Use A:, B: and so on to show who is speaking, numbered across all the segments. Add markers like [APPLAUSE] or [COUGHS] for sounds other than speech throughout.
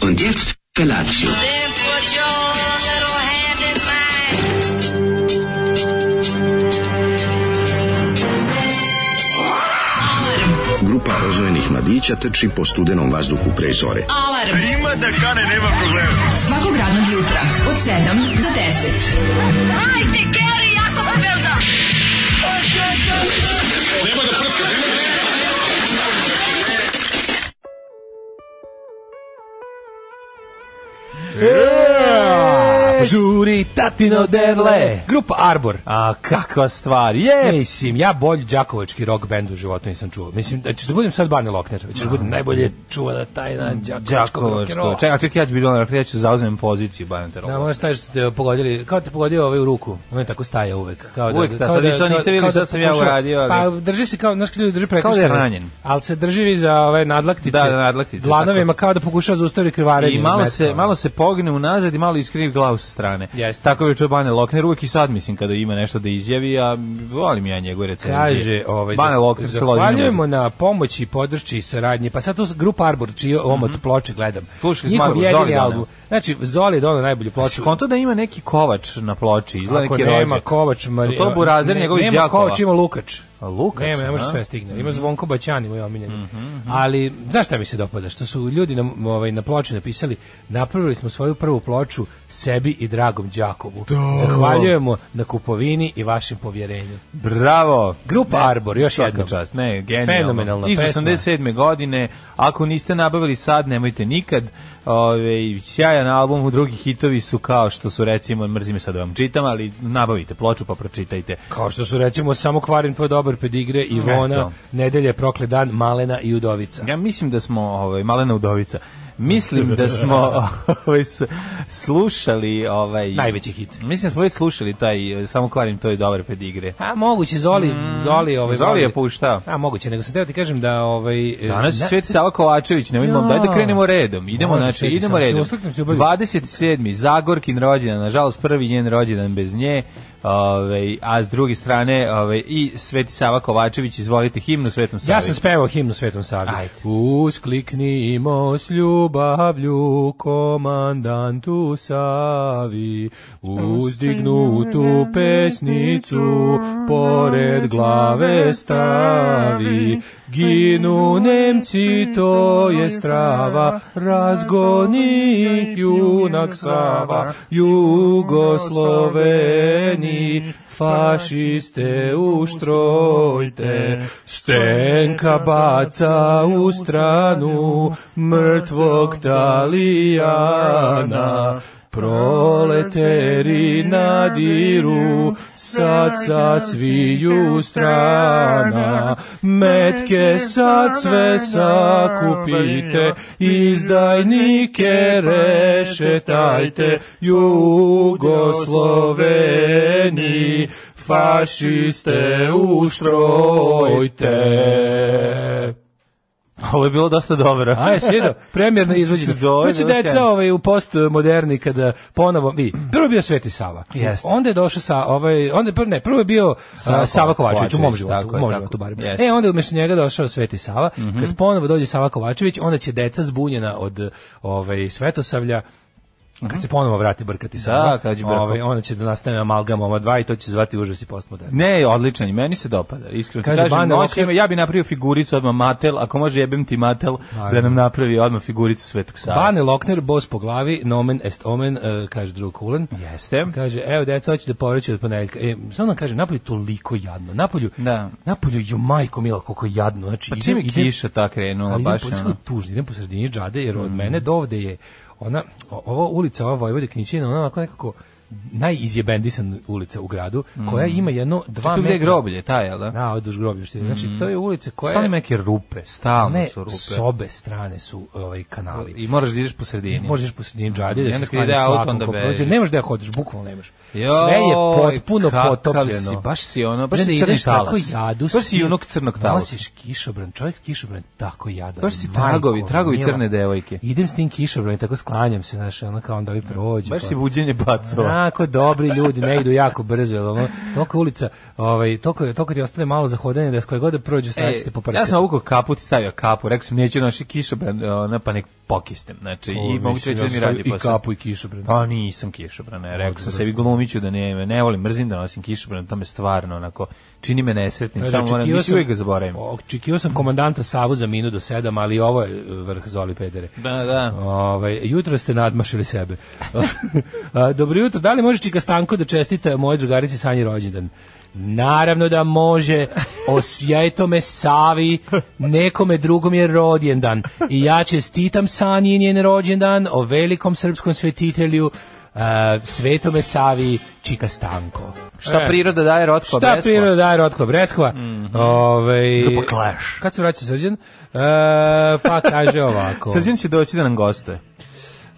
A: Und jetzt Felatio.
B: Then put your little hand in mine.
C: Grupa rozvojenih mladića teči po studenom vazduhu pre zore.
D: Alarm. Ima da kane, nema problema. Svakog radnog jutra, od 7 do 10.
E: Žuri, tatino derle.
F: Grupa Arbor.
E: A kakva stvar. Je,
F: Mislim, ja bolji đakovački rock band u životu nisam čuo. Mislim, da ću da budem sad Bane Lokner. Hoćeš da budem najbolje čuvana tajna đakovačkog
E: Mm, Đakovačko.
F: rock'n'rolla.
E: Čekaj, čekaj, ja ću biti donar, ja ću zauzmem poziciju Banata
F: Da,
E: Rola.
F: možda staviš da ste joj pogodili, kao te pogodio ovaj u ruku, on je tako staje uvek. Kao
E: Uvek, da,
F: kao
E: sad vi to niste vidjeli,
F: kao
E: sad sam ja
F: pokušava-
E: uradio, ali- da
F: Pa drži se kao, znaš kad ljudi drži prekršaj.
E: je ranjen.
F: Ali se drži vi za ove nadlaktice.
E: Da, da, nadlaktice,
F: Dlanovima
E: tako.
F: kao da pokušava zaustavi krvarenje.
E: I malo
F: metka,
E: se,
F: ono.
E: malo se pogne unazad i malo iskrivi glavu sa strane.
F: Jeste.
E: Tako je čuo Bane Lokner uvek i sad, mislim, kada ima nešto da izjavi, a volim ja njegove recenzije.
F: Kaže, ovaj,
E: Bane
F: za-
E: Lokner se loži na
F: zahvaljujemo na pomoći, podršči i saradnji. Pa sad tu grupa Arbor, čiji omot
E: Mhm.
F: ploče gledam.
E: Slušali smo
F: Njihov
E: Arbor,
F: jedini
E: Zoli doneo.
F: album. Znači, Zoli je donao najbolju
E: Znači,
F: ploču.
E: konto da ima neki kovač na ploči, izgleda
F: Ako
E: neki
F: nema
E: rođak.
F: Kovač, Mari...
E: To Burazer
F: ne-
E: njegovih
F: Nema
E: đakova.
F: Kovač, ima Lukač.
E: A Lukač, Mhm.
F: Nema, ne može
E: a?
F: sve stigne. Ima Zvonko Baćani, moj omiljeni.
E: mhm.
F: Ali, znaš šta mi se dopada? Što su ljudi na, ovaj, na ploči napisali, napravili smo svoju prvu ploču sebi i dragom đakovu.
E: Da.
F: Zahvaljujemo na kupovini i vašem povjerenju.
E: Bravo.
F: Grupa Arbor, još
E: Svaka
F: jednom.
E: čast, ne, genijalno.
F: Fenomenalna
E: Iz
F: pesma.
E: 87. godine, ako niste nabavili sad, nemojte nikad. Ove, sjajan album, drugi hitovi su kao što su recimo, mrzi me sad da vam čitam, ali nabavite ploču pa pročitajte.
F: Kao što su recimo samo kvarim tvoj dobar pedigre, Ivona,
E: Eto.
F: Nedelje, Prokle dan, Malena i Udovica.
E: Ja mislim da smo, ovaj, malena udovica, mislim da
F: [LAUGHS]
E: smo ovaj, s- slušali... Ovaj,
F: Najveći hit.
E: Mislim da smo već slušali taj, eh, samo kvarim, to je dobar pedigre.
F: A moguće Zoli, Zoli, ovaj
E: Mm. Zoli je
F: voli-
E: puštao.
F: A moguće, nego sam teo ti kažem da ovaj e,
E: Danas je
F: na-
E: Sveti Sava Kovačević, ne vidimo,
F: Ja. da
E: daj da krenemo redom. Idemo,
F: Može,
E: znači,
F: Sveti
E: idemo
F: Sava,
E: redom.
F: uslikam se u Belju.
E: 27. Zagorkin rođendan, nažalost prvi njen rođendan bez nje. Ovaj, a s druge strane, ovaj i Sveti Sava Kovačević, izvolite himnu Svetom Savi.
F: Ja sam spevao himnu Svetom Savi.
E: Ajde.
F: Uskliknimo s ljubavlju komandantu Savi, uzdignutu pesnicu pored glave stavi. Ginu Nemci, to je strava, razgoni ih junak Sava, Jugosloveni, fašiste uštrojte, Stenka baca u stranu mrtvog Talijana, proleteri nadiru, sad sa sviju strana, metke sad sve sakupite, izdajnike rešetajte, Jugosloveni, fašiste
E: [LAUGHS]
F: uštrojte.
E: Ovo je bilo dosta dobro.
F: A je sjedo, premjerno izvođenje.
E: Dobro,
F: Znači,
E: dobro,
F: deca
E: sjajno.
F: ovaj, u postmoderni kada ponovo, vi, prvo je bio Sveti Sava.
E: Jeste.
F: Onda je došao sa, ovaj, onda je prvo, ne, prvo je bio Sava,
E: Sava
F: Sava Kovačević, u mom
E: Kovačević,
F: životu,
E: tako
F: u
E: je,
F: mom
E: tako.
F: životu barem.
E: Jeste. Mhm.
F: E, onda je umjesto njega došao Sveti Sava. Kad ponovo dođe Sava Kovačević, onda će deca zbunjena od ovaj, Svetosavlja kad se ponovo vrati brkati Sava,
E: Mhm. Da, kad će brko.
F: ovaj, onda će da nastane amalgam ova dva i to će se zvati užas i postmodern.
E: Ne, odličan, je, meni se dopada, iskreno. ti
F: Kaže
E: kažem,
F: Bane
E: noć
F: Lokner-
E: ima- ja bi napravio figuricu odmah Matel, ako može jebem ti Matel da nam napravi odmah figuricu Svetog Save.
F: Bane Lokner, bos po glavi, nomen est omen, e, kaže drug Kulen.
E: Jeste.
F: Kaže, evo deca, hoće da povraću od ponedjeljka. E, samo nam kaže, napolju je toliko jadno. Napolju,
E: Da.
F: napolju, ju majko mila, koliko je jadno. Znači,
E: Pa čim je kiša ta krenula,
F: ali
E: baš
F: idem,
E: ono. Mm.
F: ono. tužni, idem po sredini džade, jer od mene do ovde je ona, o- ova ulica, ova Vojvode Knićina, ona onako nekako najizjebendisana ulica u gradu, koja ima jedno dva
E: Mm. Tu gde je
F: metra-
E: groblje, taj, jel da? Mm. Pa
F: Da, od duž grobljišta. Znači, to je ulica koja
E: Stalno
F: je...
E: ima neke rupe, stalno
F: Ne,
E: su rupe.
F: s obe strane su ovaj, kanali.
E: I moraš da ideš po sredini.
F: Možeš po sredini džade da
E: I onda
F: se
E: kad ide
F: sklaniš
E: auto,
F: svakom
E: onda
F: ko
E: bežiš.
F: prođe. Nemaš da hodiš, bukvalno nemaš. Sve je
E: Joj,
F: potpuno
E: kakav
F: potopljeno.
E: si, baš si ono, baš
F: I
E: si
F: onda
E: crni
F: ideš tako
E: talas.
F: jadu
E: Baš si
F: stil.
E: junak crnog talasa.
F: Nosiš kišobran, čovjek kišobran je tako jadan.
E: Baš si
F: majko
E: tragovi, tragovi
F: mila.
E: crne devojke.
F: Idem s tim kišobranom i tako sklanjam se, znaš, ono kao onda ovi prođu.
E: Baš
F: pa-
E: si buđenje bacova.
F: Onako dobri ljudi ne idu jako brzo, jel ono, toliko ulica, ovaj, toliko, toliko ti ostane malo za hodanje da s koje god da prođu
E: E,
F: straćete po prste.
E: ja sam ovukao kaput i stavio kapu, rekao sam neću noši kišobran, ona pa nek pokistem, znači i mogu ti reći da mi radi
F: I
E: posao.
F: kapu i kišobran.
E: Pa nisam kišobrana, rekao sam sebi glumiću da ne, ne volim, mrzim da nosim kišobran, to me stvarno onako, čini me nesretnim, samo moram,
F: Očekivao
E: mislim
F: sam-
E: uvijek ga zaboravim.
F: Očekivao sam komandanta Savu za minu do sedam, ali ovo je vrh Zoli Pedere.
E: Da, da.
F: Ovaj, jutro ste nadmašili sebe. [LAUGHS] A, Dobro jutro, da li može Čika Stanko da čestita moje drugarici Sanji rođendan? Naravno da može, o svijetome Savi, nekome drugom je rođendan. I ja čestitam Sanji njen rođendan o velikom srpskom svetitelju, a, svetome Savi Čika Stanko.
E: Šta
F: E.
E: priroda daje rotko
F: Šta priroda daje Rotko Breskova?
E: Mhm.
F: Ovaj
E: Grupa Clash.
F: Kad se vraća Srđan? E, pa kaže ovako.
E: [LAUGHS] Srđan će doći da nam gostuje.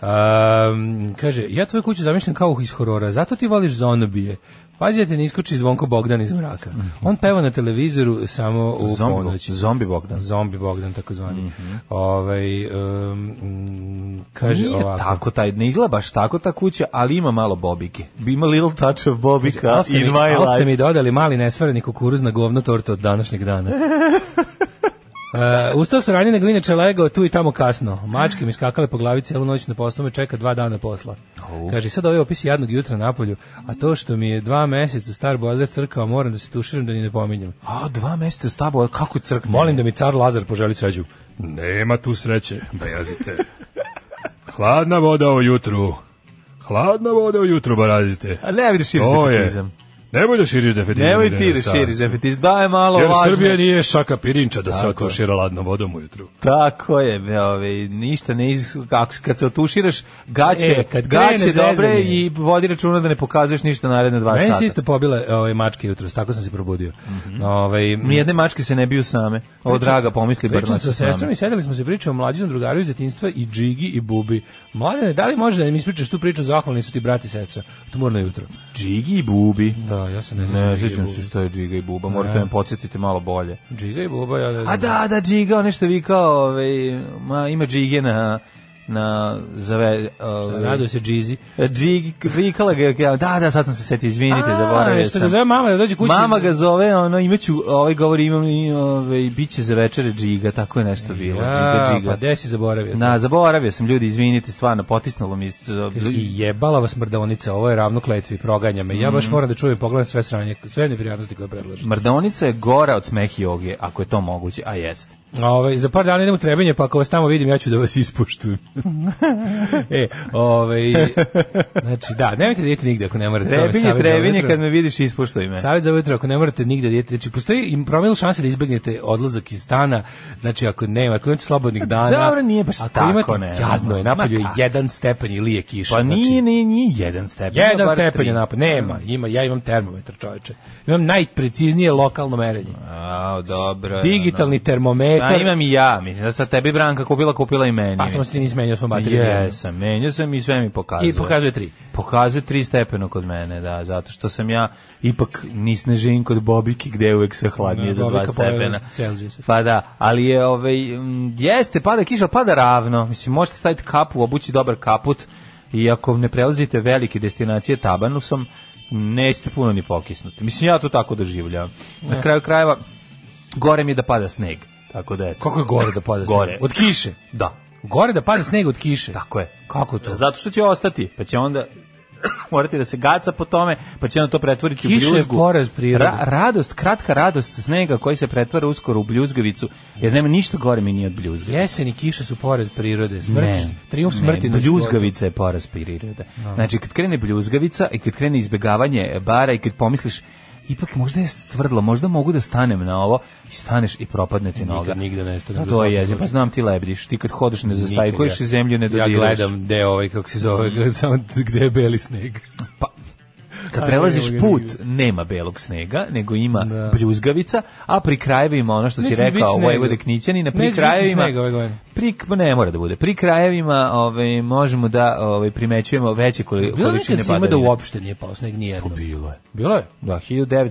F: Ehm, kaže, ja tvoju kuću zamišljam kao iz horora, zato ti voliš zonobije. Pazi da te ne iskoči zvonko Bogdan iz mraka.
E: Mhm.
F: On peva na televizoru samo u
E: Zombi,
F: ponoći.
E: zombi Bogdan.
F: Zombi Bogdan, takozvani. Mm
E: Mhm.
F: kaže
E: Nije
F: ovako.
E: tako taj, ne izgleda baš tako ta kuća, ali ima malo bobike. Ima little touch of bobika
F: Ali ste,
E: in
F: mi,
E: my
F: ali ste
E: life.
F: mi dodali mali nesvareni kukuruz na govno tortu od današnjeg
E: [LAUGHS]
F: dana. Uh, ustao sam ranije nego inače legao tu i tamo kasno. Mačke mi skakale po glavi cijelu noć na poslu, me čeka dva dana posla. Kaže, sad ovaj opis jadnog jutra na polju, a to što mi je dva meseca star bozer crkao, moram da se tuširam da ni ne pominjem.
E: A, dva mesta s tabo, kako crkne?
F: Molim da mi car Lazar poželi sreću.
A: Nema tu sreće, bajazite. Hladna voda ujutru. Hladna voda ujutru, barazite.
E: A ne, vidiš, širiš
A: To je.
E: defetizam.
A: Nemoj da širiš defetizam.
E: Nemoj
A: Irena
E: ti da
A: Sarasu.
E: širiš defetizam, daj malo
A: Jer
E: lažne.
A: Srbija nije šaka pirinča da se
E: Tako je.
A: otušira hladnom vodom ujutru.
E: Tako je, be, ove, ništa ne iz, kako, kad se otuširaš, gaće,
F: E, kad
E: gaće
F: krene
E: dobre
F: zezanje.
E: i vodi računa da ne pokazuješ ništa naredne dva
F: Meni
E: sata.
F: se isto pobile ovaj, mačke jutros, tako sam se probudio.
E: Mhm.
F: ovaj,
E: Nijedne mačke se ne biju same. Ovo draga, pomisli bar
F: Pričali
E: na
F: smo sa sestrom i sedeli smo se pričali o mlađinom drugaru iz detinjstva i Džigi i Bubi. Mladene, da li možeš da mi ispričaš tu priču, zahvalni su ti brati i sestra. Tumorno jutro.
E: Džigi i Bubi.
F: Da, ja sam ne znam.
E: Ne,
F: Džigi i
E: sjećam
F: Bubi.
E: se što je Džiga i Buba, morate me podsjetiti malo bolje.
F: Džiga i Buba, ja ne znam.
E: A da, da, Džiga, ono što vi kao, ovaj, ma, ima Džige na, na, zove, ovaj,
F: Raduje se Džizi.
E: Džigi, vikala ga, ja, da, da, sad sam se setio, izvinite,
F: A,
E: zaboravio
F: što ga
E: sam.
F: zove mama da dođe kući.
E: Mama ga zove, ono, imaću, ovaj govor imam i, ovaj, bit će za večere džiga, tako je nešto bilo, džiga,
F: Ja, pa
E: džiga.
F: gde si zaboravio?
E: Na, zaboravio sam, ljudi, izvinite, stvarno, potisnulo mi se.
F: I jebala vas mrdonica, ovo je ravno kletvi, proganja me. Ja
E: Mm.
F: baš moram da čujem i pogledam sve sranje, sve neprijatnosti koje predlažu.
E: Mrdonica je gora od smeh joge, ako je to moguće, a jest.
F: Ove, ovaj, za par dana idem u Trebinje, pa ako vas tamo vidim, ja ću da
E: [LAUGHS]
F: vas ispuštujem. e, ove, znači, da, nemojte da idete nigde ako ne morate. To vam je
E: Trebinje,
F: savjet za
E: trebinje,
F: ujutro.
E: kad me vidiš, ispuštaj me.
F: Savjet za ujutro, ako ne morate nigde da idete, znači, postoji im promil šanse da izbegnete odlazak iz stana, znači, ako nema, ako imate slobodnih dana.
E: Pa Dobro, nije baš
F: ako
E: tako,
F: imate,
E: ne.
F: Jadno je, napolju je
E: Ma kako?
F: jedan stepen i lije kiša.
E: Pa
F: znači,
E: nije, nije, nije jedan stepen. ima
F: Jedan
E: bar
F: stepen
E: tri. Mm.
F: je napad, nema, ima, ja imam termometar čoveče. Imam najpreciznije lokalno merenje.
E: Mm. A, dobro.
F: Digitalni
E: A
F: termometar,
E: imam i ja, mislim da sad tebi Branka kupila, kupila i meni.
F: pa samo se ti nisi menjao smo baterije.
E: Jesam, menio sam i sve mi pokazuje.
F: I pokazuje tri.
E: Pokazuje tri stepeno kod mene, da, zato što sam ja ipak nis ne živim kod Bobiki gde je uvek sve hladnije
F: Da,
E: za dva
F: Bobika pojela
E: stepena.
F: Celzijus.
E: Pa da, ali je, ovaj, m, jeste, pada kiša, ali pada ravno. Mislim, možete staviti kapu, obući dobar kaput i ako ne prelazite velike destinacije tabanusom, nećete puno ni pokisnuti. Mislim, ja to tako doživljam. Na kraju krajeva, gore mi je da pada sneg. Tako da, eto.
F: Kako je gore da pada
E: Gore.
F: sneg? Od kiše.
E: Da,
F: Gore da pada sneg od kiše.
E: tako je.
F: Kako to?
E: Zato što će ostati, pa će onda [COUGHS] morati da se gaca po tome, pa će onda to pretvoriti
F: Kiša
E: u
F: je
E: bljuzgu.
F: poraz prirode.
E: radost, kratka radost snega koji se pretvara uskoro u bljuzgavicu, jer nema ništa gore mi nije od bljuzgavice.
F: Jesen i kiša su porez prirode. Smrt, triumf smrti.
E: ne,
F: Da. nad
E: bljuzgavica je poraz prirode. Znači, kad krene bljuzgavica i kad krene izbegavanje bara i kad pomisliš ipak možda je stvrdlo, možda mogu da stanem na ovo i staneš i propadne ti noga.
F: nigde ne stane.
E: Pa to je jezio, pa znam ti lebdiš, ti kad hodeš ne zastajkuješ i zemlju ne dodiraš.
F: Ja gledam gde ovaj, kako se zove, [LAUGHS] gledam samo gde je beli sneg.
E: Pa, kad
F: Aj,
E: prelaziš
F: evo ga,
E: put,
F: nigde.
E: nema belog snega, nego ima
F: Da.
E: bljuzgavica, a pri krajevima, ono što si
F: Neće biti
E: rekao,
F: snega.
E: Vojvode Knićanina, pri
F: Neće biti
E: krajevima...
F: snega ove godine.
E: Pri, ne mora da bude. Pri krajevima ovaj, možemo da ovaj, primećujemo veće koli,
F: Bilo je
E: količine
F: nekad zima
E: padavina.
F: da uopšte nije pao sneg, nijedno.
E: Pa Bilo je.
F: Bilo je.
E: Da,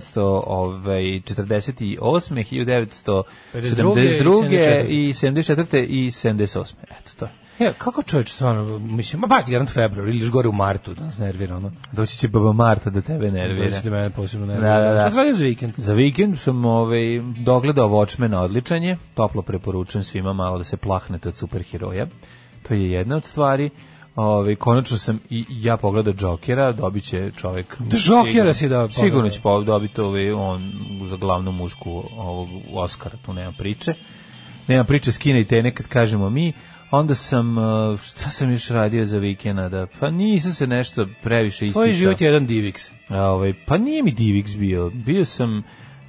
E: 1948, 1972
F: 52
E: i 74 i 78. Eto to. je.
F: E, kako čovječ stvarno, mislim, ma baš garant februar ili još gore u martu da nas nervira, ono.
E: Doći će baba Marta da tebe
F: Nervira.
E: nervira.
F: Da mene posebno nervira.
E: Da, da, da.
F: Šta si radio za vikend?
E: Za vikend sam ovaj, dogledao Watchmen odličan je, toplo preporučujem svima malo da se plahnete od superheroja. To je jedna od stvari. Ovaj, konačno sam i ja pogledao Jokera, dobit će čovjek...
F: Da, Jokera si da pogledao.
E: Sigurno će po- dobiti ovaj, on za glavnu mušku ovog Oscara, tu nema priče. Nema priče skine i tene kad kažemo mi. Onda sam, eh, šta sam još radio za vikenda? Da, pa nisam se nešto previše ispisao.
F: Tvoj život je jedan diviks.
E: A, Ovaj pa nije mi Divix bio. Bio sam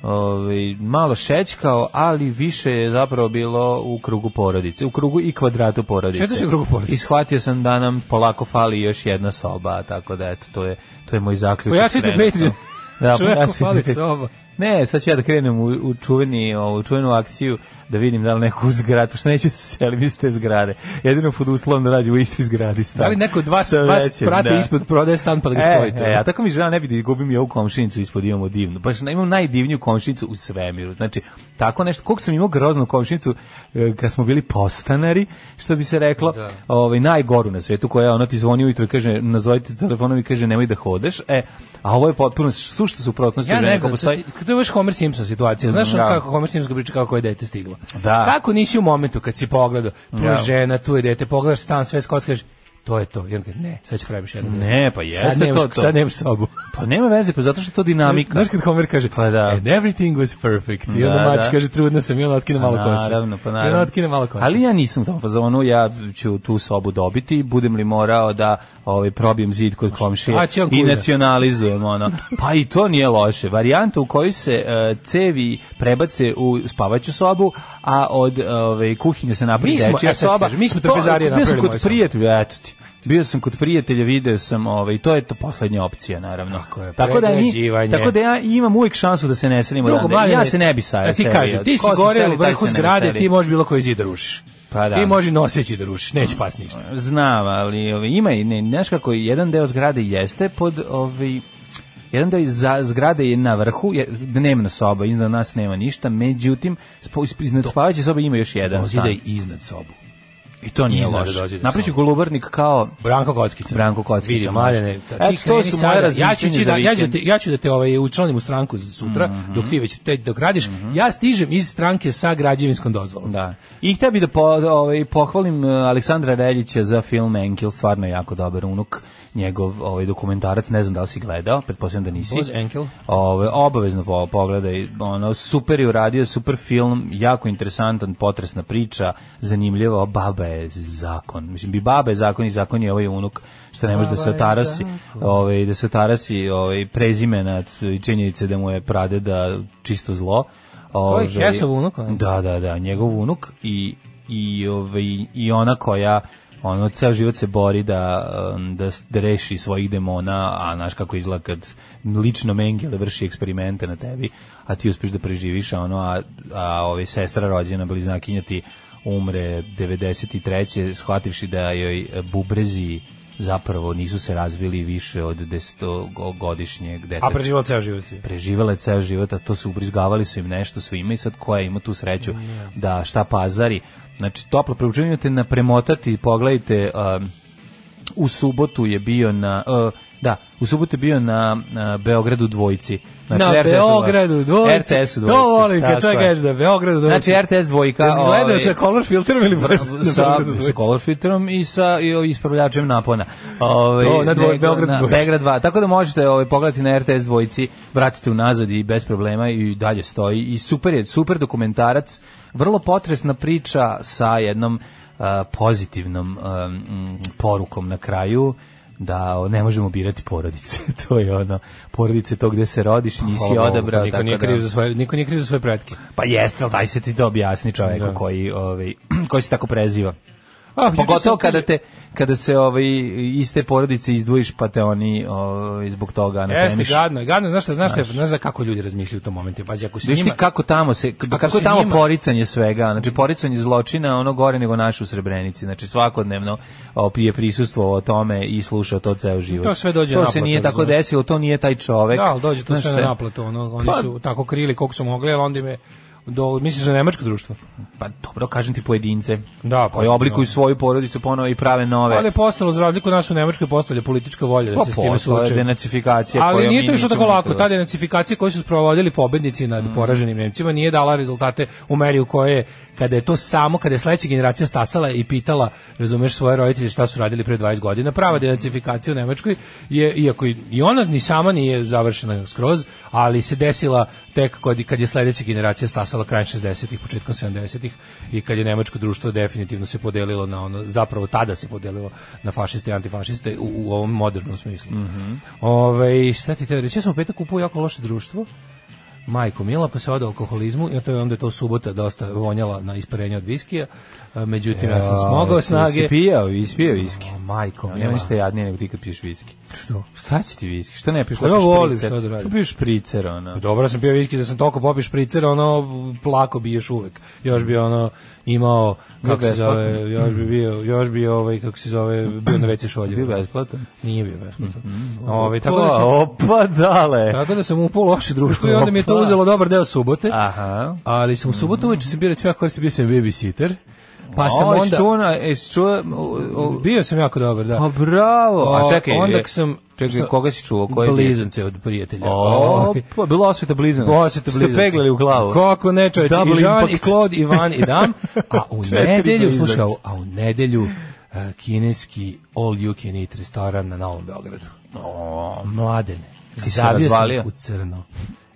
E: ovaj malo šećkao, ali više je zapravo bilo u krugu porodice, u krugu i kvadratu porodice.
F: Šetao si u krugu porodice?
E: I shvatio sam da nam polako fali još jedna soba, tako da eto to je to je moj zaključak.
F: Pojačajte
E: trenutno.
F: Patreon.
E: [LAUGHS] Da,
F: Čoveku
E: pojačajte
F: fali
E: Patreon.
F: soba.
E: Ne, sad ću ja da krenem u, u, čuveni, u čuvenu akciju da vidim da li neko u zgrad, pošto neću se selim iz te zgrade. Jedino pod uslovom da rađu u isti zgradi stan.
F: Da li neko od vas,
E: Sa
F: vas
E: većim,
F: prati
E: da.
F: ispod prodaje stan pa da ga
E: E,
F: spojite?
E: e, a tako mi žena ne bi da izgubim ja ovu komšinicu ispod imamo divnu. Baš na- imam najdivniju komšinicu u svemiru. Znači, tako nešto, koliko sam imao groznu komšinicu e, kad smo bili postanari, što bi se reklo,
F: Da.
E: ovaj, najgoru na svetu, koja ona ti zvoni ujutro i kaže, nazovite telefonom i kaže, nemoj da hodeš. E, a ovo je potpuno sušta suprotnost.
F: Ja
E: od
F: ne
E: žene koja
F: znam, to,
E: postoji.
F: ti, to je baš Homer Simpson situacija. Znaš
E: Da.
F: ono kako Homer Simpson priča kako je dete stiglo?
E: Da.
F: Kako nisi u momentu kad si pogledao, tu
E: Da.
F: je žena, tu je dete, pogledaš stan, sve skockaš, to je to. I onda kaže, ne, sad ću praviš jedno. dete.
E: Ne, pa
F: sad
E: jeste
F: nemaš,
E: to to.
F: Sad nemaš sobu.
E: Pa nema veze, pa zato što je to dinamika.
F: Znaš kad E, Homer kaže,
E: Pa da.
F: and everything was perfect. I onda
E: Da,
F: mač
E: da.
F: kaže, trudna sam, i ona otkine malo kose.
E: Naravno, pa naravno.
F: I ona otkine malo kose.
E: Ali ja nisam u tom fazonu, ja ću tu sobu dobiti, budem li morao da ovaj, probijem zid kod komšije
F: šta će on
E: i
F: kuda?
E: nacionalizujem ono. Pa i to nije loše. Varijanta u kojoj se e, cevi prebace u spavaću sobu, a od ovaj, kuhinje se napravi
F: Mi smo-
E: dečija
F: e, sad ću
E: soba.
F: kažem, mi smo
E: To-
F: trpezarije
E: Bio sam
F: napravili
E: kod
F: moju sobu.
E: prijatelja, eto ti. Bio sam kod prijatelja, video sam, ovaj, to je to poslednja opcija, naravno.
F: Tako je,
E: da, ni,
F: pregrađivanje.
E: tako da ja imam uvijek šansu da se ne selim
F: Drugo,
E: odande. Ja se ne bi sa
F: A E, ti kažem, ti si gore u vrhu zgrade, ti možeš bilo koji zid da rušiš.
E: Pa da.
F: Ti možeš noseći da rušiš, neće pas ništa.
E: Znam, ali ovaj, ima i, ne, znaš kako, jedan deo zgrade jeste pod, ovaj, jedan deo za, zgrade je na vrhu, je, dnevna soba, iznad nas nema ništa, međutim, spo, isp- iznad spavaće sobe ima još jedan
F: Dozida
E: stan.
F: i da iznad sobu.
E: I to nije
F: iznad
E: loše.
F: dozida
E: Napriću
F: soba.
E: golubarnik kao
F: Branko Kockica.
E: Branko Kockica,
F: Vidi,
E: može.
F: Maljane,
E: E,
F: ti
E: to
F: kreni
E: su moja
F: sada. ja ću,
E: razmišljanja
F: ti
E: za
F: da, ja, ću
E: vikend. Mhm.
F: te, ja ću da te ovaj, učlanim u stranku za sutra, dok ti već te dok radiš. Ja stižem iz stranke sa građevinskom dozvolom.
E: Da. I htio bi da po, ovaj, pohvalim eh, Aleksandra Reljića za film Enkel, stvarno je jako dobar unuk, njegov ovaj, dokumentarac, ne znam da li si gledao, pretpostavljam da nisi.
F: Voz Enkel.
E: Ove, obavezno po, pogledaj, ono, super je uradio, super film, jako interesantan, potresna priča, zanimljiva, baba je zakon. Mislim, bi baba je zakon i zakon je ovaj unuk, što ne može da se
F: Baba je
E: otarasi,
F: zakon.
E: ovaj, da se otarasi ovaj, prezime nad i činjenice da mu je prade da čisto zlo.
F: To je
E: Ovaj,
F: Hesov unuk, ne?
E: Da, da, da, njegov unuk i, i, ovaj, i ona koja ono ceo život se bori da em, da, s- da reši svojih demona, a znaš kako izgleda kad lično Mengele vrši eksperimente na tebi, a ti uspeš da preživiš, a ono a, a ovaj sestra rođena bliznakinja ti umre 93. shvativši da joj e, bubrezi zapravo nisu se razvili više od desetogodišnjeg deteta
F: A preživao ceo život. je.
E: preživela je ceo život, a to su ubrizgavali su im nešto svima i sad koja ima tu sreću da šta pazari. Znači, toplo preučenju te napremotati, pogledajte, um, u subotu je bio na... uh, da, u subotu je bio na, na Beogradu dvojci. Znači,
F: Na
E: RTS-u
F: Beogradu dvojci.
E: RTS-u dvojci.
F: To volim kad
E: tako
F: čovjek
E: je.
F: kaže da Beogradu dvojci.
E: Znači, RTS dvojka...
F: Jesi gledao
E: ovaj,
F: sa color filterom ili bez? [LAUGHS] na
E: sa,
F: Beogradu dvojci?
E: sa color filterom i sa i, ovaj, ispravljačem napona. Ovaj
F: O, na dvoj-
E: nego-
F: Beograd
E: na-
F: dvojci.
E: Beograd 2. Tako da možete ovaj pogledati na RTS dvojici, vratite unazad i bez problema i dalje stoji i super je, super dokumentarac, vrlo potresna priča sa jednom eh, pozitivnom eh, mm, porukom na kraju da o, ne možemo birati porodice. [LAUGHS] to je ono, porodice to gde se rodiš, nisi
F: Pa, Hvala Bogu,
E: odabrao.
F: Niko
E: tako
F: nije
E: da-
F: kriv za svoje, niko nije kriv za svoje pretke.
E: Pa jeste, ali daj se ti to objasni čoveku
F: Da.
E: koji, ovaj, [CLEARS THROAT] koji se tako preziva.
F: A,
E: Pogotovo kada te kada se ovaj iste porodice izdvojiš pa te oni ovaj, zbog toga na
F: Jeste, gadno, je, gadno, je. znaš šta, znaš, šta, je- znaš za kako ljudi razmišljaju u tom momentu. Pazi, ako si
E: Viš ti
F: njima...
E: kako tamo se pa kako,
F: Ako
E: je
F: se
E: tamo
F: njima-
E: poricanje svega, znači poricanje zločina ono gore nego naše u Srebrenici, znači svakodnevno o, je prisustvo o tome i slušao to ceo život.
F: To sve dođe
E: To
F: na
E: se
F: naplatu,
E: nije tako
F: razumeš.
E: desilo, to nije taj čovek.
F: Da, ali dođe to
E: Znaš
F: sve na
E: sve.
F: naplatu, ono, oni
E: Pa-
F: su tako krili koliko su mogli, ali onda im je do, misliš na nemačko društvo?
E: Pa dobro, kažem ti pojedince.
F: Da,
E: koji
F: pa,
E: oblikuju
F: da.
E: svoju porodicu ponovo i prave nove.
F: Ali je postalo, za razliku od nas u Nemačkoj, postala je politička volja da
E: Pa
F: se s time
E: postala je
F: suoče.
E: denacifikacija
F: Ali
E: koja
F: nije
E: mi
F: to išlo tako
E: nećemo Mm.
F: lako. Ta
E: nikada.
F: denacifikacija koju su sprovodili pobednici nad poraženim Nemcima nije dala rezultate u meri u kojoj je, kada je to samo, kada je sledeća generacija stasala i pitala, razumeš, svoje roditelje šta su radili pre 20 godina, prava denacifikacija u Nemačkoj je, iako i i ona ni sama nije završena skroz, ali se desila tek kod, kad je sledeća generacija stasala krajem 60-ih, početkom 70-ih i kad je nemačko društvo definitivno se podelilo na ono, zapravo tada se podelilo na fašiste i antifašiste u, u ovom modernom smislu. Mm Ove, šta ti te reći? Ja sam u petak kupuo jako loše društvo, majko Mila, pa se odao alkoholizmu i to je onda je to subota dosta vonjala na isparenje od viskija, E, međutim ja sam smogao
E: jesi-
F: snage.
E: Jesi pijao, ispijao viski.
F: O, majko
E: Nema
F: Mila.
E: ništa jadnije nego ti kad piješ viski.
F: Što?
E: Šta će ti viski? Šta ne piješ?
F: Pa ja
E: lepo
F: volim
E: špricer?
F: šta da radim.
E: Pa piješ špricer, ono.
F: Dobro sam pio viski da sam toliko popio špricer, ono, plako bi još uvek. Još bi ono imao, kako se
E: besplatno.
F: zove, još bi bio, još bi ovaj, kako se zove, bio na WC šolje.
E: Bio besplatan. Mhm,
F: Nije bio besplatan. Ovaj, tako da sam,
E: Opa, dale.
F: tako da sam upao u loše
E: [LAUGHS]
F: društvo i onda mi je to
E: Opa.
F: uzelo dobar deo subote.
E: Aha.
F: Ali sam u subotu uveče sam bio, recimo, ja koristim, bio sam babysitter. Pa sam
E: O,
F: onda...
E: čuo, na- jesi čuo, o, o,
F: Bio sam jako dobar, da.
E: Pa bravo.
F: O,
E: A čekaj,
F: onda
E: je-
F: sam-
E: čekaj,
F: što-
E: koga si čuo? Koje
F: Blizance od prijatelja.
E: O,
F: Ovaj.
E: pa bilo osveta blizana.
F: Posjeta blizanci.
E: Ste peglali u glavu.
F: Kako ne, čoveče.
E: Double
F: I Jean,
E: impact.
F: i Claude, i Van, i Dam. A
E: [LAUGHS]
F: u
E: Četiri
F: nedelju,
E: blizanci.
F: slušaj, ovo, a u nedelju e, kineski all you can eat restoran na Novom Beogradu. O, mladene.
E: se
F: Zabio sam
E: razvalio?
F: u crno.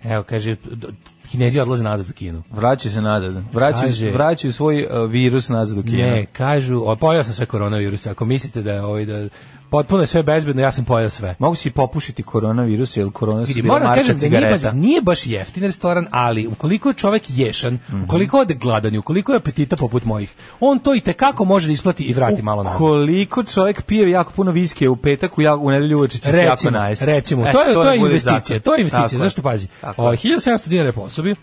F: Evo, kaže, d- kinezi odlaze nazad za kinu.
E: Vraćaju se nazad. Vraćaju,
F: Kaže-
E: vraćaju svoj uh, virus nazad u Kinu.
F: Ne, kažu, o, pojao sam sve koronaviruse. Ako mislite da je ovaj, da, potpuno je sve bezbedno, ja sam pojao sve.
E: Mogu si popušiti koronavirus, jer korona su
F: Vidi,
E: bila
F: moram da
E: marča
F: kažem da nije, baš,
E: cigareta.
F: nije baš jeftin restoran, ali ukoliko je čovek ješan,
E: Mhm.
F: ukoliko ode gladan i ukoliko je apetita poput mojih, on to i tekako može da isplati i vrati malo nazad.
E: Koliko čovjek pije jako puno viskija u petak, u, ja, u nedelju uveče će se jako
F: Recimo,
E: najesti.
F: recimo,
E: E,
F: to je, to je
E: nek bude
F: investicija,
E: zakon.
F: to je investicija,
E: Tako
F: zašto pazi,
E: Tako
F: o,
E: je.
F: 1700 dinara po osobi,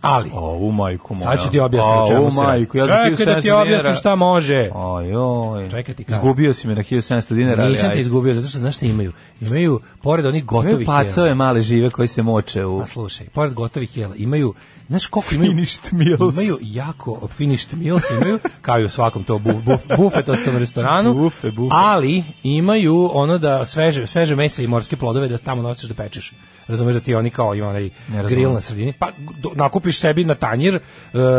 F: ali,
E: O, u majku moja.
F: sad ću ti objasniti o čemu
E: O,
F: se radi.
E: majku, ja za
F: Čekaj da
E: 1700
F: ti
E: dinara-
F: objasnim šta može.
E: Ajoj.
F: Čekaj da ti kažem.
E: Izgubio si me na 1700 dinara. ali
F: Nisam te
E: ajde.
F: izgubio, zato što znaš šta imaju? Imaju, pored onih
E: Imaju
F: gotovih jela,
E: pacove male žive koji se moče u... [LAUGHS]
F: a slušaj, pored gotovih jela, imaju, znaš koliko imaju
E: Finished meals.
F: imaju jako finished meals imaju kao i u svakom to buf, buf, bufetostom restoranu
E: Bufe, bufe.
F: ali imaju ono da sveže sveže meso i morske plodove da tamo nosiš da pečeš razumeš da ti oni kao ima onaj
E: razumem.
F: grill na sredini pa do- nakupiš sebi na tanjir e,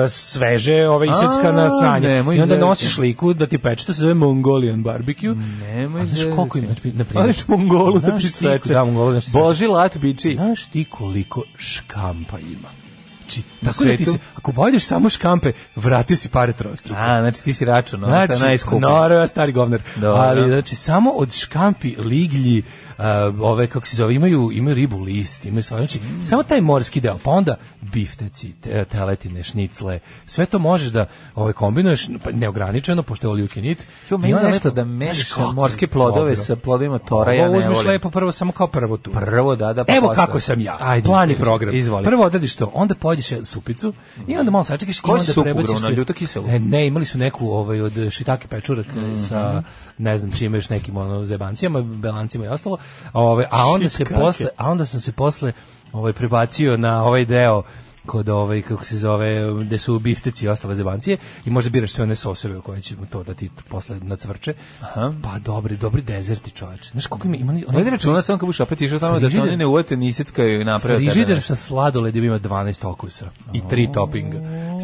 F: sveže ove isecka na
E: A,
F: sranje
E: nemoj
F: i onda
E: zezati.
F: nosiš liku da ti peče to se zove Mongolian barbecue
E: Nemoj
F: A znaš
E: zezati.
F: koliko ima znači, na primjer
E: Odeš Mongolu da
F: Znaš
E: bi
F: ti- da, Mongolu da bi sveče.
E: Boži lat biči.
F: Znaš ti koliko škampa ima? Znači,
E: Na
F: tako da ti
E: svetu?
F: se, ako pojedeš samo škampe, vratio si pare trostruko.
E: A, znači ti si račun, ono znači, je najskuplje.
F: Noro, ja stari govnar.
E: Dobro.
F: Ali, znači, samo od škampi, liglji, uh, ove, kako se zove, imaju, imaju ribu list, imaju sva, znači,
E: Mm.
F: samo taj morski deo, pa onda bifteci, te, teletine, šnicle, sve to možeš da ove, kombinuješ, pa neograničeno, pošto je all you can eat.
E: Jo, meni
F: I onda
E: nešto
F: lepo-
E: da mešam
F: Znaš kako je
E: morske plodove
F: dobro.
E: sa plodovima tora, ja
F: Ovo
E: ne
F: uzmeš
E: volim.
F: lepo prvo, samo kao prvo tu.
E: Prvo, da, da, pa
F: Evo
E: posle.
F: kako sam ja.
E: Ajde,
F: Plan i
E: izvoli.
F: program.
E: Izvoli.
F: Prvo odradiš to, onda pođeš jednu supicu i onda malo sačekaš i
E: Koju
F: onda
E: supu,
F: prebaciš
E: Bruno? Ljutokiselu?
F: Ne, ne, imali su neku ovaj od šitake pečurak eh,
E: Mhm.
F: sa ne znam čime još nekim ono zebancijama, belancima i ostalo. Ovaj a onda se
E: Šitkake.
F: posle, a onda sam se posle ovaj prebacio na ovaj deo kod ovaj kako se zove gde su bifteci i ostale zebancije i možda biraš sve one soseve u koje će to da ti posle nacvrče. Aha. Pa dobri, dobri dezerti čoveče. Znaš koliko ima, ima oni- oni-
E: Vedi računa samo kad budeš opet išao tamo da te
F: Frižider.
E: oni ne uvete ni isickaju i naprave. tebe
F: Frižider
E: nešto.
F: sa sladoledima ima 12 okusa i 3 toppinga.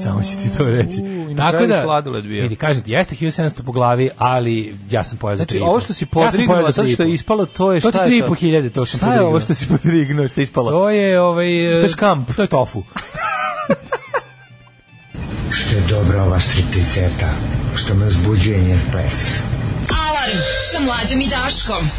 F: Samo ću ti to reći. da,
E: i na kraju sladoled bio.
F: Vidi, kažem ti, jeste 1700 po glavi, ali ja sam pojao za 3,5.
E: Znači, ovo što si podrignuo, sad što je ispalo, to je
F: To
E: šta
F: ti
E: je
F: 3,5 hiljade, to što
E: Šta je
F: podrignuo.
E: ovo što si podrignuo, što je ispalo?
F: To je, ovaj...
E: To
F: eh,
E: je škamp.
F: To je
E: [LAUGHS]
F: tofu.
G: Što je dobra ova stripticeta, što me uzbuđuje njen ples.
D: Alarm sa mlađom i Daškom.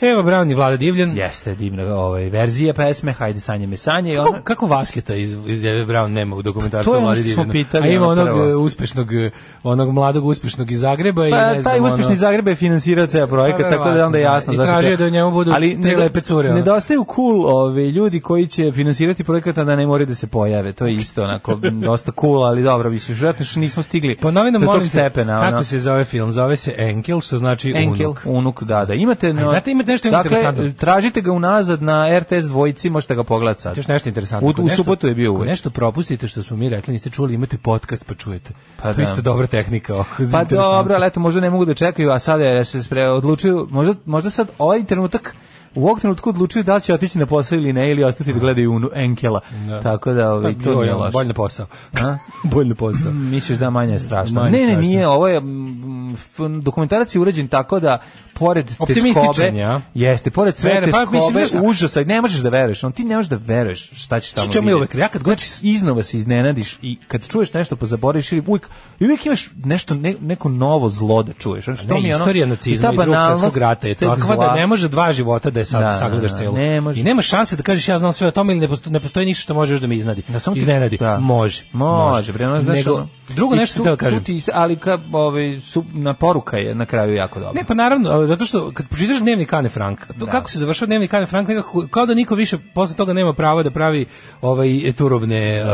F: Evo Brown i Vlada Divljan.
E: Jeste divna ovaj, verzija pesme, hajde sanje me sanje. i
F: Kako,
E: Ona,
F: kako Vasketa iz, iz Eve Brown nema u dokumentarcu
E: To je ono
F: Vlade
E: što smo
F: Divljana?
E: pitali,
F: A ima
E: ono
F: onog
E: prvo.
F: eh, uspešnog, eh, onog mladog uspešnog iz Zagreba i
E: Pa,
F: ne znam,
E: taj uspešni
F: ono-
E: iz Zagreba je finansirao ceo projekat,
F: Pa,
E: tako da je onda jasno.
F: verovatno, da. I
E: zašto
F: tražio
E: je-
F: da u njemu budu te
E: nedo-
F: lepe cure, ono.
E: Nedostaju cool ove, ljudi koji će finansirati projekat, a da ne moraju da se pojave. To je isto onako m, dosta cool, ali dobro, mislim, vjerojatno što nismo stigli
F: Ponovi nam
E: do
F: molim
E: tog
F: te,
E: stepena.
F: kako
E: ono.
F: se zove film? Zove se Enkel, što znači
E: Enkel,
F: unuk.
E: unuk, da, da. Imate,
F: A
E: no,
F: znate, imate Imate nešto interesantno?
E: Dakle, tražite ga unazad na RTS dvojici, možete ga pogledati sad.
F: Još nešto interesantno.
E: U-
F: Ako
E: u
F: nešto-
E: subotu je bio
F: ako
E: uveče.
F: Nešto propustite što smo mi rekli, niste čuli, imate podcast pa čujete.
E: Pa
F: to
E: da.
F: je isto dobra tehnika. ovako,
E: Pa
F: interesantno.
E: dobro, ali eto, možda ne mogu da čekaju, a sada je se spre odlučuju, možda, možda sad ovaj trenutak u ovog trenutku odlučuju da li će otići na posao ili ne, ili ostati da gledaju Unu Enkela.
F: Da.
E: Tako da, ovaj, to
F: Joj,
E: nije
F: on,
E: loše.
F: Bolj na posao.
E: A?
F: [LAUGHS] bolj na posao.
E: Misliš da manje je strašno?
F: Manje
E: ne, ne,
F: strašno.
E: nije, ovo je mm, f- dokumentarac je urađen tako da pored te
F: Optimističan
E: skobe,
F: je, a?
E: jeste, pored sve
F: Vere,
E: te
F: pa mislim,
E: skobe,
F: znaš šta?
E: užasa, ne možeš da veruješ, on ti ne možeš da veruješ šta ćeš tamo
F: S čemu je
E: vidjeti.
F: uvek? Ja kad god-
E: znači, iznova se iznenadiš i kad čuješ nešto pa zaboraviš ili uvijek, i uvijek imaš nešto, ne, neko novo zlo da čuješ. Znači, to
F: Ne,
E: mi je ono-
F: istorija
E: ta
F: nacizma i drugog
E: banalnost
F: svetskog rata je
E: tog
F: takva da
E: zla.
F: ne može dva života da je sad
E: Da, da,
F: sagledaš
E: da,
F: celo.
E: ne može.
F: I nema šanse da kažeš ja znam sve o tome ili ne postoji, ne postoji ništa što može još da me iznadi.
E: Da, samo ti-
F: iznenadi.
E: da.
F: Može.
E: Može, bre, ono, znaš,
F: Nego,
E: ono-
F: drugo
E: I
F: nešto
E: tu-
F: sam teo
E: tu
F: kažem.
E: ti isto- ali ka, ovaj, su, na poruka je na kraju jako dobra.
F: Ne, pa naravno, ali zato što kad pročitaš dnevnik Ane Frank, to
E: Da.
F: kako se završava dnevnik Ane Frank, nekako, kao da niko više posle toga nema prava da pravi ovaj turobne uh,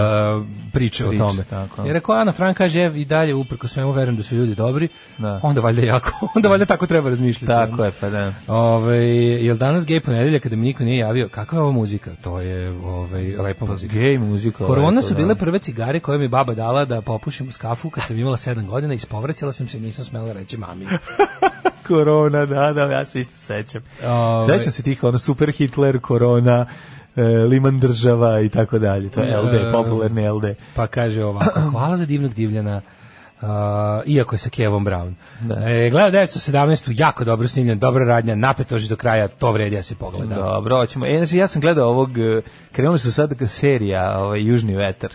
F: priče,
E: Da. Priče,
F: o tome.
E: tako.
F: Jer ako Ana Frank kaže ev, i dalje uprko svemu verujem da su ljudi dobri,
E: Da.
F: onda valjda jako, [LAUGHS] onda valjda tako treba razmišljati.
E: Tako je, pa da.
F: Ove, jel danas gej ponedelja kada mi niko nije javio, kakva je ova muzika? To je ovaj,
E: Pa,
F: lepa muzika.
E: Gej muzika.
F: Korona
E: lepo,
F: su
E: da.
F: bile prve cigare koje mi je baba dala da popušim uz kafu kad sam imala 7 godina, ispovraćala sam se i nisam smela reći mami.
E: Korona, da, da, ja se isto sećam.
F: Ovaj.
E: Sećam se tih, ono, super Hitler, korona, e, liman država i tako dalje. To je LD,
F: E,
E: popularni LD.
F: Pa
E: [CLEARS THROAT]
F: kaže ovako, hvala za divnog divljana, uh, iako je sa Kevom Brown.
E: Da.
F: E, gleda 917, jako dobro snimljen, dobra radnja, napeto do kraja, to vredi da se pogleda.
E: Dobro, hoćemo. E, znači, ja sam gledao ovog, e, krenuli su sad serija, ovaj, Južni vetar.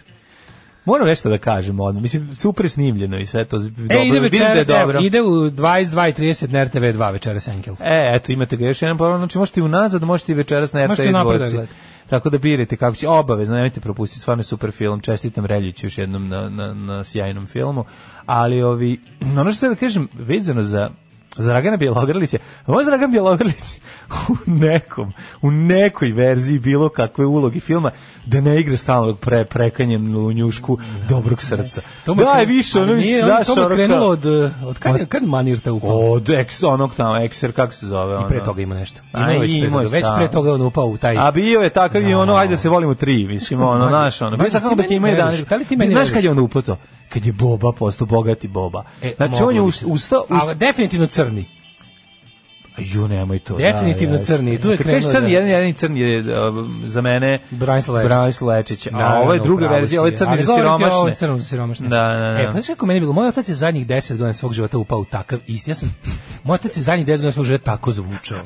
E: Moram nešto da kažem odmah. Mislim, super snimljeno i sve to. Dobro,
F: E, ide
E: vidim da je
F: večeras, evo,
E: dobro.
F: ide u 22.30 na RTV 2 večeras Enkel.
E: E, eto, imate ga još jedan program, znači možete i unazad, možete i večeras na
F: Možete
E: RTL
F: i napred da
E: dvorci.
F: gledate.
E: Tako da birajte kako će, obavezno, nemojte propustiti, stvarno je super film, čestitam Reljiću još jednom na, na, na sjajnom filmu, ali ovi, [CLEARS THROAT] ono što da kažem, vezano za za Dragana Bjelogrlića, a možda Dragan Bjelogrlić [LAUGHS] u nekom, u nekoj verziji bilo kakve ulogi filma, da ne igra stalno pre, prekanjem u njušku dobrog srca.
F: mu je
E: Daj
F: kren-
E: više, ono
F: ali
E: mi
F: nije,
E: se
F: on-
E: daš
F: To
E: ono
F: mu je krenulo
E: kao-
F: od, uh, od kad, je- kad manir te upao?
E: od ex, onog tamo, ekser, kako se zove?
F: I pre
E: ono?
F: toga ima nešto.
E: da. A,
F: Ima već, pre
E: imao
F: toga.
E: je
F: već
E: stalno.
F: pre toga on upao u taj...
E: A bio je takav i ono, ajde da se volimo tri, mislim, ono,
F: Mlađe,
E: naš, ono. Bio je
F: mlađe,
E: takav
F: ti
E: dok
F: meni
E: ima
F: veruješ?
E: 11.
F: Da li ti meni
E: Znaš kad
F: veruješ?
E: je on upoto? Kad je Boba postao bogati Boba.
F: E,
E: znači,
F: mogu
E: on je
F: bi
E: us-
F: se.
E: ustao...
F: Ali definitivno crni.
E: Ju, nemoj to.
F: Definitivno
E: da,
F: crni, tu je
E: Kad kažeš
F: krenuo,
E: crni,
F: da.
E: jedan, jedan crni je um, za mene...
F: Branislav Lečić.
E: Branislav Lečić. A
F: Naravno,
E: ovo je druga
F: pravo
E: verzija, ovo je
F: si.
E: crni
F: Ali
E: za
F: govorim ti o ovom
E: siromašne.
F: crnom za siromašne.
E: Da, da, da.
F: E, pa znaš kako meni bilo? Moj otac je zadnjih 10 godina svog života upao u takav isti. Ja sam, moj otac je zadnjih 10 godina svog života tako zvučao.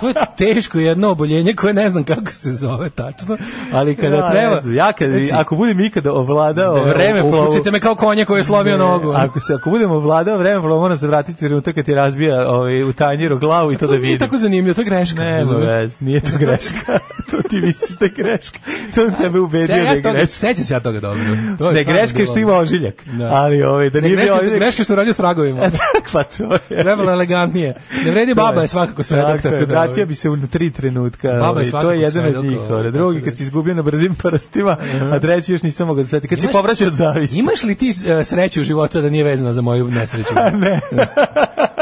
F: to je teško jedno oboljenje koje ne znam kako se zove tačno, ali kada
E: Ja, Da, ne
F: treba...
E: znam, ja kad,
F: Znači, da,
E: ako budem ikada ovladao vreme
F: Upucite me kao konje koje je slomio nogu.
E: Ako se ako budemo vladao vreme, moram se vratiti u trenutak kad ti razbija ovaj u tanjiru glavu i to,
F: to
E: da
F: nije
E: vidim.
F: tako zanimljivo, to je greška.
E: Nema
F: razumeš?
E: vez, nije
F: [LAUGHS]
E: to greška. [LAUGHS] to ti misliš da je greška. To bi tebe ubedio
F: Se,
E: da
F: ja
E: je
F: se toga,
E: greška.
F: sećam se ja toga dobro. To
E: Da je
F: stvarno
E: greška je
F: bilo
E: što ima ožiljak.
F: Da.
E: Ali ovaj, da
F: Ne,
E: nije bio
F: greška, što-
E: ožiljak.
F: greška što radio s ragovima.
E: [LAUGHS] pa to je.
F: Trebalo je elegantnije. Ne vredi baba je svakako svedok. da, ovaj.
E: Tako je, vratio bi se u tri trenutka.
F: Baba je
E: ovaj, to
F: svakako
E: je jedan od
F: svedok,
E: njih.
F: ovaj,
E: ovaj,
F: tako
E: drugi
F: da
E: kad
F: je.
E: si izgubio na brzim parastima, a treći još nisam mogao da seti. Kad si
F: Imaš-
E: povraćao od zavisti.
F: Imaš li ti e, sreću u životu da nije vezana za moju
E: [LAUGHS]
F: nesreću?
E: Ne.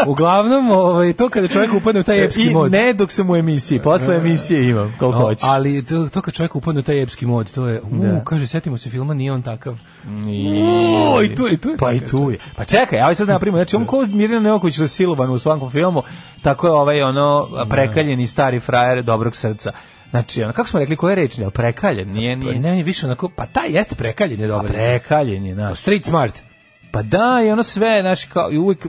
F: Uglavnom, ovaj, to kada čovjek upadne u taj epski
E: I
F: mod.
E: ne dok sam u emisiji, posle emisije imam, koliko
F: O,
E: hoćeš.
F: ali to, to kad čovjek upadne u taj epski mod, to je, u,
E: Da.
F: kaže, setimo se filma, nije on takav. O, i tu je, Da. tu je.
E: Pa i tu je. Pa čekaj, aj sad napravimo, znači on ko Mirjana Neoković što je silovan u svakom filmu, tako je ovaj ono
F: Da.
E: prekaljeni stari frajer dobrog srca. Znači, ono, kako smo rekli, koja je reč, ne, prekaljen, nije,
F: Pa
E: nije,
F: Ne, on je više onako, pa taj jeste prekaljen je dobar. izraz.
E: prekaljen je, znaš.
F: Street smart.
E: Pa da, i ono sve, znaš, kao, i uvijek,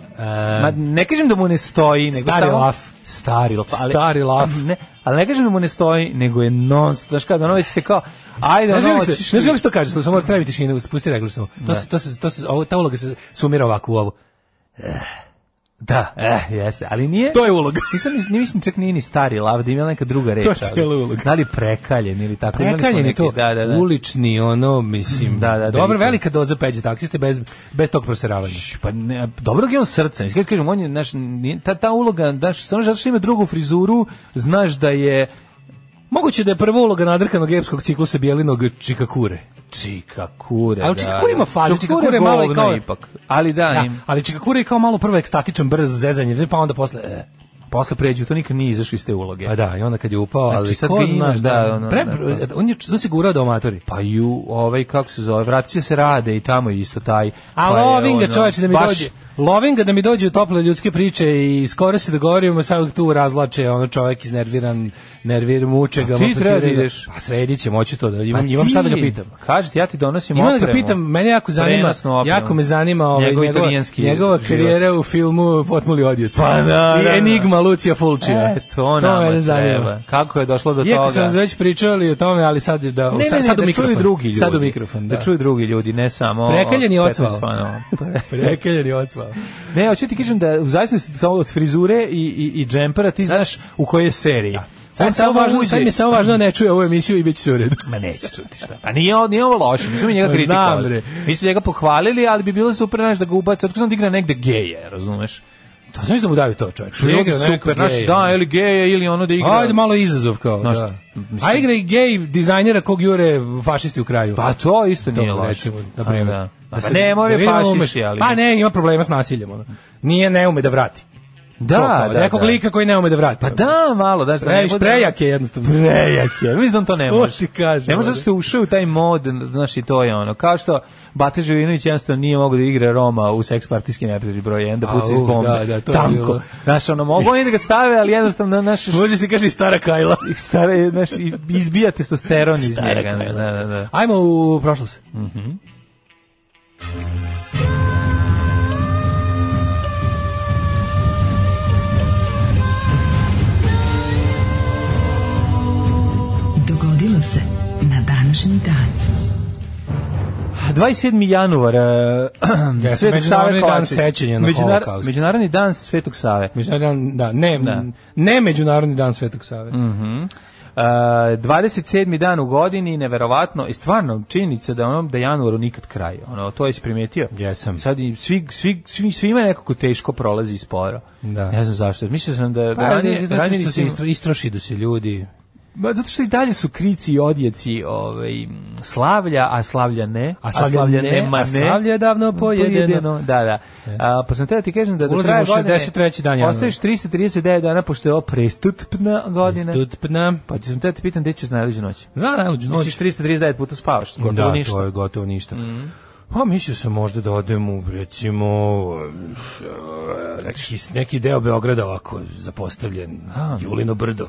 E: ma, ne kažem da mu ne stoji, nego
F: Stari
E: samo...
F: laf.
E: Stari laf. Ali,
F: Stari laf.
E: Ne, ali ne kažem da mu ne stoji, nego je non, znaš kada, ono već te kao, ajde,
F: Znaš
E: ono,
F: kako se,
E: Pa hoćeš
F: znaš
E: li-
F: kako se to kaže? Slušaj, ovo treba biti tišina, spusti reglu samo. To se, to se, to se, ovo, ta uloga se sumira ovako u ovo.
E: Da, eh, jeste, ali nije...
F: To je uloga.
E: Nisam, ni- mislim čak nije ni stari lav, da ima neka druga reč.
F: To je cijela
E: ali-
F: uloga.
E: Da li prekaljen ili tako. [LAUGHS] imali smo
F: Prekaljen je
E: neke-
F: to
E: Da, da, da.
F: ulični, ono, mislim,
E: Da, da, da,
F: dobro,
E: da.
F: velika doza peđe taksiste bez, bez tog proseravanja.
E: Pa ne, dobro je on srce. Mislim, kad kažem, on je, znaš, nije- ta, ta uloga, znaš, samo zato što ima drugu frizuru, znaš da je
F: Moguće da je prva uloga nadrkanog epskog ciklusa bijelinog Čikakure.
E: Čika Kure. da,
F: Ali Čikakure ima faze, Čikakure je malo i
E: govno
F: kao-
E: Ipak. Ali da,
F: Da,
E: im-
F: ali Čikakure je kao malo prvo ekstatičan, brz zezanje, pa onda posle... E.
E: posle pređu, to nikad nije izašao iz te uloge.
F: Pa da, i onda kad je upao,
E: Znači,
F: ali
E: sad
F: ko
E: ga
F: znaš
E: imaš,
F: da,
E: da, ono,
F: pre,
E: da,
F: on je on se gurao da omatori.
E: Pa i u ovaj, kako se zove, vratit će se rade i tamo je isto taj.
F: A
E: pa je,
F: lovim ga
E: ono,
F: čoveče da mi
E: baš-
F: dođe. Lovim ga da mi dođe u tople ljudske priče i skoro se dogovorimo, sad uvijek tu razlače, ono čovjek iznerviran, nervir muče ga.
E: ti
F: maltretira
E: treba da
F: ga.
E: ideš.
F: Pa sredit ćemo, hoću to da
E: Pa
F: imam, imam šta da ga
E: ti,
F: pitam.
E: Kaži ti, ja ti donosim
F: Ima da ga
E: opremu.
F: pitam, mene jako zanima,
E: Prenosnu opremu.
F: jako me zanima ovaj,
E: Njegov
F: njegova,
E: italijanski
F: njegova
E: život.
F: karijera u filmu Potmuli odjec.
E: Pa naravno.
F: I Enigma Lucija Fulčija.
E: E, to nama
F: mene
E: treba. Kako je došlo do
F: Iako
E: toga?
F: sam već pričali o tome, ali sad, da,
E: Ne, ne,
F: sad,
E: ne,
F: sad u
E: da
F: mikrofon.
E: čuju drugi ljudi.
F: Sad u mikrofon, da.
E: Da
F: [LAUGHS]
E: čuju drugi ljudi, ne samo...
F: Prekaljen je
E: od
F: ocvao.
E: 15 fanova.
F: Prekeljen je ocvao.
E: Ne, hoću ti kažem da u zavisnosti samo od frizure i, i, i džempera ti znaš u kojoj je seriji.
F: Da. Sad,
E: On
F: je samo važno, sad mi je samo važno da ne čuje ovu emisiju i bit će sve u redu.
E: Ma neće čuti šta. A nije, ovo- nije ovo loše, mi smo mi njega
F: Pa Znam, bre.
E: kritikovali. Mi smo njega pohvalili, ali bi bilo super znaš, da ga ubaci, otko sam digne negde geje, razumeš?
F: To znaš da mu daju to čovjek. Što igra
E: super,
F: nekog
E: znaš,
F: geja.
E: da, ili geje, ili ono da igra.
F: Ajde malo izazov kao,
E: Znaš,
F: da.
E: mislim-
F: A igra i gej dizajnera kog jure fašisti u kraju.
E: Pa to isto
F: To,
E: nije loše.
F: recimo, na
E: A,
F: primjer.
E: Da. Da
F: se-
E: pa ne,
F: da
E: moje
F: vidimo da
E: pašiši,
F: umeš.
E: ali...
F: Pa ne, ima problema s nasiljem. Ono. Nije, ne ume da vrati.
E: da, da,
F: pa Nekog
E: da.
F: lika koji ne ume da vrati.
E: Pa da, malo, znaš, da, ne
F: Previš
E: bude-
F: prejak je jednostavno.
E: Prejak je. Mislim da on to ne
F: To
E: može.
F: ti kažem,
E: Ne može
F: ono.
E: zato što je ušao u taj mod, znaš, i to je ono. Kao što Bate Živinović jednostavno nije mogao da igra Roma u seks partijskim epizodi broj 1, da puca iz
F: Au,
E: bombe.
F: da, da, to je
E: Tanko.
F: bilo.
E: Znaš, ono, mogu oni da ga stave, ali jednostavno, znaš,
F: Može se kaže i stara kajla.
E: stara, je, znaš, i- izbija testosteron iz
F: Stara
E: njega.
F: kajla.
E: Da, da, da.
F: Ajmo u prošlost.
D: Dogodilo se na današnji dan.
E: 27. januar, [CLEARS THROAT]
F: Jeste,
E: uh, Svetog
F: Međunarodni
E: Save
F: dan
E: Kovačić.
F: sećanja na
E: Međunar-
F: Holokaust.
E: Međunarodni dan Svetog Save.
F: Međunarodni dan, da, ne,
E: Da.
F: ne Međunarodni dan Svetog Save. Mhm.
E: Uh, 27. dan u godini, neverovatno, i stvarno činjenica da onom da januaru nikad kraj. Ono, to je primetio.
F: Jesam.
E: Sad i svi, svi, svi, svima nekako teško prolazi sporo.
F: Da.
E: Ne znam zašto. Mislio sam da, da
F: Pa,
E: ranije,
F: zato
E: ranije
F: što se
E: nisam-
F: istro, istrošidu se ljudi.
E: Ma, zato što i dalje su krici i odjeci ovaj, m, slavlja, a slavlja ne.
F: A slavlja ne,
E: ma
F: a slavlje je davno pojedeno.
E: Da, da. A, pa sam teda ti kažem da do
F: Ulazimo
E: kraja
F: u 63. dan januara.
E: Ostaješ 339 dana, pošto je ovo prestupna godina.
F: Istutpna.
E: Pa ću sam te pitan gde ćeš najluđu noć.
F: Zna, najluđu noć.
E: Misliš 339 puta spavaš, gotovo
F: da,
E: ništa. Mhm.
F: to je gotovo ništa. Pa mislio sam možda da odem u, recimo, eh, neki, neki deo Beograda ovako zapostavljen. Julino brdo.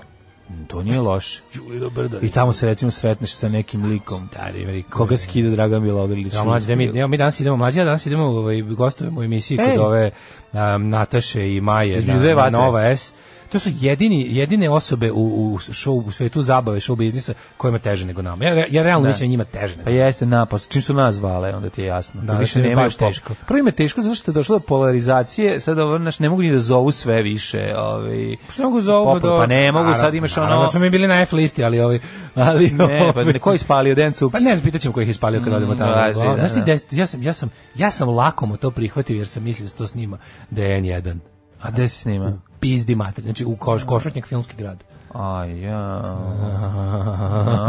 E: To nije loše.
F: Julino brdo.
E: I tamo se recimo sretneš sa nekim likom.
F: Stari, veri,
E: Koga skida Dragan Bjelogrlić?
F: Ja, mlađi, da mi, ja, mi danas idemo, mlađi, ja danas idemo ovaj, gostujemo u emisiji
E: Ej.
F: kod ove um, Nataše i Maje
E: Između
F: na,
E: dve
F: na
E: vatre.
F: Nova S. To su jedini, jedine osobe u, u, show, u svetu zabave, show biznisa kojima teže nego nama. Ja, re- ja realno mislim da njima teže nego
E: Pa jeste napas, čim su nas zvale, onda ti je jasno.
F: Da,
E: Da,
F: da
E: više
F: ti je
E: nema
F: baš teško.
E: Prvo im je teško zato što je došlo do polarizacije, sad ovo, znaš, ne mogu ni da zovu sve više. Ovaj,
F: Što mogu za ovo
E: Popol-
F: do-
E: Pa ne mogu, sad
F: Naravno,
E: imaš
F: naravno
E: ono...
F: smo mi bili na F listi, ali ovi... Ali,
E: Ne, pa
F: ovi-
E: ne, ko je ispalio Dencu?
F: Pa ne, pitaćemo ko ih je ispalio kad odemo tamo.
E: važi,
F: Uglavnom,
E: da,
F: Znaš ti,
E: da.
F: des- ja sam, ja sam, ja sam lakomo to prihvatio jer sam mislio da se to snima da je N1.
E: A gde se snima?
F: Pizdi mater, znači u koš, košutnjak filmski grad.
E: [LAUGHS] Aj, ja.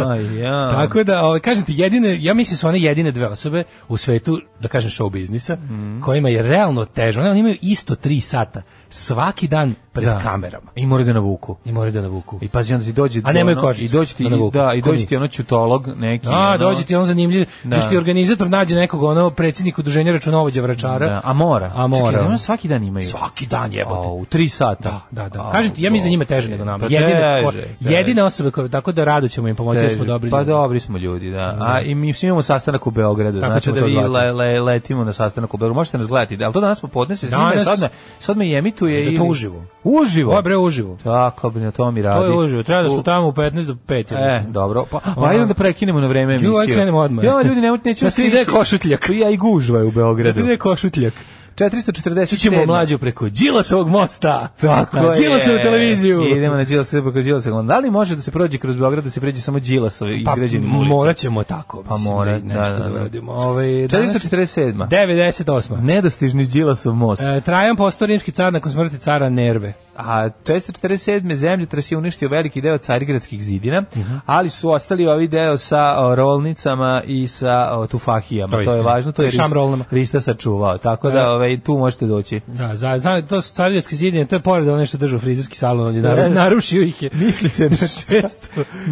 E: Aj, ja.
F: Tako da, ovaj, kažem ti, jedine, ja mislim su one jedine dve osobe u svetu, da kažem, show biznisa,
E: Mhm.
F: kojima je realno težo. One, oni imaju isto tri sata, svaki dan pred
E: Da.
F: kamerama.
E: I moraju da navuku.
F: I moraju da navuku.
E: I pazi, onda ti dođe...
F: A nemaju
E: ono-
F: kožicu
E: I dođe ti,
F: da navuku.
E: da, i
F: Ko
E: dođe
F: mi?
E: ti ono čutolog neki.
F: A,
E: ono-
F: dođe ti on zanimljiv,
E: Da.
F: da. što ti organizator nađe nekog ono predsjednik udruženja računovođa vračara.
E: Da, a mora.
F: A mora.
E: Čekaj, ono svaki dan imaju.
F: Svaki dan jebote.
E: A, u tri sata.
F: Da, da, da.
E: A,
F: Kažem ti, ja mislim da njima teže nego nama.
E: Pa
F: jedine, ko-
E: teže, teže.
F: jedine osobe koje, tako da rado ćemo im pomoći, jer smo
E: Teže.
F: dobri
E: Pa
F: ljudi.
E: dobri smo ljudi, da. A i mi svi imamo sastanak u Beogradu.
F: Tako
E: znači
F: ćemo
E: da
F: to
E: vi
F: zvati.
E: le, le, letimo na sastanak u Beogradu. Možete nas gledati, ali to danas popodne se snima,
F: Danas-
E: sad, me, sad me i emituje.
F: Da to
E: ili-
F: uživo.
E: Uživo?
F: Ovo je bre uživo.
E: Tako, bi na to mi radi.
F: To je uživo, treba da smo
E: U-
F: tamo u 15 do 5. ja
E: E,
F: mislim. [LAUGHS]
E: dobro. Pa, pa
F: Ono-
E: ajde da prekinemo na vreme
F: Ju,
E: emisiju.
F: aj krenemo odmah.
E: Ja, ljudi, nemojte, nećemo
F: Da ti ide
E: stići.
F: košutljak.
E: Ja i gužva je u Beogradu.
F: Ne košutljak.
E: 447.
F: Svi ćemo mlađu preko Đilasovog mosta.
E: Tako
F: Na
E: je.
F: Đilasovu televiziju.
E: Idemo na Đilasovu, preko Đilasovu. Da li može da se prođe kroz Beograd, da se pređe samo Đilasov
F: Pa,
E: izgrađenim ulicama?
F: morat ćemo tako.
E: Pa
F: mislim,
E: mora,
F: i nešto
E: da, da, da.
F: uradimo. Ovaj, danas-
E: 447.
F: 98.
E: Nedostižni Đilasov most. E,
F: E, Trajan postao rimski car nakon smrti cara Nerve.
E: a 447. zemljotres je uništio veliki deo carigradskih zidina,
F: Mhm.
E: ali su ostali ovi deo sa o, rolnicama i sa o, tufahijama.
F: To
E: To,
F: je
E: je
F: istina. E.
E: važno, to je
F: I šamrolnama.
E: Rista, Rista sačuvao. Tako da ovaj, tu možete doći.
F: Da, za, za, to su carigradski zidine, to je pored one što držu frizerski
E: [LAUGHS]
F: salon, on je naru,
E: Da.
F: narušio ih je.
E: Misli se [LAUGHS] na šest.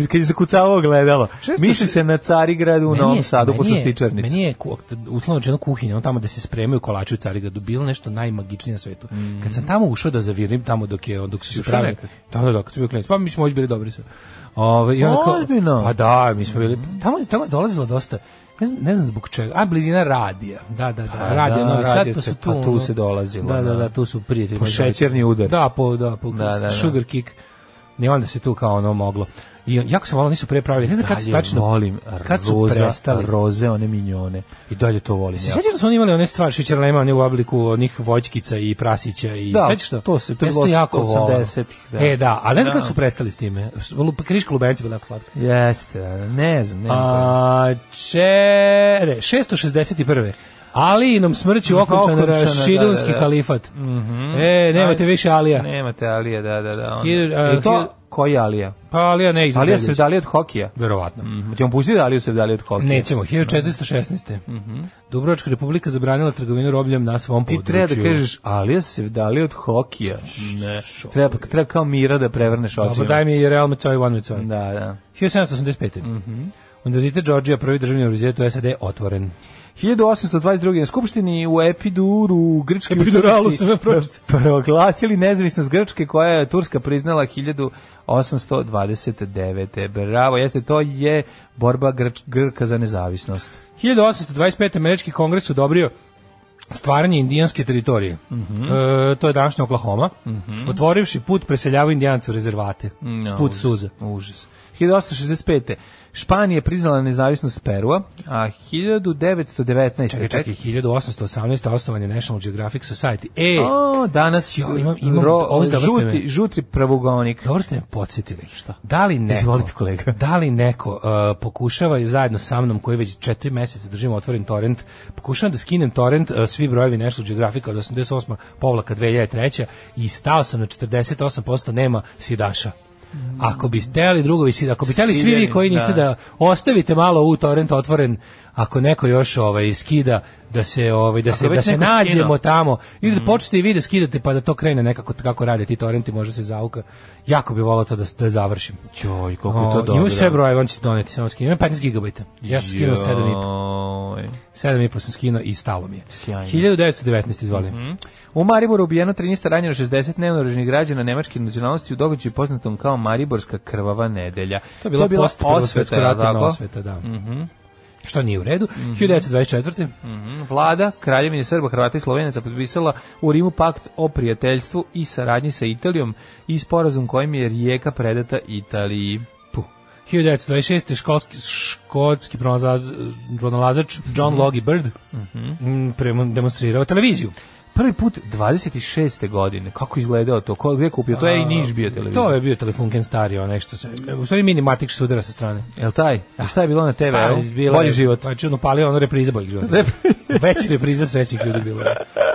E: Kad je zakucavao ogledalo. Misli se na Carigradu u
F: Meni
E: Novom
F: je-
E: Sadu,
F: meni
E: pošto
F: je-
E: stičarnici.
F: Meni je ku- uslovno rečeno kuhinja, ono tamo da se spremaju kolači u Carigradu, bilo nešto najmagičnije na svetu. Kad sam tamo ušao da zavirim tamo dok je dok su se
E: Mm. ušao
F: pravili.
E: nekad?
F: Da, da, da, kad su bili klinci. Pa mi smo baš bili dobri sve. Ove, i onako,
E: Ozbiljno? Mm.
F: Pa da, mi smo bili. Tamo je tamo je dolazilo dosta. Ne znam, ne znam zbog čega. A blizina radija. Da, da, da. radija
E: da,
F: Novi Sad,
E: radio
F: pa su
E: se-
F: tu.
E: pa tu
F: ono-
E: se dolazilo,
F: Da, da,
E: da.
F: da, tu su prijatelji.
E: Po šećerni udar.
F: Da, po, da, po
E: Da, da, da.
F: sugar kick. I onda se tu kao ono moglo. I jako sam volao, nisu pre pravili. Ne znam kad su
E: Dalje
F: tačno,
E: volim
F: kad su
E: roza,
F: prestali.
E: roze, one minjone. I dalje to volim.
F: Se
E: ja.
F: sjećaš da su oni imali one stvari šećerlema, one u obliku onih voćkica i prasića i
E: Da,
F: sećaš to?
E: to se- to je
F: Ja sam
E: bilo
F: jako volao.
E: 80-ih, da.
F: E, da, ali ne znam
E: Da.
F: kad su prestali s time. Lup- Kriška lubenica bila jako slatka.
E: Jeste, da, ne znam, ne znam.
F: A, čere, 661. Ali nam smrću okončan
E: Okončana, da,
F: Rašidunski
E: da, Mhm. da.
F: kalifat. E, nemate
E: Ajde.
F: više Alija.
E: Nemate Alija, da, da, da. onda.
F: Hiljadu- a,
E: Je
F: hiljadu-
E: to, koji Alija?
F: Pa Alija ne
E: Alija
F: izgledajući.
E: se da- Mhm. vdali od hokija.
F: Verovatno.
E: Ćemo pustiti da Aliju se vdali od hokija.
F: Nećemo, 1416. Dubrovačka republika zabranila trgovinu robljem na svom
E: Mhm. Ti
F: području.
E: treba da kažeš, Alija se vdali od hokija. Ne. Treba, treba kao mira da prevrneš
F: Dobro,
E: očima.
F: Pa daj mi Mhm. Real Mecoj, One Mecoj.
E: Da, da.
F: 1785. Univerzitet Georgia, prvi državni univerzitet u SAD, otvoren.
E: 1822. na Skupštini u Epiduru Grčke
F: Epiduralu
E: Turci
F: sam ja pročitao.
E: [LAUGHS] proglasili nezavisnost Grčke koja je Turska priznala 1829. Bravo, jeste, to je borba Grč, Grka za nezavisnost.
F: 1825. američki kongres odobrio stvaranje indijanske teritorije. E, to je današnja Oklahoma. Mhm. Otvorivši put preseljavaju indijance u rezervate. put
E: užas,
F: suza.
E: Užas. 1865. Španija priznala nezavisnost Perua, a 1919.
F: Čekaj, čekaj, 1818. osnovan je National Geographic Society. E,
E: O, danas
F: Jo, imam- imam-
E: ro-
F: ovo ste- ovo ste
E: žuti,
F: me-
E: žutri pravugonik.
F: Dobro ste me podsjetili. Šta? Da li neko,
E: Izvolite, kolega.
F: Da li neko uh, pokušava i zajedno sa mnom, koji već četiri meseca držimo otvoren torrent, pokušavam da skinem torrent uh, svi brojevi National Geographic od 88. povlaka 2003. i stao sam na 48% nema sidaša. Ako bi steli drugovi, sid- ako bi teli svi vi
E: Siljani,
F: koji niste
E: Mm. da.
F: da. ostavite malo u torrent otvoren, ako neko još ovaj skida da se ovaj da se
E: već
F: da se
E: neko
F: nađemo
E: skinuo. Mm.
F: tamo ili da počnete i vi da skidate pa da to krene nekako kako rade ti torrenti može se zauka jako bi volao to da, da završim
E: Joj,
F: O, imaju sve brojeve on će doneti samo skinu imam 15 gigabajta ja sam skinuo 7,5
E: Joj.
F: 7,5 sam skinuo i stalo mi je
E: Sjajno. Mhm.
F: 1919 izvoli
E: U Mariboru ubijeno 13 ranjeno 60 neoružnih građana nemačke nacionalnosti u događaju poznatom kao Mariborska krvava nedelja.
F: to je bila, bila post prvog svetskog
E: jel
F: rata na
E: tako?
F: osveta da što nije u redu 1924
E: Mhm. Vlada Kraljevine Srba, Hrvata i Slovenaca potpisala u Rimu pakt o prijateljstvu i saradnji sa Italijom i sporazum kojim je rijeka predata Italiji.
F: Puh. 1926. školski, škotski pronalazač, pronalazač John Logie Bird mm, premo- demonstrirao televiziju.
E: Prvi put 26. godine. Kako izgledao to? Ko gde je kupio? To je i Niš bio televizor.
F: To je bio telefunken stari, onaj što se... U stvari mini Matik što se udara sa strane.
E: Jel taj? I Šta je bilo na TV?
F: Da. Pa, bila
E: E, Bolji
F: je-
E: život. [LAUGHS]
F: Pa je čudno palio ono repriza boljeg života. [LAUGHS] Već repriza srećnih ljudi bilo.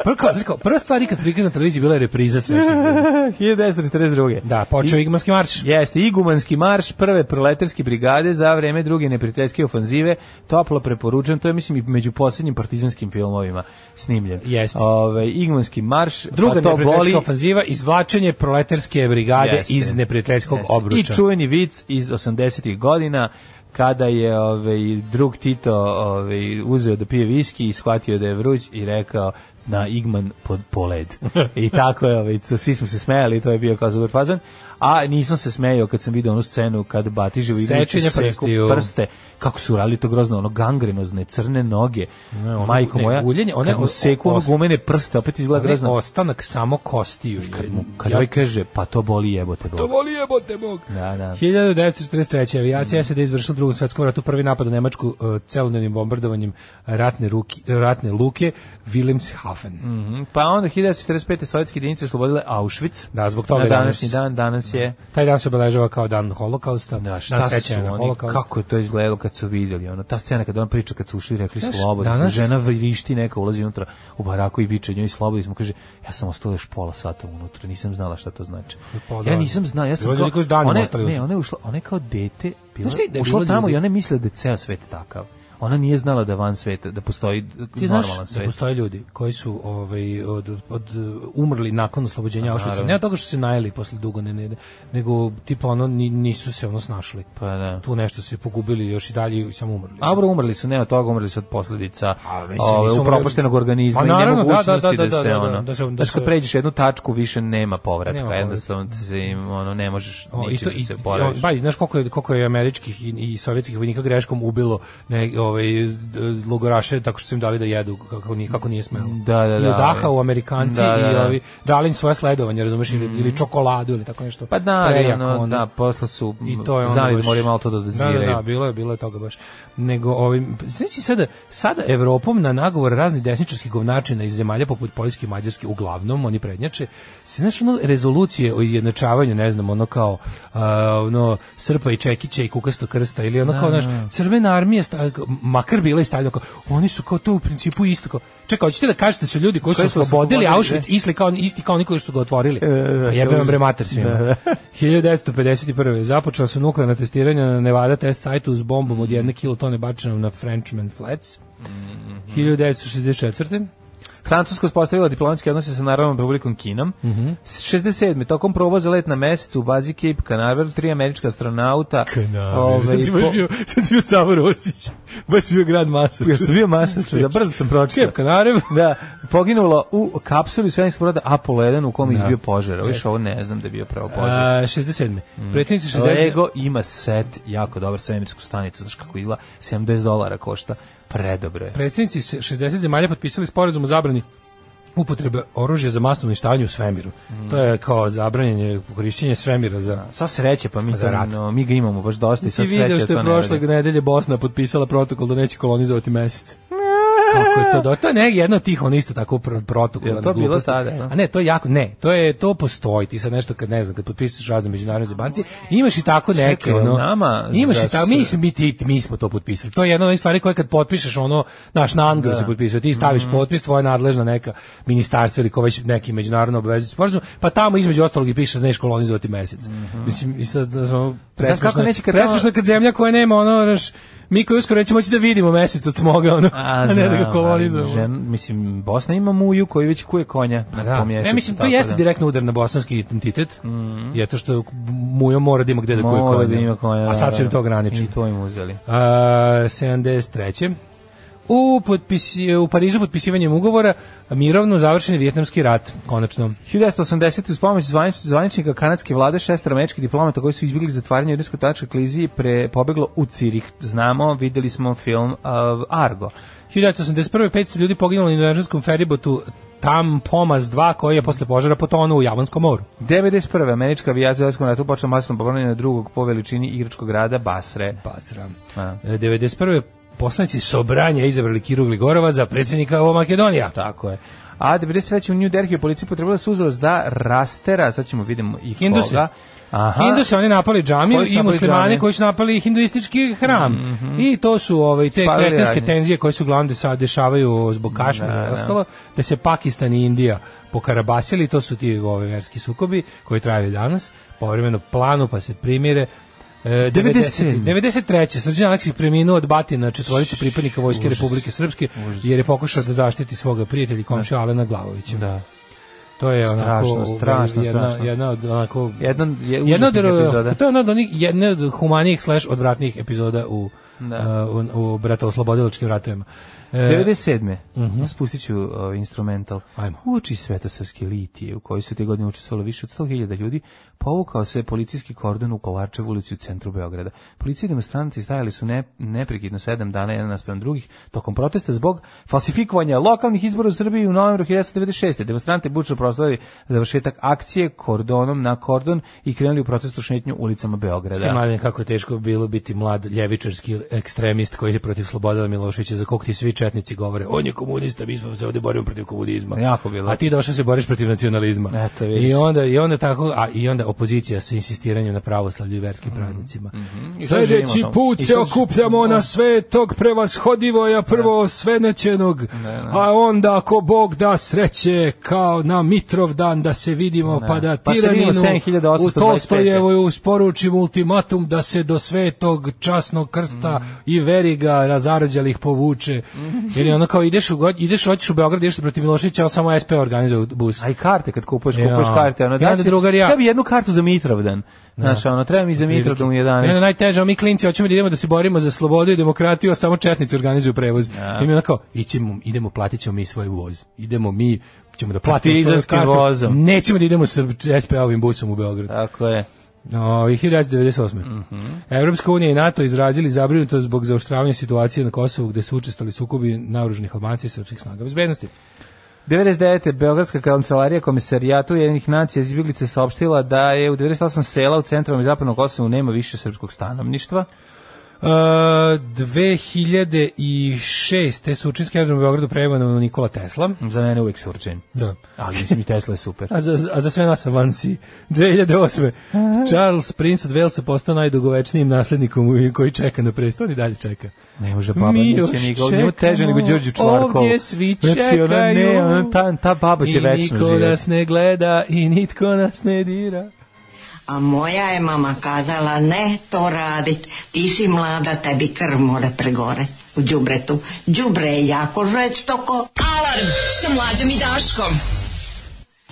F: Prvo, kao, znaš kao, prva stvari kad prikaz na televiziji bila je repriza srećnih
E: [LAUGHS]
F: ljudi.
E: 1942.
F: Da, počeo je Igmanski marš.
E: Jeste, igumanski marš prve proletarske brigade za vreme druge neprijateljske ofanzive, toplo preporučujem, to je mislim i među posljednjim partizanskim filmovima snimljen.
F: Jeste.
E: Ovaj igumanski marš,
F: Druga
E: pa to
F: neprijateljska
E: boli,
F: ofanziva, izvlačenje proletarske brigade
E: Jeste.
F: iz neprijateljskog
E: Jeste.
F: obruča.
E: I čuveni vic iz 80-ih godina kada je ovaj drug Tito ovaj uzeo da pije viski i shvatio da je vruć i rekao na Igman pod poled. I tako je, ovaj, so- svi smo se smejali, to je bio kao super fazan. A nisam se smejao kad sam video onu scenu kad Batiže u igrici
F: Sečenje
E: seku
F: prstiju.
E: prste, kako su radili to grozno, ono gangrenozne, crne noge,
F: ono-
E: majko
F: ne,
E: moja,
F: guljenje, one
E: kad mu
F: o-
E: seku ono
F: os-
E: gumene prste, opet izgleda
F: Ne,
E: grozno.
F: ostanak samo kostiju. Kad mu,
E: Kad ovaj kaže, pa to boli jebote. Bog.
F: voli jebote mog.
E: Da, da.
F: 1943. avijacija SAD izvršila u drugom svetskom ratu prvi e, napad na Nemačku uh, celodnevnim bombardovanjem ratne, ruki, ratne luke e, Wilhelmshaven Waffen. Mm.
E: Mhm. Pa onda 1945. sovjetske jedinice oslobodile Auschwitz.
F: Da, zbog toga
E: Na
F: je danas-
E: današnji dan, danas je...
F: Taj dan se obeležava kao dan holokausta,
E: Da,
F: dan
E: šta su
F: sećanja na
E: oni,
F: holokaust.
E: kako je to izgledalo kad su vidjeli, ono, ta scena kada on priča, kad su ušli i rekli
F: Znaš,
E: slobodno,
F: danas-
E: žena vrišti neka, ulazi unutra u baraku i viče njoj slobodni smo, kaže, ja sam ostala još pola sata unutra, nisam znala šta to znači.
F: Pa da.
E: ja nisam znala, ja
F: Bilo
E: sam
F: je ljudi koji su danima
E: ona,
F: ostali
E: ne,
F: unutra.
E: ona je ušla, ona je kao dete, bila,
F: Znaš ti da je
E: ušla
F: bilo
E: tamo
F: ljudi-
E: i ona misle da je ceo svet takav. Ona nije znala da van sveta, da postoji
F: Ti
E: normalan
F: znaš
E: svet.
F: da postoje ljudi koji su ovaj, od, od, umrli nakon oslobođenja Auschwitza.
E: pa naravno.
F: Ne od toga što se najeli posle dugo, ne, ne, nego tipa ono ni- nisu se ono snašli.
E: Pa da.
F: Tu nešto se pogubili još i dalje i samo umrli.
E: A bro, umrli su ne od toga, umrli su od posledica
F: A, mislim,
E: ove,
F: nisu umrli-
E: upropaštenog organizma
F: Pa,
E: i
F: naravno, da,
E: nemogućnosti
F: da,
E: da,
F: da, da,
E: se
F: da, da,
E: ono...
F: da se- da
E: Znaš, kad
F: se-
E: pređeš jednu tačku, više nema povratka,
F: Nema
E: jednostavno se im, ono, ne možeš
F: O,
E: ničim da
F: i,
E: se poraviš.
F: i- ba, i znaš koliko je, koliko je američkih i, i sovjetskih vojnika greškom ubilo ne, ovaj, d- logoraše tako što su im dali da jedu kako, nije, kako nije smelo.
E: Da, da,
F: I
E: da,
F: odaha u
E: ovaj.
F: Amerikanci
E: Da, da,
F: i
E: da. Mm.
F: ovi, dali im svoje sledovanje, razumeš, ili, ili čokoladu ili tako nešto.
E: Pa da, ali
F: Prejako,
E: ono,
F: ono.
E: da, posle su
F: I to je ono
E: znali da
F: baš-
E: moraju malo to da
F: Da, da, da,
E: doziraju.
F: bilo je, bilo je toga baš. Nego ovim znači sada sada Evropom na nagovor raznih desničarskih govnačina iz zemalja poput Poljske i Mađarske uglavnom oni prednjače. Se znači ono rezolucije o izjednačavanju, ne znam, ono kao a, ono Srpa i Čekića i Kukasto krsta ili
E: Da,
F: ono kao znaš, Crvena armija sta, makar bila i stavljena kao oni su kao to u principu isto kao Čekaj, hoćete da kažete da su ljudi koji su
E: Koji su
F: oslobodili
E: oslobodili,
F: Auschwitz isti kao isti kao oni koji su ga
E: E,
F: otvorili. Pa jebe
E: to
F: vam
E: je-
F: bre mater svima.
E: Da.
F: [LAUGHS] 1951. započela su nuklearna testiranja na Nevada test sajtu s bombom
E: Mm.
F: od jedne kilotone bačenom na Frenchman Flats.
E: Mm-hmm.
F: 1964.
E: Francuska uspostavila diplomatske odnose sa Narodnom republikom Kinom. Mm
F: Mhm.
E: 67. Tokom proba za let na mesecu u bazi Cape Canaveral, tri američka astronauta... Ovaj, po- [LAUGHS] Pa
F: sad znači bio Savo Rosić. Baš bio grad masa.
E: Ja sam bio masac, da brzo sam pročitao.
F: Čep Kanarev.
E: da, poginulo u kapsuli svemirskog broda Apollo 1 u kom je izbio požar. Viš, ovo ne znam da je bio pravo
F: Da. A,
E: požar.
F: 67.
E: Mm.
F: Predsjednici 60.
E: Lego ima set jako dobar svemirsku stanicu, znaš kako izgleda, 70 dolara košta, predobro je.
F: Predsjednici se- 60 zemalja potpisali sporazum o zabrani upotrebe oružja za masovno uništavanje u svemiru.
E: Mm.
F: To je kao zabranjenje korišćenje svemira za
E: Sa sreće, pa mi,
F: Za
E: to,
F: rat.
E: no, mi ga imamo baš dosta i
F: Ti
E: sa
F: vidio
E: sreće
F: što je
E: to
F: prošle
E: ne radi.
F: nedelje Bosna potpisala protokol da neće
E: [LAUGHS]
F: kolonizovati mesec. Kako je to do... To je ne, jedno od tih on isto tako pr- protokola.
E: Jel to bilo
F: gluposti.
E: tada, da? no?
F: A ne, to je jako, ne, to je, to postoji, ti sad nešto kad ne znam, kad potpisuješ razne međunarodne zabanci, imaš i tako neke,
E: Čekaj,
F: ono,
E: nama
F: imaš
E: za
F: i tako, mi, smo- mi, ti, mi smo to potpisali. To je jedna od onih stvari koje kad potpišeš, ono, naš na Anglu
E: Da.
F: se potpisuje, ti staviš
E: Mhm.
F: potpis, tvoja nadležna neka ministarstva ili ko već neki međunarodno obavezujući sporazum, pa tamo između ostalog i piše da nećeš kolonizovati mesec. Mislim, i sad, da, ono,
E: Znaš Mhm. kako
F: Presmešno,
E: neće
F: neće
E: kad
F: kad
E: tamo-
F: presmešno kad zemlja koja nema ono, znaš, mi koji uskoro nećemo moći da vidimo mesec od smoga, ono, [LAUGHS] a, ne da
E: znam,
F: ga
E: ali
F: kolonizujemo.
E: Žen, mislim, Bosna ima muju koji već kuje konja.
F: Pa
E: na
F: da.
E: tom mjesecu,
F: Ne, mislim, to
E: tako
F: jeste
E: da. Mhm.
F: direktno udar na bosanski identitet, jer to što Mujo mora da ima gde da kuje
E: Mora da
F: konja.
E: ima konja.
F: a sad su im to
E: graniči.
F: ograničili.
E: I to im uzeli.
F: A, 73. U, potpisi, u Parizu potpisivanjem ugovora mirovno završen je Vjetnamski rat, konačno.
E: 1980. uz pomoć zvanič, zvaničnika kanadske vlade šest američkih diplomata koji su izbjegli zatvaranje u rusko-tačkoj kliziji pre, pobeglo u Cirih. Znamo, videli smo film uh, Argo.
F: 1981. 500 ljudi poginulo na indonežanskom feribotu Tam Pomas 2 koji je posle požara potonuo u Javonskom moru.
E: 91. američka avijacija u Vojskom ratu počela masno povrnjenje drugog po veličini igračkog grada Basre.
F: Basra.
E: A.
F: E, 91. poslanici Sobranja izabrali Kiru Gligorova za predsjednika ovo Makedonija.
E: Tako je. A 93. u New Delhi je policija potrebala suzost da rastera, sad ćemo vidimo i
F: Hinduse.
E: koga. Aha.
F: Hinduse oni napali džamiju
E: Koji su
F: i
E: napali
F: muslimane
E: džamije?
F: koji su napali hinduistički hram. I to su ovaj, te
E: Spalili
F: kretenske
E: radnje.
F: tenzije koje se uglavnom sad dešavaju zbog Kašmira i ostalo, da se Pakistan i Indija pokarabasili, to su ti ovaj, verski sukobi koji traju i danas, povremeno planu pa se primire. E, 90,
E: 97.
F: 93. Srđan Aleksić preminuo od batina četvorice pripadnika Vojske Republike Srpske jer je pokušao da zaštiti svoga prijatelja i komšu Alena Glavovića.
E: Da.
F: To je onako
E: Strašno, strašno,
F: jedna,
E: strašno.
F: jedna od onako
E: Jedan je
F: jedna od,
E: užasnih epizoda.
F: to je jedna od onih jedna od humanijih slash odvratnih epizoda u
E: Da.
F: uh, u, u bratoslobodilačkim ratovima. E,
E: 97. Spustit ću uh, instrumental.
F: Ajmo.
E: Uči svetosavski litije, u kojoj su te godine učestvovalo više od 100.000 ljudi, povukao se policijski kordon u Kolačevu ulici u centru Beograda. Policija i demonstranti stajali su ne, neprekidno sedam dana jedan naspram drugih tokom protesta zbog falsifikovanja lokalnih izbora u Srbiji u novembru 1996. Demonstrante bučno proslavili završetak akcije kordonom na kordon i krenuli u protestu šetnju ulicama
F: Da.
E: Beograda.
F: Mladen, kako je teško bilo biti mlad ljevičarski ekstremist koji je protiv Slobodana Miloševića, za kog ti svi četnici govore, on je komunista, mi smo se ovde borimo protiv komunizma.
E: Jako bilo.
F: A ti došao se boriš protiv nacionalizma.
E: Eto, vidiš.
F: I onda, i onda tako, a i onda opozicija sa insistiranjem na pravoslavlju i verskim praznicima.
E: Mhm, I sad
F: Sledeći
E: živimo tamo.
F: put
E: I
F: se
E: sad-
F: okupljamo na svetog prevashodivoja prvo svenećenog, a onda ako Bog da sreće kao na Mitrov dan da se vidimo pa da
E: Pa se vidimo
F: tiraninu
E: 7825.
F: u Tolstojevoj usporučim ultimatum da se do svetog časnog krsta i veriga razarađalih povuče. Jer je ono kao ideš u, god- ideš, hoćeš u Beograd, ideš protiv Miloševića, ali samo SP organizuje bus.
E: A i karte kad kupuješ, kupuješ
F: Ja.
E: karte. Ono,
F: Ja, drugar, ja. Da.
E: Treba jednu kartu za Mitrovdan. Znaš, ono, treba mi za Mitrovdan u
F: I onda
E: 11.
F: najteže, a mi klinci hoćemo da idemo da se borimo za slobodu i demokratiju, a samo četnici organizuju prevoz. I mi je onako, ićemo, idemo, platit ćemo mi svoj voz. Idemo mi, ćemo da platimo svoju
E: Partizanskim
F: kartu.
E: vozom.
F: Nećemo da idemo sa SP-ovim busom u Beograd.
E: Tako je.
F: No, 1998. Evropska unija i NATO izrazili zabrinutost zbog zaoštravanja situacije na Kosovu gde su učestvali sukobi naoružanih Albanci i srpskih snaga bezbednosti. E,
E: 99. Beogradska kancelarija komisarijata Ujedinjenih nacija iz Izbjeglice saopštila da je u 98 sela u centralnom i zapadnom Kosovu nema više srpskog stanovništva.
F: Uh, 2006. su učinski aerodrom u Beogradu preimenovano u Nikola Tesla.
E: Za mene uvijek surčen.
F: Da.
E: Ali mislim i Tesla je super.
F: A za, a za sve nas avansi. 2008. Charles, princ od Velsa, postao najdugovečnijim naslednikom u- koji čeka na presto. On i dalje čeka.
E: Ne može Da baba Mi
F: još
E: neće nikog. Njemu teže
F: čekamo,
E: nego Đorđu Čvarkovu.
F: Ovdje svi
E: Znači, ona
F: čekaju.
E: ne, ona- ta- ta baba će večno
F: I niko
E: živjeti.
F: nas ne gleda i nitko nas ne dira.
B: A moja je mama kazala ne to radit, ti si mlada, tebi krv more pregore u đubretu. Đubre je jako žestoko.
D: Alarm sa mlađom i Daškom.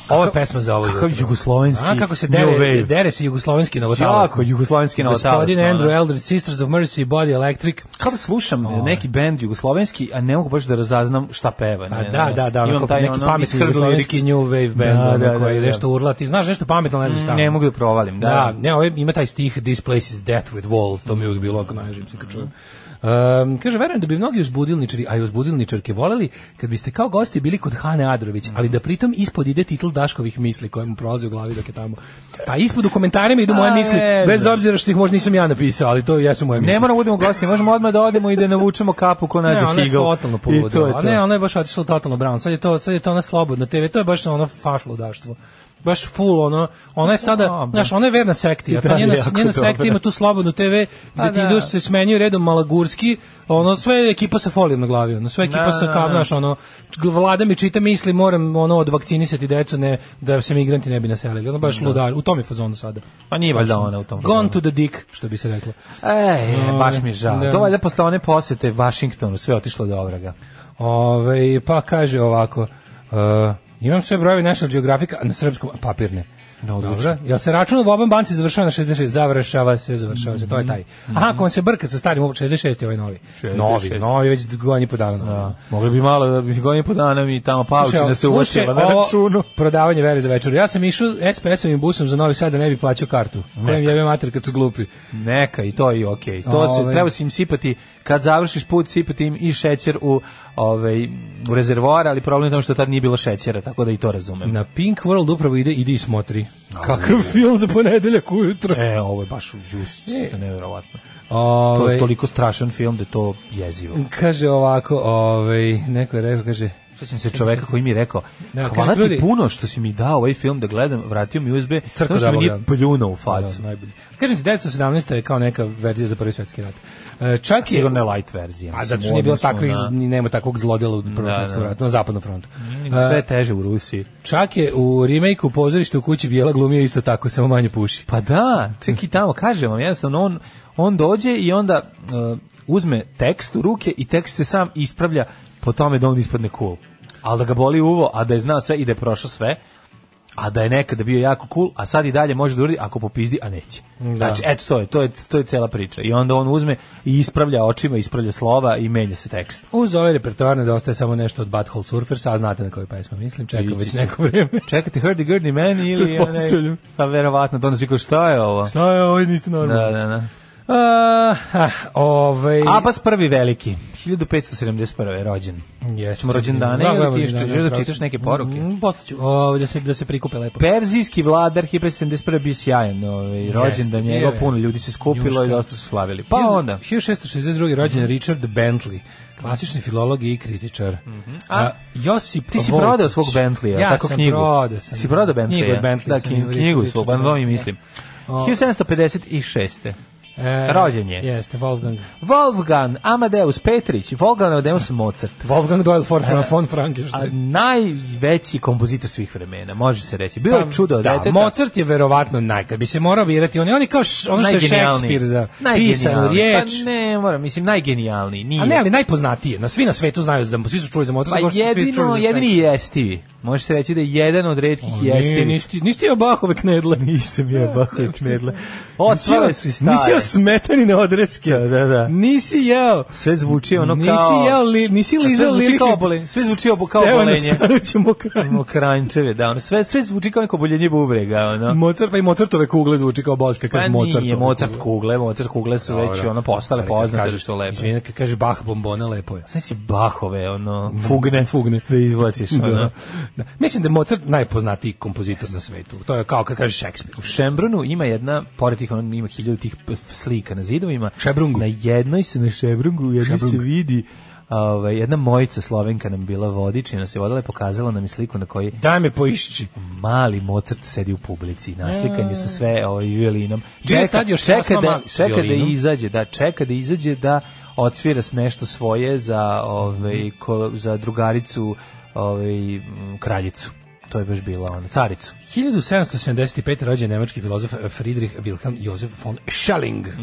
F: Ovo je pesma za ovo.
E: Kakav
F: jutro.
E: jugoslovenski
F: A kako se
E: new
F: dere,
E: wave.
F: dere se jugoslovenski novotalas.
E: Jako jugoslovenski novotalasno,
F: Gospodin
E: ono.
F: Andrew Eldred, Sisters of Mercy, Body Electric.
E: Kao da slušam neki bend jugoslovenski, a ne mogu baš da razaznam šta peva. Ne,
F: A
E: ne,
F: da,
E: ne.
F: da, da,
E: Imam
F: onako
E: taj
F: neki
E: ono
F: pametni
E: iskrdli
F: jugoslovenski
E: lyrics.
F: new wave band,
E: Da, da,
F: ono koji
E: da, da.
F: nešto urla, ti znaš nešto pametno, ne znaš šta.
E: Ne mogu da provalim, da.
F: Da, ne, ovaj ima taj stih This place is death with walls, to mi je uvijek bilo ako najžim se kad čujem. Um, kaže, verujem da bi mnogi uzbudilničari, a i uzbudilničarke voleli kad biste kao gosti bili kod Hane Adrović, ali da pritom ispod ide titl Daškovih misli koje mu prolaze u glavi dok je tamo. Pa ispod u komentarima idu moje
E: A,
F: misli,
E: ne znam.
F: bez obzira što ih možda nisam ja napisao, ali to jesu moje misli.
E: Ne moramo da budemo gosti, možemo odmah da odemo i da navučemo kapu ko nađe
F: Ne, ona je
E: Higel.
F: totalno
E: I to je
F: poludela.
E: to.
F: Ne, ona je baš otišla totalno brown. Sad je to, sad je to ona slobodna TV. To je baš ono fašlo udaštvo. Baš full ono. Ona je sada,
E: Dobro.
F: znaš, ona je verna sekti. A
E: Da,
F: ta njena,
E: jako
F: njena
E: dobro.
F: sekta ima tu slobodnu TV gde
E: Pa
F: ti
E: da.
F: idu se smenjuju redom Malagurski, ono sve je ekipa sa folijom na glavi, ono sve ekipa
E: Da,
F: sa
E: da,
F: kao,
E: da.
F: znaš, ono vlada mi čita misli, moram ono odvakcinisati decu, ne da se migranti ne bi naselili. Ono baš ludar. U tom je fazonu sada.
E: Da. Pa nije valjda ona u tom.
F: Gone to the dick, što bi se reklo.
E: E, baš mi je žao.
F: Da.
E: To valjda posle one posete Vašingtonu sve otišlo do obraga.
F: Ove, pa kaže ovako, uh, imam sve brojeve National Geographic a na srpskom a papirne.
E: Na Da, odlično.
F: Dobro. Jel se račun u oban banci završava na 66? Završava se, završava se, to je taj.
E: Mhm.
F: Aha, ako on se brka sa starim, ovo 66 je ovaj novi.
E: 66.
F: Novi, novi, već godin i po dana. Da.
E: Mogli bi malo da bi godin po dana mi tamo paučina se da uvačila na računu.
F: prodavanje vere za večer. Ja sam išao SPS-ovim busom za Novi Sad da ne bi plaćao kartu. Kojem jebe mater kad su glupi.
E: Neka, i to je okej. To se,
F: Ovaj.
E: treba se im sipati, kad završiš put, sipati im i šećer u, ovaj, u rezervoar, ali problem je tamo što tad nije bilo šećera, tako da i to razumem.
F: Na Pink World upravo ide, ide i smotri. Kakav film za ponedeljak ujutro.
E: E, ovo je baš just, nevjerovatno. To
F: Ove,
E: je toliko strašan film da je to
F: Mm.
E: jezivo.
F: Kaže ovako, ovaj, neko je rekao, kaže,
E: Sećam se čoveka koji mi je rekao,
F: Da,
E: hvala
F: kaže,
E: ti
F: ljudi-
E: puno što si mi dao ovaj film da gledam, vratio mi USB, samo što mi
F: dabao,
E: nije
F: da.
E: pljuno u
F: pa,
E: facu.
F: najbolji. Kažem ti, 1917. je kao neka verzija za prvi svetski rat. E, Čak je...
E: Sigurno je light verzija.
F: A
E: mislim,
F: zato što
E: u
F: nije bilo
E: odnosu
F: takvih,
E: na-
F: ni nema takvog zlodela u prvom
E: Da,
F: svetskom
E: da.
F: ratu, na zapadnom frontu.
E: Sve
F: E,
E: je teže u Rusiji.
F: Čak je u remake-u pozorište u kući Bijela glumio isto tako, samo manje puši.
E: Pa da, tek i tamo, kažem vam, jednostavno, on, on dođe i onda uh, uzme tekst u ruke i tekst se sam ispravlja po tome da on ispadne cool. Ali da ga boli uvo, a da je znao sve i da je prošao sve, a da je nekada bio jako cool, a sad i dalje može da uradi ako popizdi, a neće.
F: Da.
E: Znači, eto to je, to je, to je cela priča. I onda on uzme i ispravlja očima, ispravlja slova i menja se tekst.
F: Uz ove repertoarne dostaje samo nešto od Butthole Surfers, a znate na koju pesmu mislim, čekam
E: Ići
F: već
E: ću.
F: neko vrijeme.
E: Čekate, hurdy gurdy man ili...
F: [LAUGHS] Pretpostavljam.
E: Pa verovatno, to ono svi kao, šta je ovo?
F: [LAUGHS] Šta je, ovo niste
E: Da, pa
F: normalni.
E: da, da.
F: Uh, ovaj,
E: Abbas prvi veliki, 1571. rođen.
F: Jeste.
E: Ćemo rođendane
F: Da,
E: ili
F: gledamo
E: ti
F: rođendane,
E: želiš da
F: strašno.
E: čitaš neke poruke?
F: Mm, postaću, o, da, se, da se prikupe lepo.
E: Perzijski vladar 1571. bio sjajan, ovaj, rođen da
F: bio
E: njega
F: je.
E: puno ljudi se skupilo
F: Juška.
E: i dosta su slavili. Pa onda, Mhm.
F: 1662. rođen Richard Bentley, klasični filolog i kritičar.
E: Mhm. A,
F: Josip
E: ti si
F: Voltić.
E: prodao svog Bentleya,
F: Pa ja
E: tako
F: sam
E: knjigu.
F: prodao sam.
E: Si prodao Bentley?
F: Knjigu od Bentley.
E: Da,
F: sam
E: knjigu,
F: Richard
E: knjigu
F: Richard
E: svog, pa vam i
F: Bentley,
E: mislim.
F: O.
E: 1756.
F: da. E,
E: Rođen je. [LAUGHS]
F: Jeste, Wolfgang.
E: Wolfgang Amadeus Petrić, Wolfgang Amadeus Mozart.
F: Wolfgang Doyle for, von
E: Da. A
F: Frankenstein.
E: najveći kompozitor svih vremena, može se reći. Bio je čudo
F: da,
E: deteta.
F: Mozart je verovatno naj, kad bi se morao birati, on je, on je kao š, ono što je
E: Najgenijalniji.
F: Šekspir za
E: Najgenijalniji.
F: pisanu riječ.
E: Pa ne, moram, mislim, najgenijalniji. Nije.
F: A ne, ali najpoznatiji. Na svi na svetu znaju za svi su čuli za Mozart,
E: Pa
F: kao što su svi čuli
E: jedino,
F: za
E: jedini
F: Šekspira.
E: jestivi. Može se reći da je jedan od redkih
F: Nije,
E: jestivi. [LAUGHS]
F: nisi, ti- nisi ti obahove knedle.
E: Nisam ja bako je knedle.
F: Nisi jeo-
E: Odsvale su i stare.
F: Nisi jeo smetanine odreske.
E: Da, da, da.
F: Nisi jeo.
E: Sve zvuči ono kao...
F: Nisi jeo, li, nisi
E: Sve
F: lizao
E: zvuči
F: lirike.
E: kao bolenje. Sve zvuči obo- kao
F: Stevana
E: bolenje.
F: Stanovića Mokranjca.
E: Mokranjčeve, da, ono, sve, sve zvuči kao neko boljenje bubrega, ono.
F: Mozart, pa i Mozartove kugle zvuči kao boljska,
E: Pa
F: kaže Mozart.
E: nije, Mozart kugle, Mozart kugle su već ono postale poznate da što lepo.
F: Izvini, kad kaže Bach bombona, lepo je.
E: Sve si bahove, ono, fugne,
F: Fugne.
E: da izvlačiš, ono.
F: Da. da. Mislim da je Mozart najpoznatiji kompozitor na svetu. To je kao kad kaže Šekspir.
E: U Šembrunu ima jedna, pored tih, on ima hiljadu tih p- slika na zidovima.
F: Šebrungu.
E: Na jednoj se, na Šebrungu, u jednoj se
F: Šebrung.
E: vidi ovaj, jedna mojica slovenka nam bila vodič i ona se vodila i pokazala nam je sliku na kojoj
F: Daj me poišći.
E: mali Mozart sedi u publici, naslikan je sa sve ovaj, violinom.
F: Bio je tad još
E: čeka,
F: sasma
E: da,
F: mali s
E: čeka da
F: violinom.
E: izađe, da, čeka da izađe da odsvira s nešto svoje za, ovaj, ko, za drugaricu ovaj, m, kraljicu. To je baš bila ona, caricu.
F: 1775. rođen nemački filozof eh, Friedrich Wilhelm Josef von Schelling. Uh,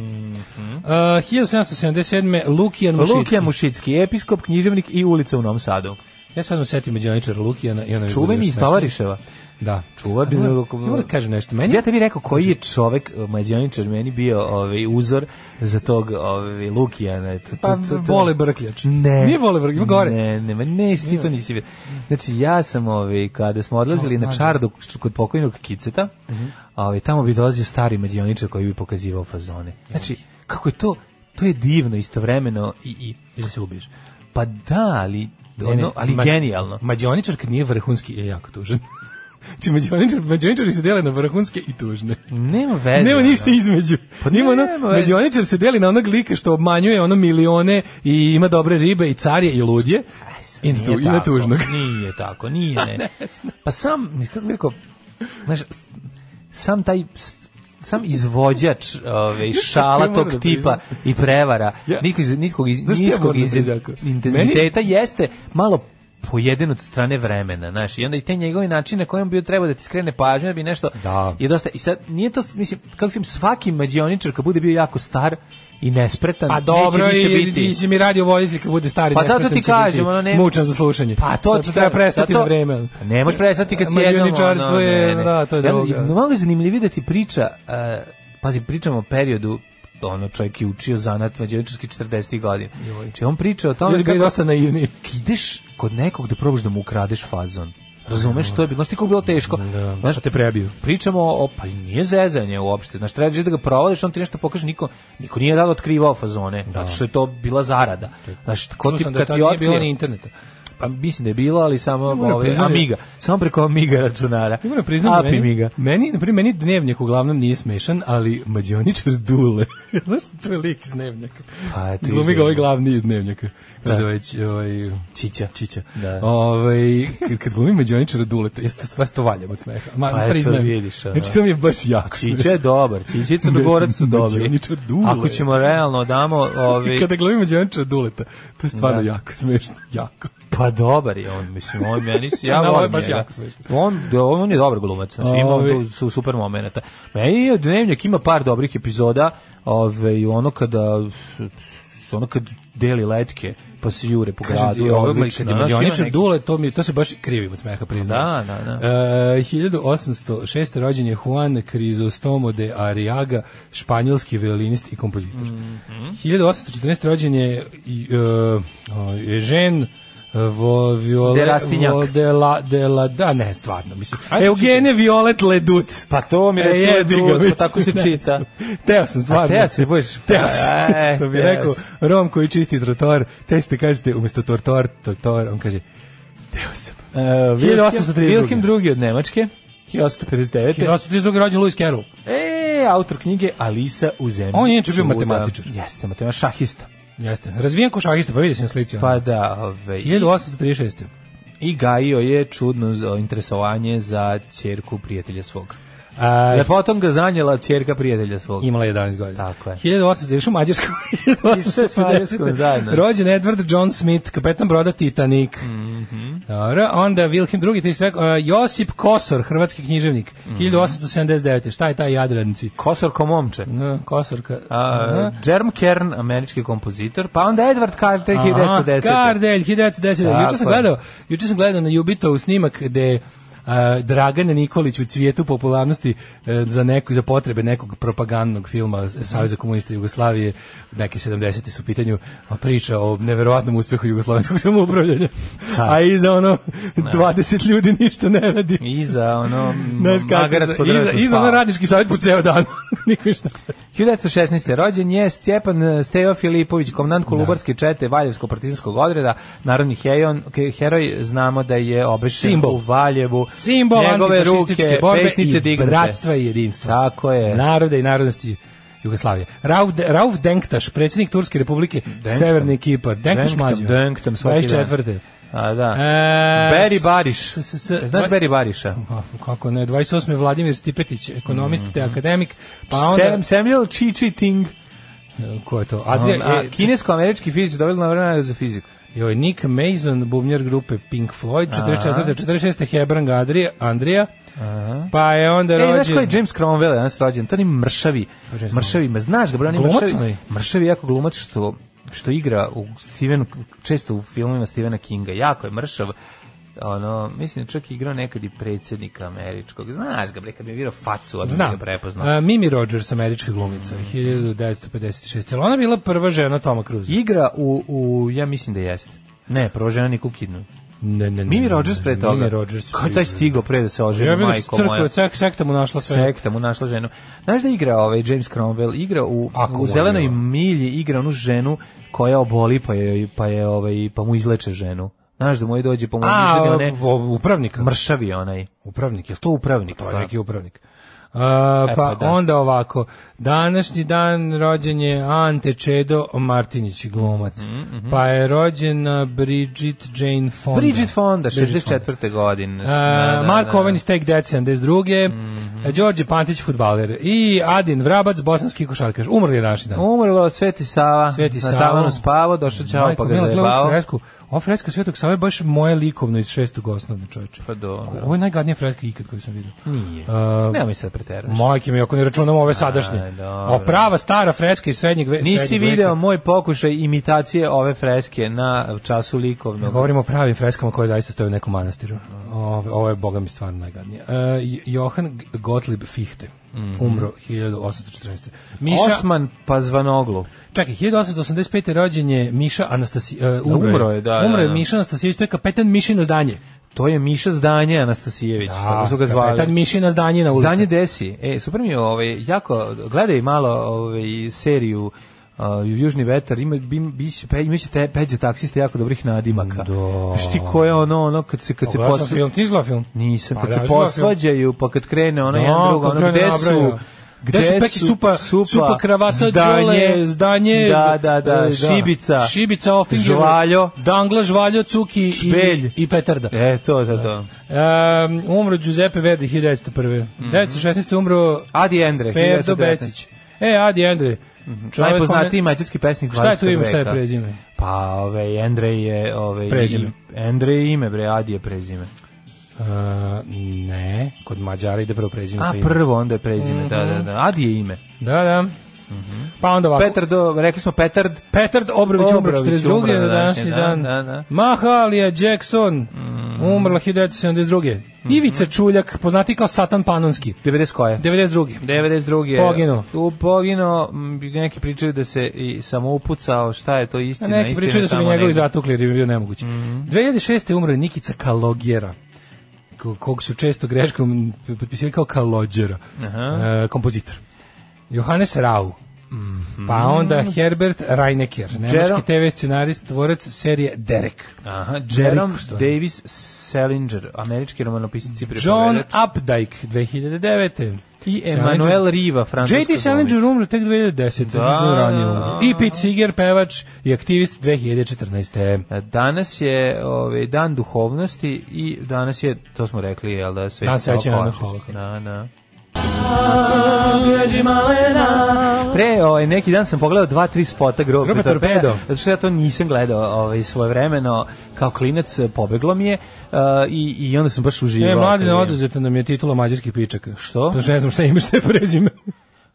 F: 1777. Lukijan Mušić.
E: Lukija Mušicki, episkop, književnik i ulica u Novom Sadu.
F: Ja sad vam setim međaničara Lukijana. I ono
E: Čuveni iz Tavariševa.
F: Da.
E: Čuva bi
F: A,
E: me-
F: moram- moram da kažem nešto. Meni,
E: Ja tebi rekao koji je čovek e, mađioničar meni bio ovaj uzor za tog ovaj Lukijana. Tu, tu,
F: pa,
E: tu, tu.
F: vole brkljač.
E: Ne.
F: Nije vole brkljač, ima gore.
E: Ne, ne, ma ne, ti to nisi vidio. Znači, ja sam, ovaj, kada smo odlazili na čardu kod pokojnog kiceta,
F: Mhm.
E: ovaj, tamo bi dolazio stari mađioničar koji bi pokazivao fazone. Znači, kako je to, to je divno istovremeno i, i da
F: Ili se ubiješ.
E: pa da, ali,
F: Ne, ne,
E: ono, ali
F: ma-
E: genijalno.
F: Mađioničar kad nije vrhunski je jako tužan. [LAUGHS] Znači, mađioničar, mađioničari se dele na vrhunske i tužne.
E: Nema veze.
F: Nema
E: ono.
F: ništa između.
E: Pa
F: Ima ono,
E: nema veze.
F: mađioničar se deli na onog lika što obmanjuje ono milione i ima dobre ribe i carje i ludje. I na, tu,
E: Nije
F: i na
E: tako,
F: tužnog.
E: [LAUGHS] Nije tako,
F: [LAUGHS]
E: nije. Ne.
F: ne znam.
E: Pa sam, kako bih rekao, znaš, s- sam taj s- sam izvođač ove, šala
F: moram
E: tog
F: da
E: tipa
F: priznam.
E: i prevara
F: Ja-
E: niko iz, niskog, iz,
F: Znaš šta ja
E: niskog
F: moram da
E: iz-
F: priznam, Đako?
E: intenziteta jeste malo pojeden od strane vremena, znaš, i onda i te njegove načine na kojem bio trebao da ti skrene pažnju, da bi nešto
F: Da.
E: je dosta, i sad nije to, s- mislim, kako ti kažem, svaki mađioničar kad bude bio jako star i nespretan,
F: Pa dobro,
E: neće više
F: i,
E: biti.
F: nisi mi radio voditelj kad bude stari.
E: Pa zato
F: nespretan
E: ti
F: će
E: kažem,
F: biti
E: ono, ne-
F: Mučan za slušanje.
E: Pa to
F: Zato
E: ti
F: treba
E: kažem,
F: prestati
E: zato- Pa
F: na vreme.
E: Ne možeš prestati kad si jednom.
F: Mađioničarstvo
E: ono,
F: je,
E: ne, ne.
F: da, to je
E: Ja,
F: droga.
E: i Malo je zanimljivije da ti priča, e, pazi, pričamo o periodu ono čovjek je učio zanat mađioničarski 40. godina. Znači on priča o tome
F: Ljudi bili
E: kako
F: dosta naivni.
E: ideš kod nekog da probaš da mu ukradeš fazon. Razumeš što je bilo, znaš ti kako je bilo teško. Znaš,
F: Da, te prebiju.
E: pričamo o, pa nije zezanje uopšte, znaš, trebaš da ga provališ, on ti nešto pokaže, niko, niko nije tada otkrivao fazone, zato što je to bila zarada. Znaš, ko
F: Da. Čuo
E: ti,
F: sam da
E: kad
F: tad
E: ti
F: nije bilo
E: otkrije,
F: ni interneta.
E: pa mislim da je bilo, ali samo
F: moram
E: ovaj,
F: priznati-
E: Amiga. Samo preko Amiga računara.
F: Ja moram priznati da
E: Api
F: meni,
E: Miga.
F: meni, na primjer, meni dnevnjak uglavnom nije smešan, ali mađioničar Dule. [LAUGHS] Znaš, to je lik iz dnevnjaka.
E: Pa, eto,
F: Glumi
E: izgleda.
F: ga ovaj glavni iz dnevnjaka. Kako se već, ovaj...
E: Da. Čića.
F: Čića.
E: Da.
F: Ovaj, kad, kad glumi mađioničara Dule, to jeste stvar sto valjem od smeha. Ma,
E: Pa, eto,
F: priznajem.
E: vidiš, ono.
F: Znači, to mi je baš jako
E: Čića je
F: smešno.
E: dobar. Čića i Crnogorac su
F: Mislim, da
E: dobri.
F: mađioničar Dule.
E: Ako ćemo realno damo... ovaj-
F: I
E: Ovi,
F: kada glumi mađioničara Duleta, to je stvarno
E: Da.
F: jako smešno. Jako.
E: Pa dobar je on, mislim, on meni
F: [LAUGHS]
E: se, ja
F: Da, ovo je
E: volim
F: baš
E: njega.
F: jako smešno.
E: On, da, on je dobar glumac, znači, ima on
F: Ovi.
E: tu su super momenata. Meni je Dnevnjak ima par dobrih epizoda, ove, ono kada, s- s- ono kad deli letke, pa se jure po gradu,
F: Kažem ti,
E: je
F: ovo
E: odlično,
F: kad da. je
E: znaš, ima
F: mađioničar
E: neki-
F: Dule, to, mi, to se baš krivim od smeha, priznajem.
E: Da, da, da.
F: E, 1806. rođen je Juan Crisostomo de Arriaga, španjolski violinist i
E: Mhm.
F: kompozitor. 1814. rođen je i, e, o, Eugene Vo, viole,
E: Derastinjak.
F: vo- de la, de la, da, ne, stvarno, mislim.
E: Ajde,
F: Eugene Violet Leduc.
E: Pa to mi
F: E,
E: reci
F: jebi
E: Leduc,
F: ga,
E: pa
F: mislim,
E: tako se
F: da.
E: čita.
F: [LAUGHS] Teo sam, stvarno. da
E: A teo si, budeš-
F: [LAUGHS] Teo sam,
E: E,
F: što bi
E: teo
F: rekao,
E: si.
F: Rom koji čisti trotor, te ste kažete, umjesto tortor, tortor, on kaže, teo sam.
E: Uh, 1832. Wilhelm II od Nemačke, 1859.
F: 1832. rođen Lewis Carroll.
E: E, autor knjige Alisa u zemlji.
F: On je inače bio
E: čuda.
F: matematičar.
E: Jeste, matematičar, šahista.
F: Jeste. Razvijen košarista, pa vidi se na slici.
E: Pa da, ove,
F: 1836.
E: i gajio je čudno z- interesovanje za ćerku prijatelja svog.
F: A,
E: Lepotom ga zanjela ćerka prijatelja svog.
F: Imala je 11 godina.
E: Tako je.
F: 1800, još u Mađarskoj.
E: I sve s Mađarskom zajedno.
F: Rođen Edward John Smith, kapetan broda Titanic. Dobro, onda Wilhelm II, ti si rekao, a, Josip Kosor, hrvatski književnik, 1879. Šta je taj Jadranci?
E: Kosor komomče.
F: N, Kosorka.
E: A, Jerm Kern, američki kompozitor, pa onda Edward Carter,
F: Aha,
E: 1910.
F: Kardelj, 1910. Juče sam
E: Tako je.
F: gledao, juče sam gledao na Jubitov snimak gde a, Dragan Nikolić u cvijetu popularnosti e, za neku za potrebe nekog propagandnog filma Saveza komunista Jugoslavije neke 70 su u pitanju a priča o neverovatnom uspehu jugoslovenskog samoupravljanja a iza ono 20 ljudi ništa ne radi
E: I za ono,
F: Znaš kako,
E: magarac
F: za-
E: pod
F: iza,
E: drvetom
F: iza
E: spava.
F: ono radnički savjet po ceo dan [LAUGHS] niko ništa
E: 1916. rođen je Stjepan eh, Stevo Filipović,
F: Da.
E: komandant Kolubarske čete Valjevsko-partizanskog odreda, narodni hejon, ke- heroj, znamo da je obešen
F: Simbol.
E: u Valjevu.
F: simbol
E: njegove
F: antifašističke
E: ruke,
F: borbe
E: pesnice
F: i
E: dignute.
F: bratstva i jedinstva.
E: Tako je.
F: Naroda i narodnosti Jugoslavije. Rauf, Rauf Denktaš, predsjednik Turske republike, Severni Kipar. Denktaš
E: Denktam,
F: mlađo.
E: Denktam svaki dan.
F: 24.
E: A, da.
F: da. E,
E: Beri Bariš.
F: s- s- s-
E: Znaš Beri Bariša?
F: Pa, kako ne, 28. Vladimir Stipetić,
E: Mhm.
F: ekonomist te akademik, pa onda...
E: Sam, Samuel Chi Chi Ting.
F: Ko je to?
E: On,
F: Adria,
E: a,
F: e,
E: kinesko-američki fizičar dobili na vremena za fiziku.
F: Joj, Nick Mason, bubnjar grupe Pink Floyd, 44. 46. Hebrang Adria, Andrija, pa je onda
E: Ej, E, znaš
F: rođen...
E: ko je James Cromwell danas rođen? To ni mršavi.
F: James Cromwell?
E: Mršavi, ma znaš ga, bro, oni
F: Glumac
E: mršavi.
F: onaj?
E: Mršavi je jako glumac što što igra u Stevenu, često u filmovima Stevena Kinga. Jako je mršav. Ono, mislim da je čak igrao nekad i predsjednika američkog. Znaš ga, bre, kad mi je virao facu, odmah mi
F: Znam.
E: ga prepoznao.
F: A, Mimi Rogers, američka glumica,
E: Mhm.
F: 1956. Jel ona bila prva žena Toma Cruise?
E: Igra u, u, ja mislim da jeste. Ne, prvo žena Nikol Kidman.
F: Ne, ne, ne.
E: Mimi
F: ne,
E: Rogers
F: ne,
E: pre toga.
F: Mimi Rogers.
E: Kako je taj stigao pre da se oženi,
F: Ja bih
E: majko moja?
F: crkva, cek, sekta mu našla sve.
E: sekta mu našla ženu. Znaš da igra ovaj James Cromwell, igra u,
F: Ako
E: u zelenoj
F: volio.
E: milji, igra onu ženu koja oboli pa je, pa je ovaj pa mu izleče ženu. Znaš da mu je dođe pa mu
F: A,
E: izleče
F: o-
E: one
F: o- upravnik.
E: mršavi onaj.
F: Upravnik, je
E: To upravnik.
F: To je
E: pa.
F: neki upravnik. Uh,
E: E,
F: pa
E: pa da.
F: onda ovako, današnji dan rođen je Ante Čedo Martinić, glumac.
E: Mhm,
F: Pa je rođena Bridget Jane Fonda.
E: Bridget Fonda,
F: Bridget Fonda.
E: 64. godine. Da,
F: E, Marko Oven iz Take Dead 72.
E: Mhm.
F: E, Đorđe Pantić, futbaler. I Adin Vrabac, bosanski košarkaš. Umrli je naši dan.
E: Umrlo Sveti Sava,
F: Sveti
E: na
F: Sava.
E: tavanu spavao, došao ćao
F: Majko
E: pa ga
F: mila, gledaj ovu
E: zajebao.
F: Fresku. Ova freska Svetog Sava je baš moje likovno iz šestog osnovne čoveče.
E: Pa dobro.
F: Ovo je najgadnija freska ikad koju sam vidio.
E: Nije.
F: E,
E: Nemoj da sad preteraš.
F: Majke mi, ako ne računamo ove sadašnje.
E: Aj, dobro.
F: A prava stara freska iz srednjeg ve- srednjeg veka.
E: da, Nisi video moj pokušaj imitacije ove freske na času
F: Ja
E: likovnog.
F: Govorimo o pravim freskama koje zaista stoje u nekom manastiru. Ovo, ovo je, boga mi, stvarno najgadnije. E, J- Johan G- Gottlieb Fichte,
E: Mhm.
F: umro 1814. Miša,
E: Osman Pazvanoglu.
F: čekaj, 1885. rođen je Miša Anastasi, e, umro,
E: umro je, da,
F: umro je
E: da, da.
F: Miša Anastasijević, to je kapetan Mišino zdanje.
E: To je Miša Zdanje Anastasijević,
F: Da,
E: tako Da, su ga zvali.
F: Kapetan Mišina zdanje na ulici.
E: Zdanje desi. E, super mi je, ovaj, jako, gledaj malo ovaj, seriju Uh, Južni vetar ima bim biće pe imaće te peđe taksiste jako dobrih nadimaka.
F: Da.
E: Znaš ti ko je ono ono kad se kad se
F: Pogledao sam
E: posva-
F: film, ti izgleda film?
E: nisam kad
F: Pa,
E: se
F: da, izgleda film.
E: posvađaju pa kad krene ono
F: Da,
E: jedan drugo
F: kad
E: ono
F: krene
E: gde su
F: nabraja. Gde su peki supa, supa, kravata, đole, zdanje,
E: da, da, da,
F: e,
E: šibica,
F: šibica, ofinger,
E: žvaljo.
F: dangla, žvaljo, cuki
E: Špelj.
F: i, i petarda.
E: E, to, to, to.
F: Um, umro Giuseppe Verdi 1901.
E: Mhm.
F: 1916. umro
E: Adi Endre,
F: Ferdo
E: 1919.
F: Becić. E, Adi Endre. čovjek
E: Mhm. Najpoznatiji
F: kome-
E: mađarski pesnik 20.
F: Šta je to ime, šta je
E: veka.
F: prezime?
E: Pa, ove, Endrej je... Ove,
F: Prezime.
E: i- Endrej je ime, bre, Adi je prezime.
F: Uh,
E: E,
F: ne, kod Mađara ide prvo prezime.
E: A,
F: pa ime.
E: prvo onda je prezime, da, da, da. Adi je ime.
F: Da, da. Pa onda ovako.
E: Mhm. Petar, do, rekli smo Petard,
F: Petard Obrović umro
E: Obrović umro da,
F: 42.
E: današnji
F: na današnji dan.
E: dan, da, da.
F: Mahalija Jackson
E: Mm.
F: Umrla 1972.
E: Mhm.
F: Ivica Čuljak, poznati kao Satan Panonski.
E: 90 koje?
F: 92.
E: 92.
F: Poginuo.
E: Tu poginuo, m, neki pričaju da se i samoupucao, šta je to
F: A
E: istina?
F: neki
E: istina
F: pričaju da su
E: tamo
F: ga njegovi
E: negde. Mhm.
F: zatukli jer je bio nemoguće. 2006. umre Nikica Kalogjera ko- kog su često greškom potpisali kao Kalođera, e, kompozitor. Johannes Rau,
E: Mhm.
F: pa onda Herbert Reinecker, nemački
E: Jerome-
F: TV scenarist, tvorac serije Derek.
E: Aha, Jerome
F: Derek, što je?
E: Davis Salinger, američki romanopisac i
F: John
E: pripovedač.
F: Updike, 2009.
E: I Emanuel Riva, francuska
F: J.D. Salinger umre tek 2010.
E: Da,
F: Da, ranije
E: da,
F: umro.
E: da.
F: I Pete Seeger, pevač i aktivist 2014.
E: E, Danas je ovaj dan duhovnosti i danas je to smo rekli jel da sve
F: Dan sećanja na Holokaust.
E: Da, da. Pre, ovaj, neki dan sam pogledao dva, tri spota grobe,
F: Grupe Torpedo.
E: Zato što ja to nisam gledao ovaj, svoje vremeno, kao klinac pobeglo mi je uh, i, i onda sam baš uživao.
F: E, mladi
E: kad
F: ne
E: je-
F: oduzeta nam je titula mađarskih pičaka.
E: Što?
F: Zato što ne znam šta ima šta je prezime.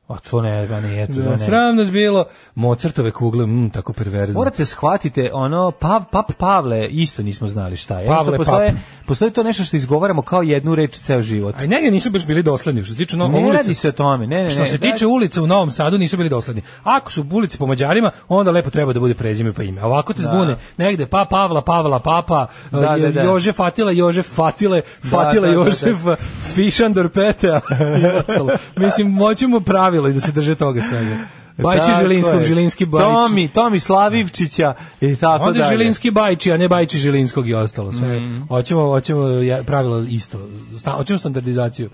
E: A to ne, ba nije, to
F: Da,
E: ne.
F: Sram nas bilo. Mozartove kugle, mm, tako perverzno.
E: Morate shvatite, ono, pav, pap Pavle isto nismo znali šta je.
F: Pavle
E: Jednostavno postoje, postoji to nešto što izgovaramo kao jednu reč ceo život.
F: A i njega nisu baš bili dosledni. Što se tiče no,
E: ne
F: ulice,
E: radi Pa se o tome, ne, ne, ne.
F: Što se
E: Da-
F: tiče ulica u Novom Sadu nisu bili dosledni. Ako su ulice po Mađarima, onda lepo treba da bude prezime pa ime. A Ovako te zbune negde pa Pavla, Pavla, Papa,
E: Da,
F: eh,
E: da, da.
F: Jože Fatila, Jože Fatile, Fatile
E: da, da,
F: Jožef, eh, Fišandor Petea i ostalo. Mislim, moćemo pravilo i da se drže toga svega. Bajči
E: Tako
F: Žilinskog,
E: da, je.
F: Žilinski Bajči.
E: Tomi, Tomi Slavivčića i tako
F: Onda
E: dalje.
F: Žilinski Bajči, a ne Bajči Žilinskog i ostalo. Sve.
E: Mm.
F: Hoćemo, hoćemo ja- pravilo isto. Sta, hoćemo standardizaciju.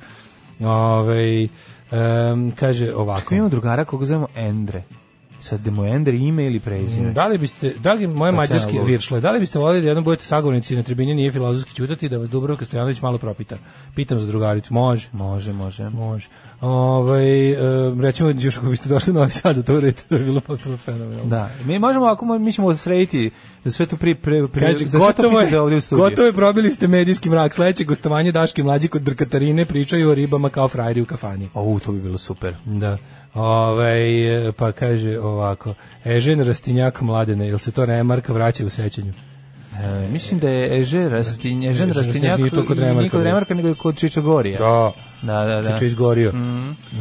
F: Ove, em, kaže ovako.
E: Mi imamo drugara koga zovemo Endre. Sad da mu je Endre ime ili prezime.
F: Da li biste, da li moje
E: Mm. Sad sam
F: mađarski
E: ja lud.
F: viršle, da li biste volili da jednom budete sagovornici na tribini nije filozofski ćutati da vas Dubrovka Stojanović malo propita? Pitam za drugaricu, može.
E: Može, može.
F: Može. Ovaj e, recimo, još ako biste došli na ovaj sad da to uredite, to bi bilo potpuno fenomenalno.
E: Da, mi možemo ako mo- mi ćemo srediti za sve to pri pre, pre
F: Kaže,
E: za sve to
F: gotovo je,
E: pitate da ovdje u studiju.
F: gotovo je, probili ste medijski mrak. Sledeće gostovanje Daške mlađi kod Drkatarine pričaju o ribama kao frajeri u kafani.
E: O, to bi bilo super.
F: Da. Ovaj, e, pa kaže ovako, Ežen Rastinjak mladene, jel se to Remarka vraća u sećanju?
E: E, mislim da je Eže Rastinj, Ežen
F: Eže
E: Rastinjak
F: Rastinjak nije to kod Remarka
E: nije kod
F: bio.
E: Remarka, nego je kod Čičogorija.
F: Da,
E: Da, da, da.
F: Čiču izgorio.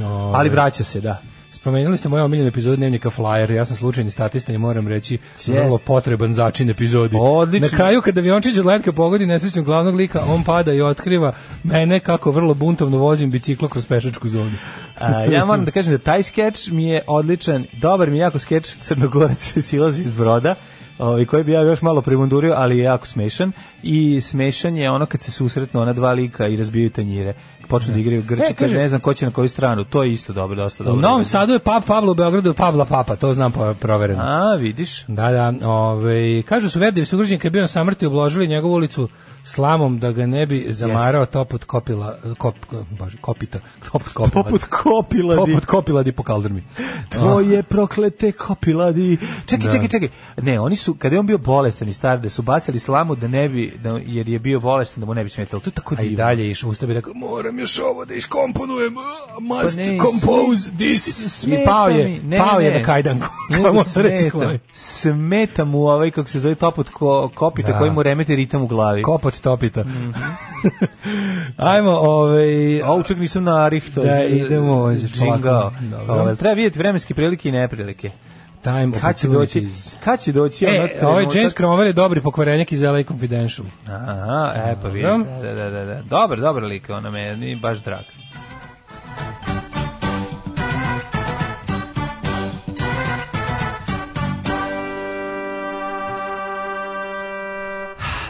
F: Ovaj.
E: Ali vraća se, da.
F: Spomenuli ste moju omiljenu epizodu dnevnika Flyer, ja sam slučajni statista i moram reći vrlo potreban začin epizodi.
E: Odlično.
F: Na kraju kada Viončić od letka pogodi nesrećnog glavnog lika, on pada i otkriva mene kako vrlo buntovno vozim biciklo kroz pešačku zonu.
E: A,
F: [LAUGHS]
E: ja moram da kažem da taj skeč mi je odličan, dobar mi je jako skeč Crnogorac [LAUGHS] silazi iz broda, ovaj, koji bi ja još malo primundurio, ali je jako smešan i smešan je ono kad se susretnu ona dva lika i razbijaju tanjire. Počnu da igraju grče,
F: E, kaže-
E: kaže, ne znam ko će na koju stranu, to je isto dobro, dosta dobro.
F: U Novom Sadu je Pap Pavlo, u Beogradu je Pavla Papa, to znam po- provereno.
E: A, vidiš?
F: Da, da, ovaj, kažu su Verdijevi sugrađani kad je bio na samrti obložili njegovu ulicu slamom da ga ne bi zamarao toput kopila, kop, ko- bože, kopita, toput kopila.
E: Poput kopiladi.
F: Toput kopiladi po kaldrmi.
E: Tvoje proklete kopiladi.
F: Da.
E: Čekaj, čekaj, čekaj. Ne, oni su, kada je on bio bolestan i star, da su bacali slamu da ne bi, da, jer je bio bolestan, da mu ne bi smetalo. To je tako
F: A i
E: divno.
F: dalje išao, usta bi rekao, moram još ovo da iskomponujem, ah, must
E: Pa ne,
F: compose
E: sme- s-
F: this. I
E: smeta
F: pao je,
E: mi. Ne,
F: pao
E: ne,
F: je
E: ne.
F: na kajdanku.
E: Njemu
F: Kako se reći
E: smeta,
F: koji?
E: smeta mu ovaj, kako se zove, topot ko, kopita
F: Da.
E: koji mu remete ritam u glavi.
F: Kopot topita.
E: Mhm.
F: [LAUGHS] Ajmo, ovaj...
E: A učak nisam na Arihto.
F: Da, idemo, ovo je
E: Čingao.
F: polako. Dobro.
E: Ovaj, Treba vidjeti vremenske prilike i neprilike.
F: Time
E: Kad će doći?
F: opportunities.
E: Kad će doći? ono
F: E, ovaj
E: trenutak-
F: James Cromwell je dobri pokvarenjak iz LA Confidential.
E: Aha, e, pa vidim.
F: Dobro.
E: Da, da, da, da. Dobar, dobar lik, ona me je ni baš drag.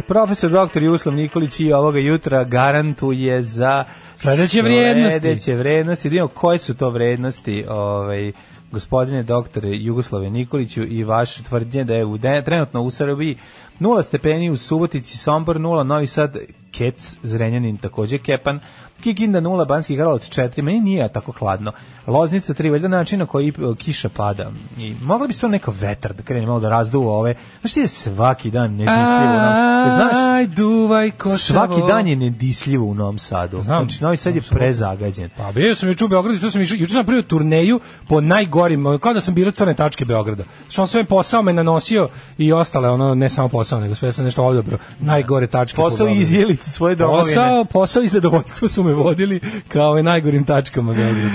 E: Profesor doktor Juslav Nikolić i ovoga jutra garantuje za
F: Sledeće vrednosti.
E: Sledeće vrednosti. Da vidimo koje su to vrednosti, ovaj gospodine doktore Jugoslave Nikoliću i vaše tvrdnje da je u de- trenutno u Srbiji 0 stepeni u Subotici, Sombor 0, Novi Sad, Kec, Zrenjanin takođe Kepan, Kikinda 0, Banski Karlovac 4, meni nije tako hladno. Loznica 3, valjda način na koji e, kiša pada. I mogla bi stvarno neka vetar da krene malo da razduva ove. Znaš ti je svaki dan nedislivo. nam- E, Znaš,
F: Aj, duvaj koševo.
E: svaki dan je nedislivo u Novom Sadu.
F: Znam,
E: Znači, Novi Sad je prezagađen.
F: Pa bio sam juče u Beogradu, i tu sam išao, juče sam pravio turneju po najgorim, ono, kao da sam birao crne tačke Beograda. Što on sve posao me nanosio i ostale, ono, ne samo posao, nego sve sam nešto odobro. Najgore tačke po
E: Posao
F: Beogradu.
E: izjelicu svoje domovine.
F: Posao, posao i zadovoljstvo su me vodili kao ove najgorim tačkama Beograda.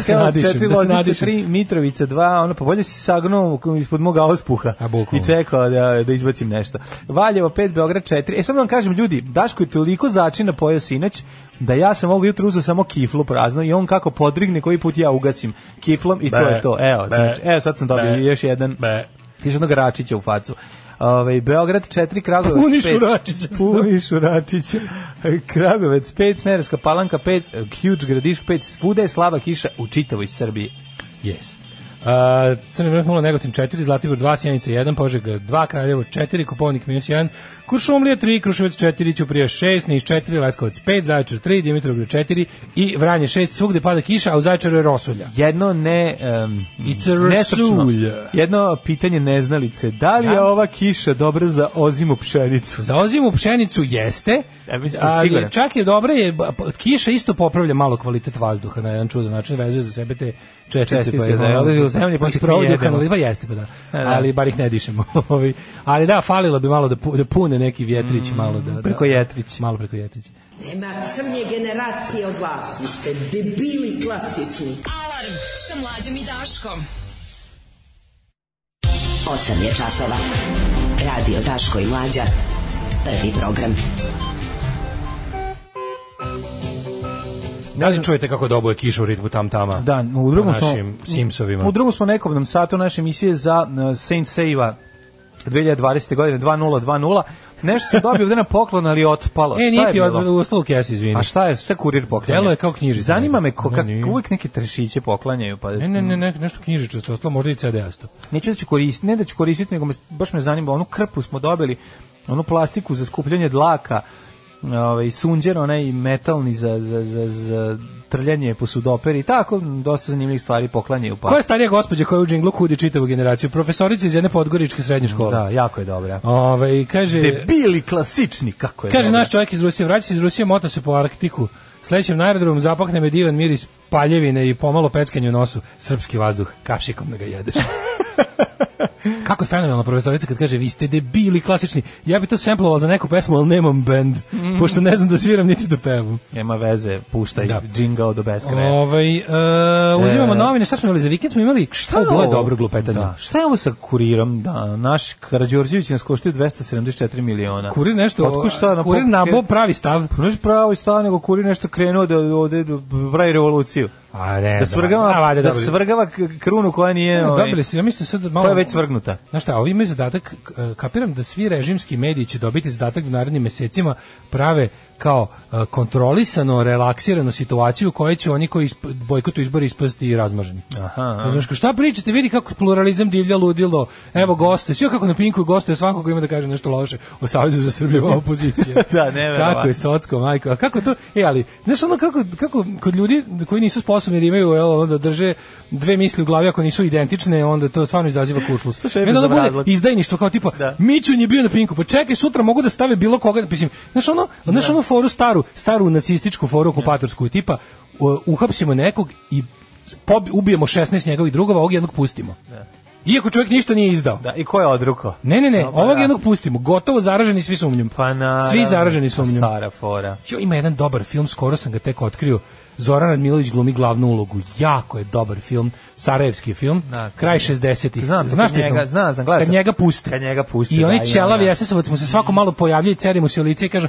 F: da se
E: Baskela
F: nadišem,
E: Pa četiri
F: da se
E: loznice,
F: nadišem.
E: tri Mitrovica, dva, ono, pa bolje si sagnuo ispod moga auspuha
F: A, bukvalno.
E: i čekao da, da izbacim nešto. Valjevo, pet, Beograd, četiri. E, samo da vam kažem, ljudi, Daško je toliko začina pojeo sinoć, da ja sam ovog jutra uzeo samo kiflu prazno i on kako podrigne koji put ja ugasim kiflom i to
F: Be,
E: je to. Evo,
F: be,
E: znači, evo sad sam dobio
F: be,
E: još jedan,
F: be.
E: još jednog račića u facu. Ove, Beograd 4, Kragovac 5.
F: Puniš Uračića.
E: da. Puniš Uračića. Kragovec 5, Smerska palanka 5, Huge Gradišk 5, svuda je slaba kiša u čitavoj Srbiji.
F: Yes. Uh, Crni vrh 0, Negotin 4, Zlatibor 2, Sjenica 1, Požega 2, Kraljevo 4, Kopovnik minus 1, Kuršumlija 3, Kruševac 4, Ćuprija 6, Niš 4, Leskovac 5, Zaječar 3, Dimitrovgrad 4 i Vranje 6, svugde pada kiša, a u Zaječaru je rosulja.
E: Jedno ne... Um,
F: It's a rasulja.
E: Jedno pitanje neznalice. Da li je ova kiša dobra za ozimu pšenicu?
F: Za ozimu pšenicu jeste,
E: Ja mislim,
F: ali
E: siguran.
F: čak je dobra, je, ba- pa- kiša isto popravlja malo kvalitet vazduha na jedan čudan način, vezuje za sebe te čestice.
E: Čestice,
F: je
E: da,
F: ono-
E: odlazi u zemlju, pa
F: ih
E: se mi
F: provodi u
E: jedemo.
F: kanaliva, jeste, pa da.
E: da.
F: Ali bar ih ne dišemo. [LAUGHS] Ovi- ali da, falilo bi malo da, pu- da pune neki vjetrić malo. Da, da-
E: Mm, preko Da, jetrića.
F: Malo preko jetrića.
H: Nema crnje generacije od vas. Vi ste debili klasični.
D: Alarm sa mlađom i Daškom.
H: 8 je časova. Radio Daško i Mlađa. Prvi program.
F: Da li čujete kako dobuje kiša u ritmu tam tama? E,
E: Da, u drugom
F: Po
E: smo...
F: našim Simsovima.
E: U drugom smo nekobnom satu naše emisije za uh, Saint Seiva 2020. godine 2.0.2.0. Nešto se dobio ovde na poklon, ali je otpalo.
F: E,
E: Šta je
F: niti
E: bilo?
F: od uslov kesi, izvini.
E: A šta je, šta kurir poklanja?
F: Delo je kao knjižica.
E: Zanima me ko,
F: Ne,
E: kak,
F: nije.
E: uvek neke trešiće poklanjaju. Pa,
F: Ne, ne, ne, ne, nešto knjižičasto, ostalo možda i CD-asto.
E: Neću da ću koristiti, ne da ću koristiti, nego me, baš me zanima, onu krpu smo dobili, onu plastiku za skupljanje dlaka, ovaj, sunđer, onaj metalni za, za, za, za trljanje po sudoperi i tako, dosta zanimljivih stvari poklanjaju. Pa.
F: Koja je starija gospođa koja je u džinglu kudi čitavu generaciju? Profesorica iz jedne podgoričke srednje škole.
E: Da, jako je dobra.
F: Ove, kaže,
E: Debili klasični, kako je
F: E, kaže
E: dobra.
F: naš čovjek iz Rusije, vraća se iz Rusije, mota se po Arktiku. Sledećem na aerodromu zapahne me divan miris paljevine i pomalo peckanje u nosu. Srpski vazduh, kašikom da ga
E: [LAUGHS]
F: jedeš. Kako je fenomenalna profesorica kad kaže vi ste debili klasični. Ja bi to semplovao za neku pesmu, ali nemam bend,
E: Mhm.
F: pošto ne znam da sviram niti da pevam.
E: Nema veze, puštaj
F: Da.
E: da. džingao do beskraja.
F: Ovaj e, uzimamo novine, šta smo imali za vikend? Smo imali, šta je bilo je
E: ovo?
F: dobro glupetanje?
E: Da. Šta je ovo sa kurirom? Da, naš Karađorđević nas koštio 274 miliona.
F: Kurir nešto,
E: Otkud šta, na
F: kurir
E: popke-
F: nabo pravi stav.
E: Pa Znaš pravo i stao, nego kurir nešto krenuo da ovde da pravi revoluciju.
F: A ne,
E: Da svrgava,
F: E, a, valjda
E: da
F: dobili. E,
E: svrgava k- krunu koja nije... ovaj,
F: Dobili su, ja mislim sad malo...
E: Koja je već svrgnuta.
F: Znaš šta, ovi imaju zadatak, k- kapiram da svi režimski mediji će dobiti zadatak da u narednim mesecima prave kao e, kontrolisano, relaksiranu situaciju u kojoj će oni koji isp- bojkotu izbori ispasti razmaženi.
E: Aha.
F: Razumeš, kao, šta pričate, vidi kako pluralizam divlja ludilo, evo goste, sve kako na pinku goste, svako ko ima da kaže nešto loše o Savezu za Srbiju ova opozicija.
E: [LAUGHS] Da, neverovatno.
F: Kako je socko, majko, a kako to, e, ali, znaš ono kako, kako kod ljudi koji nisu sposobni da imaju, jel, onda drže dve misli u glavi, ako nisu identične, onda to stvarno izaziva kušlus.
E: Slušaj,
F: Meni onda bude
E: bezobrazluk.
F: izdajništvo, kao tipa,
E: Da.
F: Mićun je bio na pinku, pa čekaj, sutra mogu da stave bilo koga, mislim, znaš ono, znaš
E: Da.
F: onu foru staru, staru nacističku foru okupatorsku, tipa, u- uhapsimo nekog i pobi, ubijemo 16 njegovih drugova, ovog jednog pustimo. Iako čovjek ništa nije izdao.
E: Da, i ko je odruko?
F: Ne, ne, ne,
E: Samo
F: ovog
E: da.
F: jednog pustimo, gotovo zaraženi svi sumnjom.
E: Pa na...
F: Svi zaraženi sumnjom.
E: Stara fora.
F: Jo, ima jedan dobar film, skoro sam ga tek otkrio. Zoran Radmilović glumi glavnu ulogu. Jako je dobar film, sarajevski film,
E: Da, kad-
F: kraj 60-ih.
E: Znam,
F: Znaš
E: kad
F: taj
E: njega-
F: film?
E: znam, znam, gledao
F: Kad
E: sam.
F: njega puste.
E: Kad njega puste,
F: I
E: da,
F: oni
E: imam,
F: ćelavi
E: da.
F: jesesovac mu se svako malo pojavljaju, ceri mu se u lice i [LAUGHS] kažu,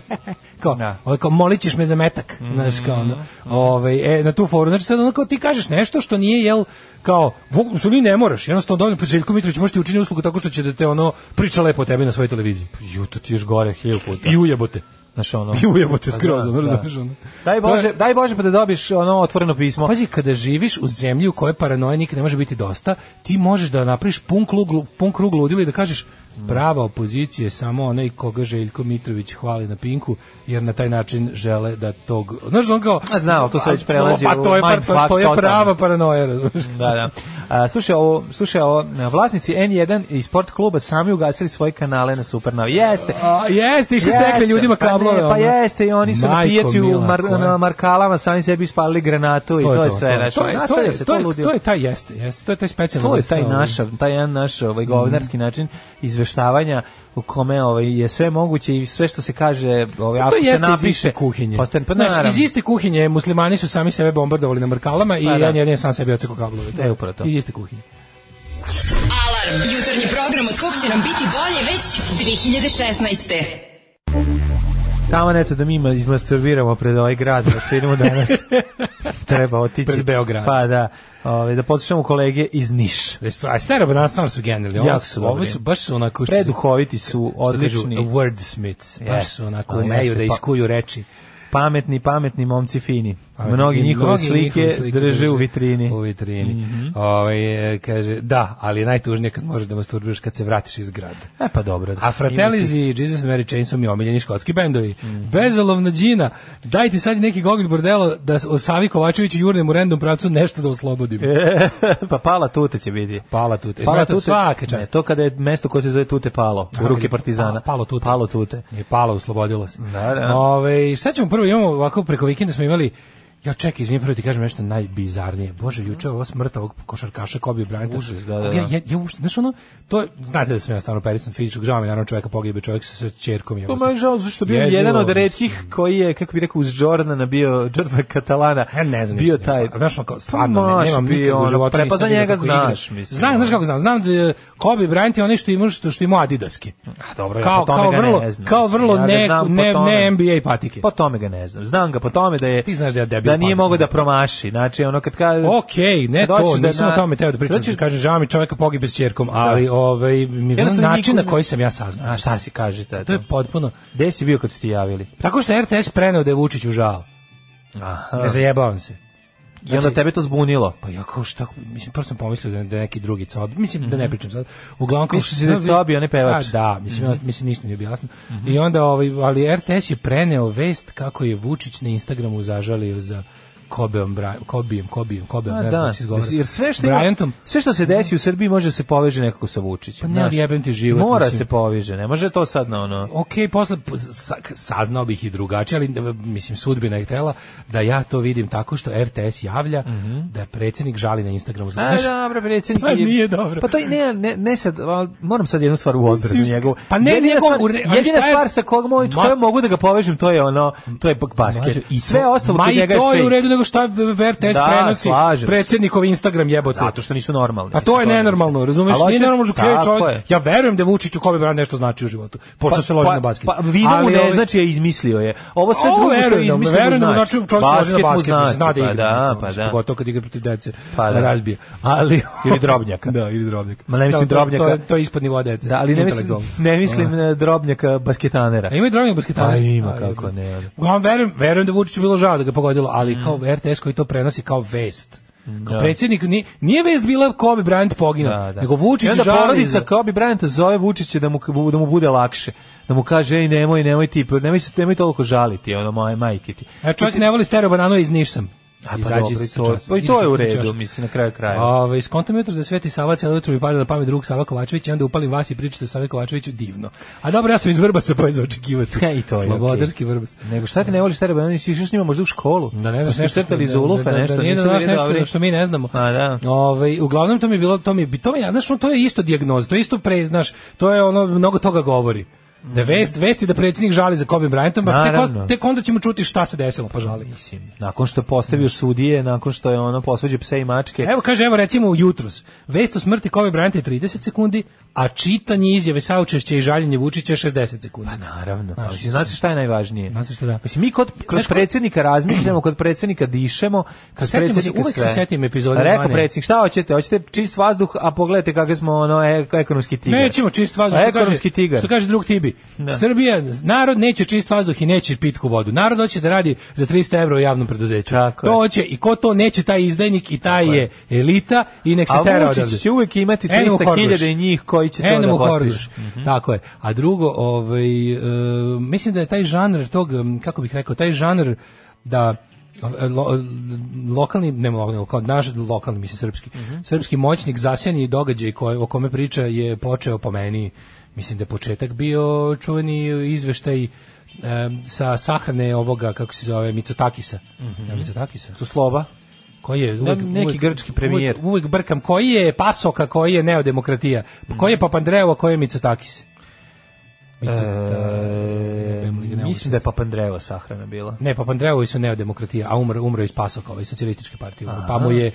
F: kao,
E: Da. Mhm,
F: ovaj, kao, molit ćeš me za metak. Znaš, kao, ono, ovaj, e, na tu foru. Znači, sad ono kao ti kažeš nešto što nije, jel, kao, u stvari ne moraš, jednostavno dovoljno, pa Željko Mitrović može ti učiniti uslugu tako što će da te ono priča lepo o tebi na svojoj televiziji.
E: Ju, to ti još gore, hilju puta.
F: I ujebote.
E: Znaš
F: [LAUGHS]
E: ono...
F: I ujebote skroz,
E: Da,
F: ono,
E: da.
F: razumeš, ono.
E: Daj
F: To je-
E: Bože, daj Bože pa da dobiš ono otvoreno pismo.
F: Pazi, kada živiš u zemlji u kojoj paranoje nikad ne može biti dosta, ti možeš da napraviš pun krug, pun krug ludila i da kažeš Prava opozicija je samo onaj koga Željko Mitrović hvali na pinku, jer na taj način žele da tog... Znaš, on kao...
E: A znam, ali to sad već prelazi
F: Pa to
E: u
F: je, par-
E: mindfuck
F: pa, to je
E: totalno.
F: prava paranoja, razumiješ?
E: da, da. A, slušaj, ovo, slušaj ovo, vlasnici N1 i sport kluba sami ugasili svoje kanale na Supernovi. Jeste,
F: A, jeste, išli sekli ljudima
E: pa ne,
F: kablove.
E: Pa,
F: ono.
E: jeste, i oni su na
F: Majko
E: pijaci u
F: mila,
E: mar,
F: koja-
E: na markalama sami sebi ispalili granatu i to, je sve. znači,
F: to, je- to,
E: nastavlja
F: je,
E: se,
F: to, je,
E: ludilo.
F: to je taj jeste, jeste, to je Mhm. taj specijalni
E: to je
F: vrsta,
E: taj
F: ovaj,
E: naš, taj jedan naš ovaj govnarski način izveštavanja u kome ovaj je sve moguće i sve što se kaže, ovaj ako
F: Pa to
E: se
F: jeste iz iste
E: napiše
F: kuhinje.
E: Postane, pa
F: Znaš,
E: naravno.
F: iz iste kuhinje muslimani su sami sebe bombardovali na mrkalama i
E: Pa da.
F: jedan jedan sam sebi oceko kablove.
E: E, upravo to.
F: Iz iste kuhinje.
D: Alarm. Jutarnji program od kog će nam biti bolje već 2016.
E: Tamo neto da mi ima- izmasturviramo pred ovaj grad, da što idemo
F: [LAUGHS]
E: danas. Treba otići.
F: Pred Beograd.
E: Pa da, ovaj, da poslušamo kolege iz Niš.
F: Jeste, A stara banana stvarno su genijalni. Ovo
E: Jako
F: su,
E: su dobri.
F: ovo su baš su onako što se-
E: Preduhoviti su,
F: što kažu,
E: odlični,
F: wordsmiths. Baš
E: Jeste.
F: su onako
E: Ali
F: umeju
E: jeste,
F: da
E: pa-
F: iskuju reči.
E: pametni, pametni momci fini.
F: Ovaj,
E: Mnogi
F: i
E: njihove
F: mnogi njihove
E: slike drže u
F: U
E: vitrini. Mhm.
F: vitrini. Ovaj, e, kaže, da, ali je najtužnije kad možeš da masturbiraš kad se vratiš iz grada.
E: E pa dobro.
F: A Fratellis i Jesus and Mary Chain su mi omiljeni škotski bendovi.
E: Mhm.
F: Bezolovna džina, dajte sad neki gogolj bordelo da s- o Savi Kovačeviću jurnem u random pravcu nešto da oslobodim.
E: pa pala tuta će biti.
F: Pala tute. Pala tute. Svaka
E: Ne,
F: čast.
E: to kada je mesto koje se zove Tute palo, u
F: A,
E: ruke
F: ili-
E: partizana.
F: Pa- palo tute.
E: Palo tute.
F: Je pala, oslobodilo se.
E: Da, da.
F: Ove, šta ćemo prvo, imamo ovako preko vikenda smo imali Ja čekaj, izvinim, prvo ti kažem nešto najbizarnije. Bože, juče ova smrt ovog košarkaša Kobe Bryanta.
E: Užas, da, da,
F: Ja, ja, ja uopšte, znaš ono, to je, znate da sam ja stvarno pericom fizičkog, žao mi je, naravno čoveka pogibje, čovjek sa, sa čerkom. je.
E: To me je žao, zašto bio
F: Jezivo,
E: jedan od
F: mislim.
E: retkih koji je, kako bi rekao, uz Jordana bio, Jordana Katalana,
F: Ja ne znam.
E: bio
F: nisam
E: taj, Pa
F: ja Znaš, ono, kao, stvarno, ne,
E: Maš
F: nemam
E: bio,
F: nikakvog
E: ono,
F: života.
E: pre- pa za
F: nisam vidio
E: njega
F: kako igra.
E: znaš, mislim.
F: Znam, znaš kako znam. Znam da je Kobe Bryant je onaj što ima, što, što ima adidaske.
E: A dobro, ja
F: Kao,
E: po tome
F: kao
E: ga
F: vrlo,
E: ne znam.
F: kao vrlo
E: Ja ga
F: ne,
E: znam po
F: ne,
E: tome.
F: ne NBA patike.
E: Po tome ga ne znam. Znam ga po tome da je
F: Ti znaš da ja debil
E: da nije
F: pamet.
E: mogao da promaši. Znači ono kad kaže
F: Okej, ne
E: kad
F: to,
E: hoćeš da
F: nisam
E: na- Znači-
F: o tome teo da pričam.
E: kad hoćeš-
F: Kažem, žao mi čoveka pogibe s čerkom, ali ovaj, mi je
E: Jednostavno
F: način na
E: niko-
F: koji sam ja saznao.
E: A šta si kažete?
F: To je potpuno...
E: Gde si bio kad ste ti javili?
F: Tako što je RTS preneo da je Vučiću žao.
E: Aha.
F: Ne zajebavam se.
E: I
F: Znači-
E: onda tebe to zbunilo.
F: Pa ja kao šta, mislim, prvo sam pomislio da je, da je neki drugi cob, mislim, da ne pričam sad, uglavnom kao...
E: Mislio si Mhm. da je Cobi, a ne pevač. Mhm.
F: A, da, mislim, ja- mislim, ništa mi nije objasno. I onda, ovaj, ali RTS je preneo vest kako je Vučić na Instagramu zažalio za Kobeom, Bra- Kobijem, Kobijem, Kobeom,
E: A,
F: ne znam
E: da,
F: kako se izgovara.
E: jer sve što, ima,
F: Bryantom,
E: sve što se desi u Srbiji može da se poveže nekako sa Vučićem.
F: Pa ne,
E: znaš.
F: ali jebem ti život,
E: Mora
F: mislim.
E: se poveže, ne može to sad na ono...
F: ok, posle po- sa- saznao bih i drugačije, ali da, mislim sudbina je htela da ja to vidim tako što RTS javlja da predsjednik žali na Instagramu.
E: Mhm. A, da,
F: Znaš,
E: dobro, predsjednik.
F: pa
E: je-
F: nije dobro.
E: Pa to i ne, ne, ne sad, al, moram sad jednu stvar u odbranu njegovu.
F: Pa ne
E: jedina
F: njegov-
E: stvar,
F: u re- ali
E: jedina
F: šta je-
E: stvar sa kog moj,
F: Ma-
E: kojom mogu da ga povežem, to je ono, to je bak- basket.
F: Mlađo,
E: I sve ostalo
F: Ma
E: kod
F: i
E: njega
F: to je u
E: fake.
F: redu nego šta v- v- RTS
E: Da,
F: prenosi
E: slažem se.
F: predsjednikov Instagram jebote.
E: Zato što nisu normalni.
F: A to je nenormalno, razumeš?
E: Ali hoće-
F: Nije nenormalno što je
E: Tako
F: čovjek. Ja verujem da Vučiću Kobe Bryant nešto znači u životu, pošto se loži na basket.
E: Pa, pa vino mu
F: Ali
E: ne
F: ovaj-
E: znači je izmislio je. Ovo sve
F: Ovo
E: drugo što je
F: verujem da mu-
E: izmislio
F: verujem da mu
E: znači.
F: znači čovjek se loži na
E: mu
F: basket, mislim, zna da
E: Pa
F: igra.
E: da,
F: mislim,
E: pa da.
F: Pogotovo kad igra protiv dece,
E: Pa da.
F: razbije. Ali,
E: Ili drobnjaka.
F: [LAUGHS] da, ili drobnjaka.
E: Ma ne mislim
F: Da, to-
E: drobnjaka.
F: To, je, to je ispod nivoa dece.
E: Da, ali ne mislim,
F: intelektualno.
E: ne mislim na drobnjaka basketanera.
F: A ima i drobnjak basketana?
E: Pa ima, kako ne, Mm. ono.
F: Uglavnom, verujem, verujem da Vučiću bilo žao da ga pogodilo, ali kao RTS koji to prenosi kao vest. Kao predsjednik, nije, nije vest bila Kobe Bryant poginuo,
E: Da, da.
F: nego Vučić
E: I onda
F: žali
E: porodica
F: za-
E: Kobe Bryanta zove Vučića da mu, da mu bude lakše. Da mu kaže, ej, nemoj, nemoj ti, pa nemoj, se, nemoj toliko žaliti, ono, moje majke ti.
F: E, čovjek ne voli stereo banano iz Nišsam.
E: A pa
F: Izađi
E: dobro, i
F: sa
E: to,
F: časa.
E: pa i to je u
F: Ideš kući
E: redu,
F: još.
E: mislim, na kraju kraja.
F: Ove, skontam jutro da Sveti Sava cijelo jutro mi pada na pamet drug Sava Kovačević i onda upalim vas i pričate o Save Kovačeviću divno. A dobro, ja sam iz Vrbasa, pa je za očekivati.
E: [LAUGHS] Ha, E, i to je okej.
F: Slobodarski Vrbas.
E: Nego šta ti ne voliš tere, nisi išao s njima možda u školu? Pa
F: Da ne znaš
E: Ste
F: nešto
E: crtali iz
F: da-
E: ulufa,
F: da- da-
E: nešto,
F: da, nije
E: nisu
F: da znaš
E: bili
F: nešto
E: dobri.
F: što mi ne znamo.
E: A, da.
F: Ovaj, uglavnom to mi je bilo to mi je to mi je, znaš, ono, to je isto dijagnoza, to je isto pre, znaš, to je ono mnogo toga govori. Da vest, vesti da predsjednik žali za Kobe Bryantom, pa tek,
E: Mhm. Naravno.
F: on- tek onda ćemo čuti šta se desilo, pa žali.
E: Nakon što je postavio sudije, nakon što je ono posvađao pse i mačke.
F: Mm. Evo kaže, evo recimo jutros, vest o smrti Kobe Bryanta je 30 sekundi, a čitanje izjave saučešća i žaljenje Vučića je 60 sekundi. Pa
E: Naravno. Ali znaš šta je najvažnije?
F: Znaš šta da.
E: Mislim, mi kod, kroz
F: Znaš ko-
E: predsjednika razmišljamo, kod predsjednika dišemo, kod
F: Sećamo se,
E: predsjednika
F: uvek se
E: sve.
F: setim epizode
E: Rekao
F: zvane-
E: predsjednik, šta hoćete? Hoćete čist vazduh, a pogledajte kakve smo ono, e- ekonomski tigar.
F: Nećemo čist vazduh,
E: A
F: što kaže,
E: ekonomski tigar. Da.
F: što kaže drug Tibi. prvi. Srbija, narod neće čist vazduh i neće pitku vodu. Narod hoće da radi za 300 evra u javnom preduzeću.
E: Tako
F: to
E: je.
F: hoće i ko to neće, taj je izdajnik i taj je elita i nek se tera
E: A
F: odavde.
E: Vučić će uvijek imati
F: Animal Horrors.
E: 300.000 njih koji će to da
F: Animal
E: potpišu.
F: Horrors. Tako je. A drugo, ovaj, e, mislim da je taj žanr tog, m, kako bih rekao, taj žanr da e, lo- lokalni, ne lokalni, nego kao naš lokalni, mislim srpski, srpski moćnik zasjeni događaj koje, o kome priča je počeo po meni, mislim da je početak bio čuveni izveštaj e, sa sahrane ovoga, kako se zove, Da, Mitsotakisa. Ja, Mitsotakisa?
E: Su sloba.
F: Koji je uvek,
E: neki
F: uvek-
E: grčki premijer.
F: Uvek, uvek brkam. Koji je Pasoka, koji je Neodemokratija? Koji je Papandreou, a koji je Mitsotakis?
E: E, mislim da je Papandreva sahrana bila.
F: Ne, Papandreovi su neodemokratija, a umro, umro iz Pasoka, ovaj, socijalističke partije. Pa mu je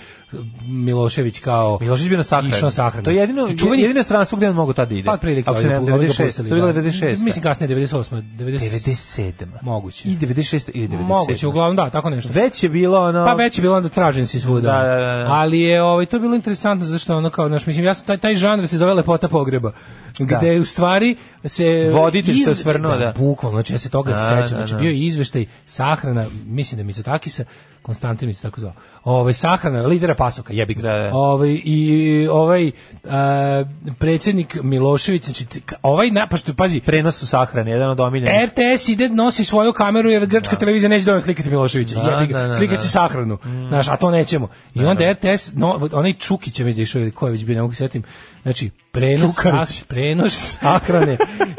F: Milošević kao...
E: Milošić bio na sahrani.
F: Išao na sahranu.
E: To je jedino,
F: I čuveni-
E: jedino stranstvo gde on mogu tada ide.
F: Pa otprilike,
E: Ako se ne,
F: ovaj, ovaj ga
E: 96. To
F: pustili,
E: je bila
F: da.
E: 96.
F: Mislim kasnije, 98. 90,
E: 97.
F: Moguće.
E: I 96. ili 97.
F: Moguće, uglavnom da, tako nešto.
E: Već je bilo ono...
F: Pa već je bilo onda tražen si svuda.
E: Da, da, da, da.
F: Ali je ovaj to je bilo interesantno zašto je ono kao naš mislim ja sam taj taj žanr se zove lepota pogreba. Gde u stvari se
E: Da. Voditelj se osvrnuo, da.
F: Bukvalno, znači ja se toga
E: Da,
F: sećam.
E: da,
F: Znači
E: da.
F: bio je izveštaj sahrana, mislim da mi se takisa Konstantin mi se tako zvao. Ovaj sahrana lidera Pasoka, jebi ga.
E: Da, da.
F: Ovaj i ovaj e, predsjednik Milošević, znači c- ovaj na pa što pazi,
E: Prenos u sahrani, jedan od omiljenih.
F: RTS ide nosi svoju kameru jer grčka televizija neće dovoljno slikati Miloševića.
E: Da,
F: Jebi ga,
E: da, da,
F: slikaće
E: da.
F: sahranu. Znaš, a to nećemo. I onda RTS, no, onaj Čukić je već išao, ili ko je već bio, ne mogu se setim. Znači, prenos,
E: Čukarić.
F: sah- prenos sahrane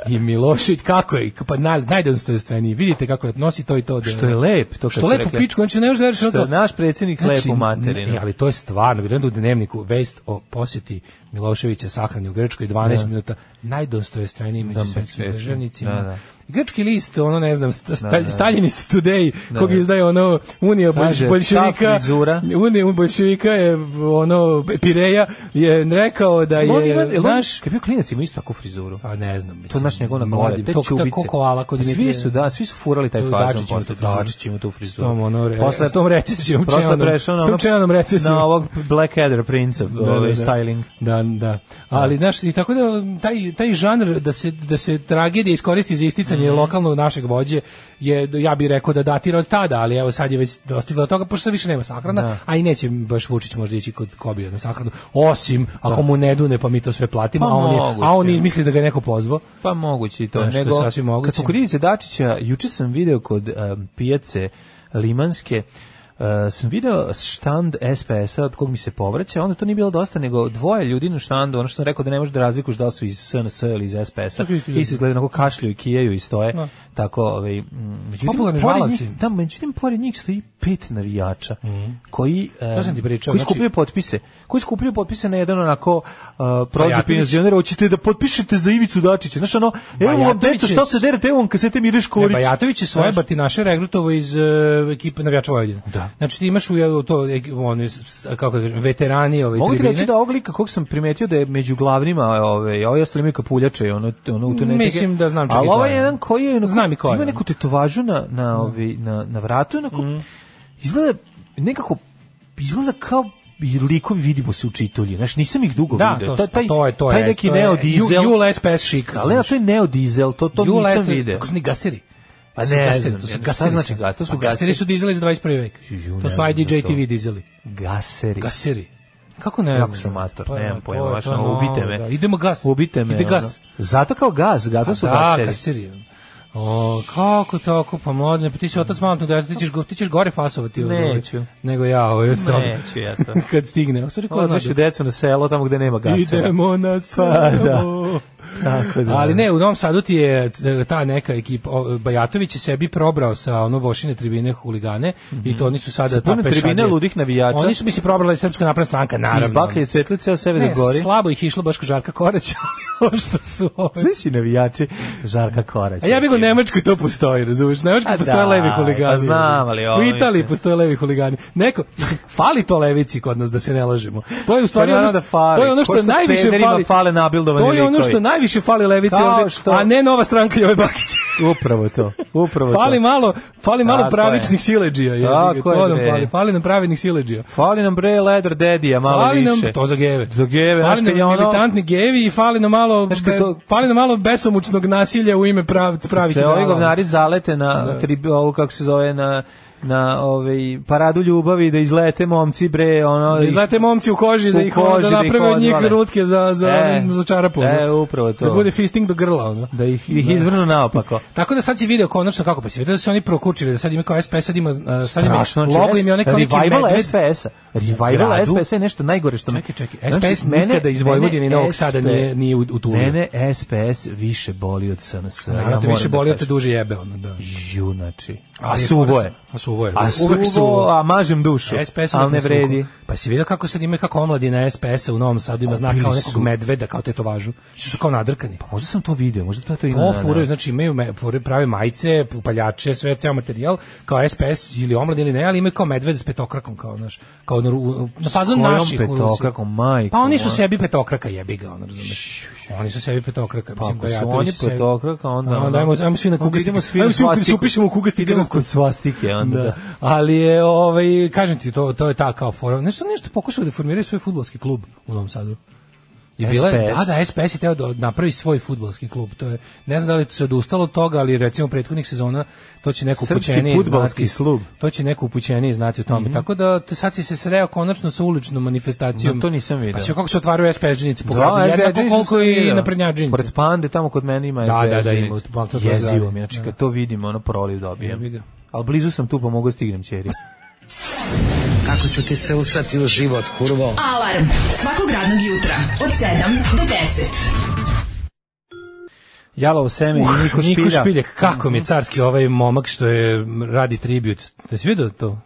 F: i Milošević, kako je, pa naj, najdostojanstveniji. Vidite kako je, nosi to i to. da-
E: Što je lep, to
F: Što
E: kad su
F: je lepo
E: rekli.
F: pičku, znači ne možeš da veriš
E: Što je naš predsjednik lep u materinu.
F: Znači, ne, ali to je stvarno, vidim da u dnevniku vest o posjeti Miloševića sahrani u Grčkoj 12 minuta najdostojanstveniji među
E: Da,
F: svetskim
E: svetskim.
F: državnicima.
E: Da, da.
F: Grčki list, ono ne znam, sta, sta, Staljinist Today, kog izdaje ono Unija
E: Da, Kaže,
F: bolš- bolševika,
E: ta frizura.
F: Unija bolševika je ono Pireja je rekao da
E: Jel on ima-
F: je
E: jel on-
F: naš
E: Kad Pa je bio klinac ima isto takvu frizuru.
F: pa ne znam, mislim.
E: To je naš njegov na gore,
F: modim,
E: te
F: to- to
E: čubice.
F: ko koala kod
E: A Svi
F: Dimitrija.
E: su, da, svi su furali taj
F: To je
E: fazon.
F: Dačić ima
E: posle.
F: tu frizuru.
E: Dačić ima tu frizuru.
F: S tom, ono, re-
E: Posle-
F: s tom recesijom,
E: Posle
F: čelnom-
E: prešao na
F: s tom
E: ono-
F: čelnom recesijom.
E: Na ovog Blackadder princa, ovaj, styling.
F: Da, da. Ali znaš, i tako da taj taj žanr da se da se tragedija iskoristi za
E: Mhm.
F: isticanje lokalnog našeg vođe je ja bih rekao da datira od tada, ali evo sad je već dostiglo do toga pošto sad više nema sahrana,
E: Da.
F: a i neće baš Vučić možda ići kod Kobija na sahranu, osim ako mu ne dune pa mi to sve platimo,
E: Da. Pa
F: a on je,
E: moguće.
F: a on izmisli da ga je neko pozvao.
E: Pa moguće i to.
F: Znaš, to je
E: nego,
F: sasvim moguće.
E: Kad su kod Ivice Dačića, juče sam video kod um, pijace Limanske, Uh, sam video štand SPS-a od kog mi se povraća, onda to nije bilo dosta, nego dvoje ljudi na štandu, ono što sam rekao da ne možeš da razlikuš da li su iz SNS ili iz SPS-a,
F: su isti ljudi.
E: isto izgledaju onako kašljaju, kijaju i stoje,
F: Da.
E: tako, ovaj, mm, međutim,
F: Popularni
E: pored
F: žvalavci.
E: njih- Da, međutim, pored njih stoji pet navijača, koji, um,
F: Mhm. sam ti pričao,
E: koji
F: znači-
E: skupljaju potpise, koji skupljaju potpise na jedan onako uh, prozor
F: Bajatović.
E: penzionera, hoćete da potpišete za Ivicu Dačića, znaš ono, Evo vam,
F: Bajatović
E: deco,
F: je
E: šta
F: s-
E: se derete, evo vam kasete Mireš
F: Ne,
E: Korić.
F: pa Bajatović je svoje batinaše regrutovo iz e, ekipe navijača Vojvodine.
E: Da.
F: Znači ti imaš u e, to e, oni s- kako da kažem veterani ove
E: Mogu ti
F: tribine.
E: reći da ovog lika kog sam primetio da je među glavnima, ovaj, ovaj ostali imaju kapuljače, ono, ono u tu netike.
F: Mislim da znam čega
E: Ali
F: je to
E: ovaj
F: je.
E: jedan koji je, onako-
F: Znam i ko je,
E: ima
F: da.
E: neku tetovažu na, na, ovaj, na, na vratu, onako,
F: Mhm.
E: izgleda nekako, izgleda kao i likovi vidimo se u čitulji. Znaš, nisam ih dugo
F: Da,
E: vidio.
F: to, to, to je to
E: taj
F: je.
E: neki
F: to je
E: neodizel.
F: Ju- Jul SPS šik.
E: Ali ja, to je neodizel, to, to
F: Jul
E: nisam
F: SPS
E: video.
F: Kako su ni gaseri?
E: Pa
F: To su
E: ne
F: gaseri,
E: znam,
F: to su
E: ja, šta
F: gaseri.
E: znači
F: sad.
E: gas? To su
F: Pa
E: gaseri.
F: gaseri su dizeli iz 21. veka.
E: Ju, ne
F: To su
E: znam za
F: IDJ
E: to.
F: TV dizeli.
E: Gaseri.
F: Gaseri. Kako ne?
E: Jako
F: znam?
E: sam mator,
F: To je-
E: nemam
F: to
E: pojma,
F: je-
E: baš
F: to je
E: ono,
F: novo,
E: ubite me.
F: da. Idemo gas.
E: Ubite me.
F: Ide
E: ono.
F: gas.
E: Zato kao gas, zato su
F: Da,
E: gaseri.
F: kasiri. O, kako tako, pa mladine, pa ti si otac mamatnog djeteta, ti ćeš, go- ti ćeš gore fasovati. od-
E: Neću.
F: Nego ja, ovaj, od toga.
E: Neću
F: [LAUGHS]
E: ja to.
F: Kad stigne. Ovo stvari ko zna.
E: Odnošu decu na selo tamo gde nema gasa.
F: Idemo na
E: Pa, da.
F: selo.
E: Tako da.
F: Ali ne, u Novom Sadu ti je c- ta neka ekipa, o, Bajatović je sebi probrao sa ono vošine tribine huligane i to oni su sada
E: Mhm. Sa puno
F: ta pešadija.
E: tribine ludih navijača.
F: Oni su mi se probrali Srpska napredna stranka, naravno.
E: Iz baklje cvetli ceo Severni
F: Ne,
E: gori.
F: slabo ih je išlo baš ko Žarka Korać, [LAUGHS] ali ovo što su ove.
E: Sve si navijači Žarka Korać.
F: A ja bih u Nemačkoj to postoji, razumiješ? Nemačkoj
E: A
F: postoje
E: da,
F: levi huligani.
E: pa znam, ali ovo
F: U
E: mislim.
F: Italiji postoje levi huligani. Neko, mislim, fali to levici kod nas, da se ne lažemo. To je u stvari
E: Pa
F: ono,
E: naravno
F: što,
E: da fali.
F: to je ono što,
E: Ko što
F: najviše
E: pederima
F: fali.
E: fale nabildovani
F: To je ono
E: likovi.
F: što najviše fali levici
E: Kao
F: ovde,
E: što- [LAUGHS]
F: a ne nova stranka Jove Bakića.
E: Upravo to. Upravo
F: Fali
E: to.
F: malo, fali malo
E: Tako
F: pravičnih
E: je.
F: sileđija. jebi ga,
E: Tako je,
F: to nam
E: bre.
F: fali, fali nam pravednih sileđija.
E: Fali nam bre Leder Dedija malo
F: Fali nam
E: više.
F: to za geve.
E: Za geve, znaš
F: fali
E: kad je
F: nam
E: ono-
F: militantni gevi i fali nam malo
E: Znaš kad
F: be-
E: to-
F: fali nam malo besomučnog nasilja u ime prav pravih
E: se ovi
F: ideala.
E: govnari zalete na
F: Da.
E: tri, ovu, kako se zove, na na ovaj paradu ljubavi da izlete momci bre ono
F: Da izlete momci u koži, da
E: u
F: ih ono,
E: koži,
F: da
E: da ih
F: naprave od njih
E: odvale.
F: rutke za, za,
E: E,
F: za čarapu.
E: e,
F: ono.
E: upravo to.
F: Da bude fisting do grla. Ono.
E: da ih ih izvrnu naopako
F: Tako da sad si video konačno kako pa si video da su oni prokučili da sad ima kao SPS sad ima a, sad Pa ima
E: Strašno, znači,
F: logo im je onaj kao neki
E: revival
F: medved.
E: SPS-a. Revival
F: gradu.
E: SPS-a je nešto najgore što...
F: Čekaj, čekaj, SPS nikada iz Vojvodine i Novog Sada nije- nije u- utulio.
E: Mene SPS više boli od SNS.
F: Naravno Da, te više
E: da
F: boli, te duže jebe. Ono, da.
E: Ju, znači. A
F: Ali je
E: suvo
F: korisno.
E: je.
F: A suvo je.
E: A
F: Uvek
E: suvo,
F: suvo.
E: a mažem dušu.
F: SPS
E: Ali ne vredi.
F: Pa si vidio kako sad ima kako omladina SPS-a u Novom Sadu ima znak kao
E: Kupili
F: nekog
E: su.
F: medveda, kao tetovažu. Što su kao nadrkani.
E: Možda sam to video, možda to, to ima.
F: To
E: na- na-
F: furaju, znači imaju me, furaju prave majice, upaljače, sve, ceo materijal, kao SPS ili omlad ili ne, ali imaju kao medved s petokrakom, kao, naš, kao na, ru- na fazon
E: kojom
F: naših. u Rusiji.
E: petokrakom, majko
F: Pa oni su
E: moja?
F: sebi petokraka, jebi ga, ono, razumeš. Oni su sebi petokraka.
E: Pa
F: mislim,
E: ako
F: da
E: su
F: Bajatović
E: oni
F: sebi-
E: petokraka, onda
F: Ono,
E: ono-
F: ajmo, ajmo svi na
E: onda
F: kugastike.
E: idemo svi na
F: Ajmo svi u- se
E: svastiku.
F: upišemo u kugastike.
E: Idemo kod svastike, onda.
F: Da. Ali je, ovaj, kažem ti, to, to je ta kao fora. Nešto, nešto pokušali da formiraju svoj futbolski klub u Novom Sadu. I bila, je-
E: SPS?
F: da, da, SPS je teo da napravi svoj futbalski klub. To je, ne znam da li se odustalo od toga, ali recimo prethodnih sezona to će neko
E: Srpski
F: upućeniji
E: fudbalski
F: znati.
E: klub. Mhm.
F: To će neko upućeniji znati o tome. Tako da to sad si se sreo konačno sa uličnom manifestacijom.
E: Da, to nisam video.
F: Pa će kako se otvaraju SPS džinice po gradu,
E: Da,
F: jednako
E: SBG
F: koliko
E: su
F: i
E: svi, da.
F: naprednjačinice.
E: Pored pande, tamo kod mene ima
F: Da,
E: SBG.
F: da, da, ima,
E: džinice.
F: malo to
E: Jezivo
F: zdravlje.
E: mi, znači
F: Da.
E: kad to vidim, ono proliv
F: Jebi
E: dobijem.
F: ga.
E: Ali blizu sam tu, pa mogu da stignem ćeri.
I: Kako ću ti se usrati u život, kurvo?
D: Alarm svakog radnog jutra od 7 do 10.
E: Jalovo seme i Niko Špilja.
F: Uh, Niko Špiljak, kako mi je carski ovaj momak što je m, radi tribut. Da si vidio to?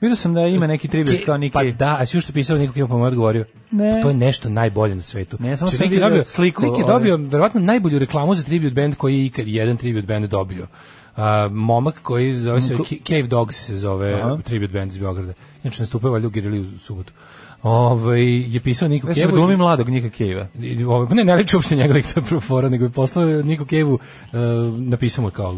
E: Vidio sam da ima neki tribut
F: Ke-
E: kao neki...
F: Pa da, a si što pisao, niko ima pa mu je odgovorio.
E: Ne.
F: To je nešto najbolje na svetu.
E: Ne, samo
F: Znači,
E: sam
F: lik je
E: vidio
F: dobio-
E: sliku
F: Lik je
E: ove.
F: dobio, verovatno, najbolju reklamu za tribut band koji je ikad jedan tribut band dobio. A, momak koji zove se Ki- Cave Dogs se zove tribute band iz Beograda. Inače nastupaju valjda u Girili u subotu. Ovaj je pisao Niko
E: Ja sam da
F: Kevu i-
E: glumi mladog Nika Kejva.
F: I- ovaj, pa ne, ne liči uopšte njega [LAUGHS] lik to je prvo fora, nego je poslao Niku Kevu e, napisao mu kao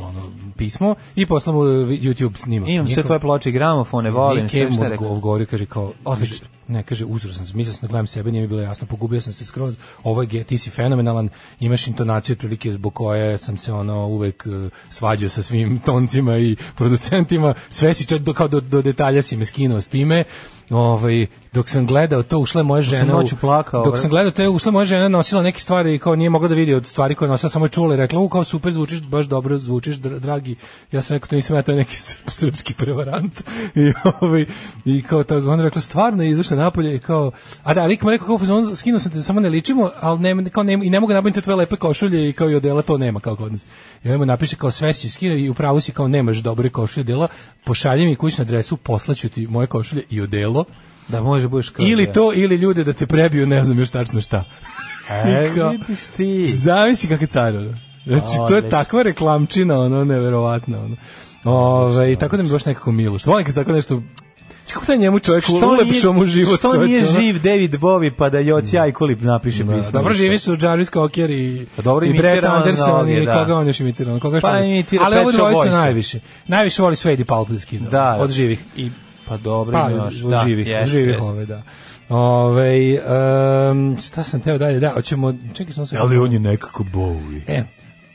F: ono, pismo i poslao mu e, YouTube snimak.
E: Imam sve
F: Njihov-
E: tvoje ploče i gramofone, volim,
F: Nick
E: sve
F: Cave
E: šta
F: mu
E: je rekao.
F: odgo- odgovorio, kaže kao,
E: Odlično.
F: ne, kaže, uzor sam, se, mislio sam da gledam sebe, nije mi bilo jasno, pogubio sam se skroz, ovo je, ge- ti si fenomenalan, imaš intonaciju otprilike zbog koje sam se ono uvek eh, svađao sa svim [LAUGHS] toncima i producentima, sve si čak do, kao do, do detalja si me skinuo s time, ovaj, dok sam gledao to, ušla je moja žena, u-
E: noću plakao,
F: dok
E: bre.
F: sam gledao to, je ušla moja žena, nosila neke stvari i kao nije mogla da vidi od stvari koje je nosila, samo je čula i rekla, u, kao super zvučiš, baš dobro zvučiš, dra- dragi. Ja sam rekao, to nisam ja, to je neki srp- [LAUGHS] srpski prevarant. [LAUGHS] I, ovaj, i kao to, on rekla, stvarno je izašla napolje i kao, a da, lik mu je rekao, kao, u fazonu, skinuo sam te, samo ne ličimo, ali ne, kao, ne, i ne mogu nabaviti tvoje lepe košulje i kao i odela, to nema kao kod nas. I on mu napiše kao sve si skinuo i upravo si kao nemaš dobre košulje dela, pošalji mi kućnu adresu, poslaću ti moje košulje i odelo.
E: Da može budeš kao
F: Ili
E: ja.
F: to, ili ljude da te prebiju, ne znam još tačno šta.
E: E,
F: Kao-
E: vidiš ti.
F: Zamisli kako je car, ono. Znači, to je
E: Odlično.
F: takva reklamčina, ono, neverovatno, ono. Ove, i tako da mi je baš nekako milo. Što volim kad se tako nešto... Znaš Kako taj njemu čovjek
E: Što
F: ulepšao mu
E: nije-
F: život?
E: Što
F: čoveče,
E: nije
F: ono?
E: živ David Bowie pa da Joci Ajkulip napiše pismo.
F: Dobro, živi su Jarvis Cocker i,
E: Pa dobro,
F: i
E: imitira
F: Brett
E: on
F: Anderson
E: mnoge,
F: i
E: da.
F: koga on još imitira. ono, Koga još
E: Pa
F: mnogo.
E: imitira
F: Ali
E: Pet
F: ovo
E: Shop
F: dvojica
E: Boysa.
F: najviše. Najviše voli Svedi Palpinski da,
E: Da.
F: od živih.
E: I, pa dobro,
F: Pa,
E: ima
F: od, od živih,
E: Da,
F: od
E: jeste,
F: živih
E: jeste.
F: ove, da. Ove, um, šta sam teo dalje, da, hoćemo, čekaj sam se...
E: Ali on je nekako Bowie.
F: E,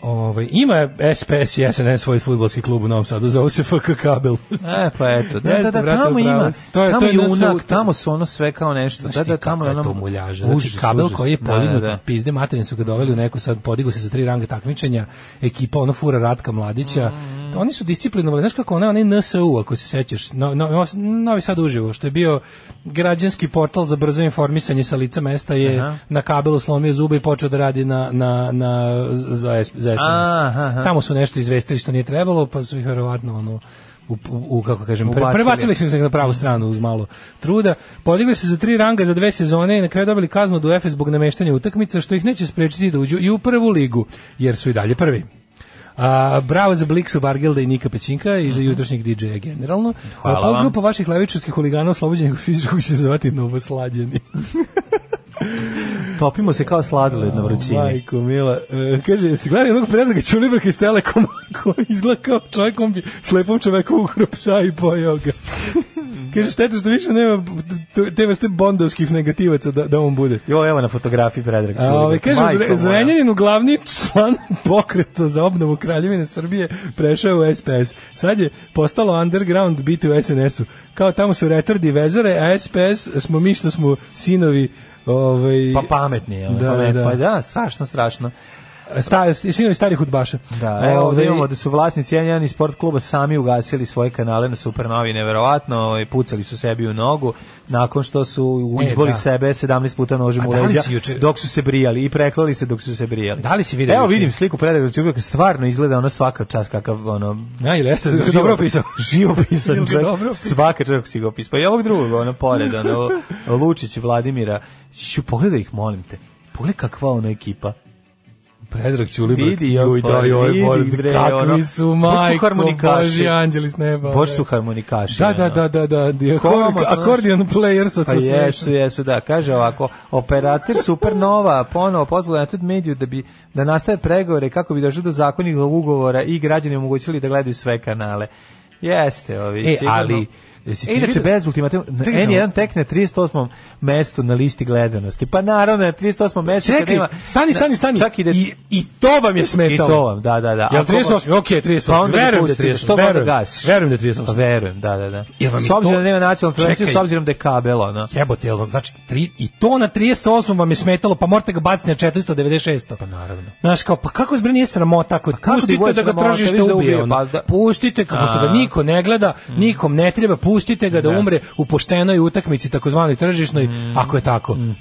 F: ovaj, ima SPS i SNS svoj futbolski klub u Novom Sadu, zove se FK Kabel.
E: E, pa eto, da, da,
F: Jeste,
E: da,
F: brate,
E: tamo
F: upravo
E: ima,
F: si.
E: to je, tamo je
F: nas-
E: junak, tamo su ono sve kao nešto, da,
F: Znaš ti
E: da, tamo je
F: kakva
E: ono...
F: to muljaža. Znači,
E: Užas,
F: kabel
E: užas.
F: koji je
E: Da, da,
F: podignut
E: da.
F: od pizde materine su ga doveli u neku sad, podigo se za tri ranga takmičenja, ekipa ono fura Ratka Mladića, To oni su disciplinovali, znaš kako onaj, onaj NSU, ako se sećaš, no, no, no- Novi Sad uživo, što je bio građanski portal za brzo informisanje sa lica mesta je
E: Aha.
F: na kabelu slomio zube i počeo da radi na, na, na, za, S- za SNS.
E: Aha, aha.
F: Tamo su nešto izvestili što nije trebalo, pa su ih verovatno ono, u, u- u, kako kažem, pre,
E: Ubacili. Mhm.
F: prebacili ih su na pravu stranu uz malo truda. Podigli se za tri ranga za dve sezone i na kraju dobili kaznu od UEFA zbog nameštanja utakmica, što ih neće sprečiti da uđu i u prvu ligu, jer su i dalje prvi. A, bravo za Bliksu Bargelda i Nika Pećinka i za jutrošnjeg DJ-a generalno.
E: Mhm. Hvala
F: A, pol
E: vam.
F: grupa vaših levičarskih huligana oslobođenih fizičkog će se zvati Novoslađeni.
E: Topimo se kao sladoled na vrućini.
J: Majko Mila, e, kaže, jeste gledali onog predraga Čulibrka iz Telekom [LAUGHS] koji izgleda kao čovjek kombi s lepom čoveku uhro psa i pojeo
E: [LAUGHS]
J: ga. kaže, šteta što više nema t- te vrste bondovskih negativaca da, da on bude.
E: Jo, evo na fotografiji Predrag
J: A,
E: Čulibrka.
J: ovaj, kaže,
E: Majko
J: Zre-
E: moja.
J: Zrenjanin, glavni član [LAUGHS] pokreta za obnovu Kraljevine Srbije, prešao je u SPS. Sad je postalo underground biti u SNS-u. Kao tamo su retardi vezare, a SPS smo mi što smo sinovi ovaj,
E: Pa pametni, je,
J: Da,
E: da, pamet,
J: da.
E: da. pa da, strašno, strašno.
J: sta, sinovi starih udbaša.
E: Da,
J: E,
E: evo ovde
J: ovaj,
E: imamo da su vlasnici N1 i sport kluba sami ugasili svoje kanale na Supernovi, neverovatno, ovaj, pucali su sebi u nogu, nakon što su
F: E,
E: izboli
F: da.
E: sebe 17 puta nožem
F: A
E: u
F: da li
E: leđa,
F: si juče-
E: dok su se brijali i preklali se dok su se brijali.
F: Da li si video
E: Evo
F: juče?
E: vidim sliku Predraga Čubraka, stvarno izgleda ono svaka čas kakav ono...
F: [LAUGHS]
J: da-
F: Ja, ili jeste,
E: život-
F: dobro [LAUGHS] opisao.
E: Živopisan
J: Ili ga
E: čovjek,
J: dobro opisao?
E: svaka čovjek si ga opisao. Pa i ovog drugog, ono pored,
F: [LAUGHS]
E: ono Lučić, Vladimira. Ću, pogledaj ih, molim te. Pogledaj kakva ona ekipa.
J: Predrag Ćulibrk,
E: Vidi,
J: joj,
E: pa,
J: da, joj,
E: vidi,
J: bord,
E: bre,
J: kakvi
E: ono,
J: su,
E: baš su
J: majko,
E: harmonikaši.
J: boži anđeli s neba.
E: Boš su
J: bre.
E: harmonikaši.
J: Da,
E: ono.
J: da, da, da, da, di-
E: Komo,
J: akord-
E: znaš?
J: akordion player sa
E: Pa
J: sa sve-
E: jesu, jesu, da. Kaže ovako, operator Supernova ponovo pozvala na tut mediju da bi da nastave pregovore kako bi došlo do zakonnih ugovora i građani omogućili da gledaju sve kanale. Jeste, ovi.
F: E, ali, jesi
E: E,
F: ti
E: inače,
F: vidio-
E: bez ultimativnog,
F: Čekaj
E: N1 tek na 38. mestu na listi gledanosti. Pa naravno, na 38. mestu kad
J: Čekaj,
E: ima-
J: stani, stani, stani.
E: Čak i da...
J: I, i to
F: Pa
J: vam je
E: i
J: smetalo.
E: to vam, da, da, da.
J: Jel
E: Ako-
J: 38? Ok, 38.
E: Pa onda
J: Verujem da je
E: pustite,
J: 38.
E: Što verujem,
J: Verujem.
E: gasiš?
J: Verujem da je 38.
E: Pa verujem, da, da, da.
F: Jel vam je
E: S obzirom
F: to-
E: da nema nacionalnu prevenciju, s
F: Čekaj.
E: obzirom da je kabel, ono.
F: Jebote, jel vam, znači, tri, i to na 38 vam je smetalo, pa morate ga baciti na 496. Pa
E: naravno.
F: Znaš, kao, pa kako zbre nije sramota, ako
E: kako ti
F: pustite
E: bude
F: da ga
E: sramota,
F: tržište
E: vidiš da
F: ubije,
E: ubije,
F: ono.
E: pa da-
F: pustite, kao, pošto ga
E: A.
F: niko ne gleda, nikom ne treba, pustite ga Mm. da, umre u poštenoj utakmici, takozvanoj tržišnoj, ako je tako. Mm.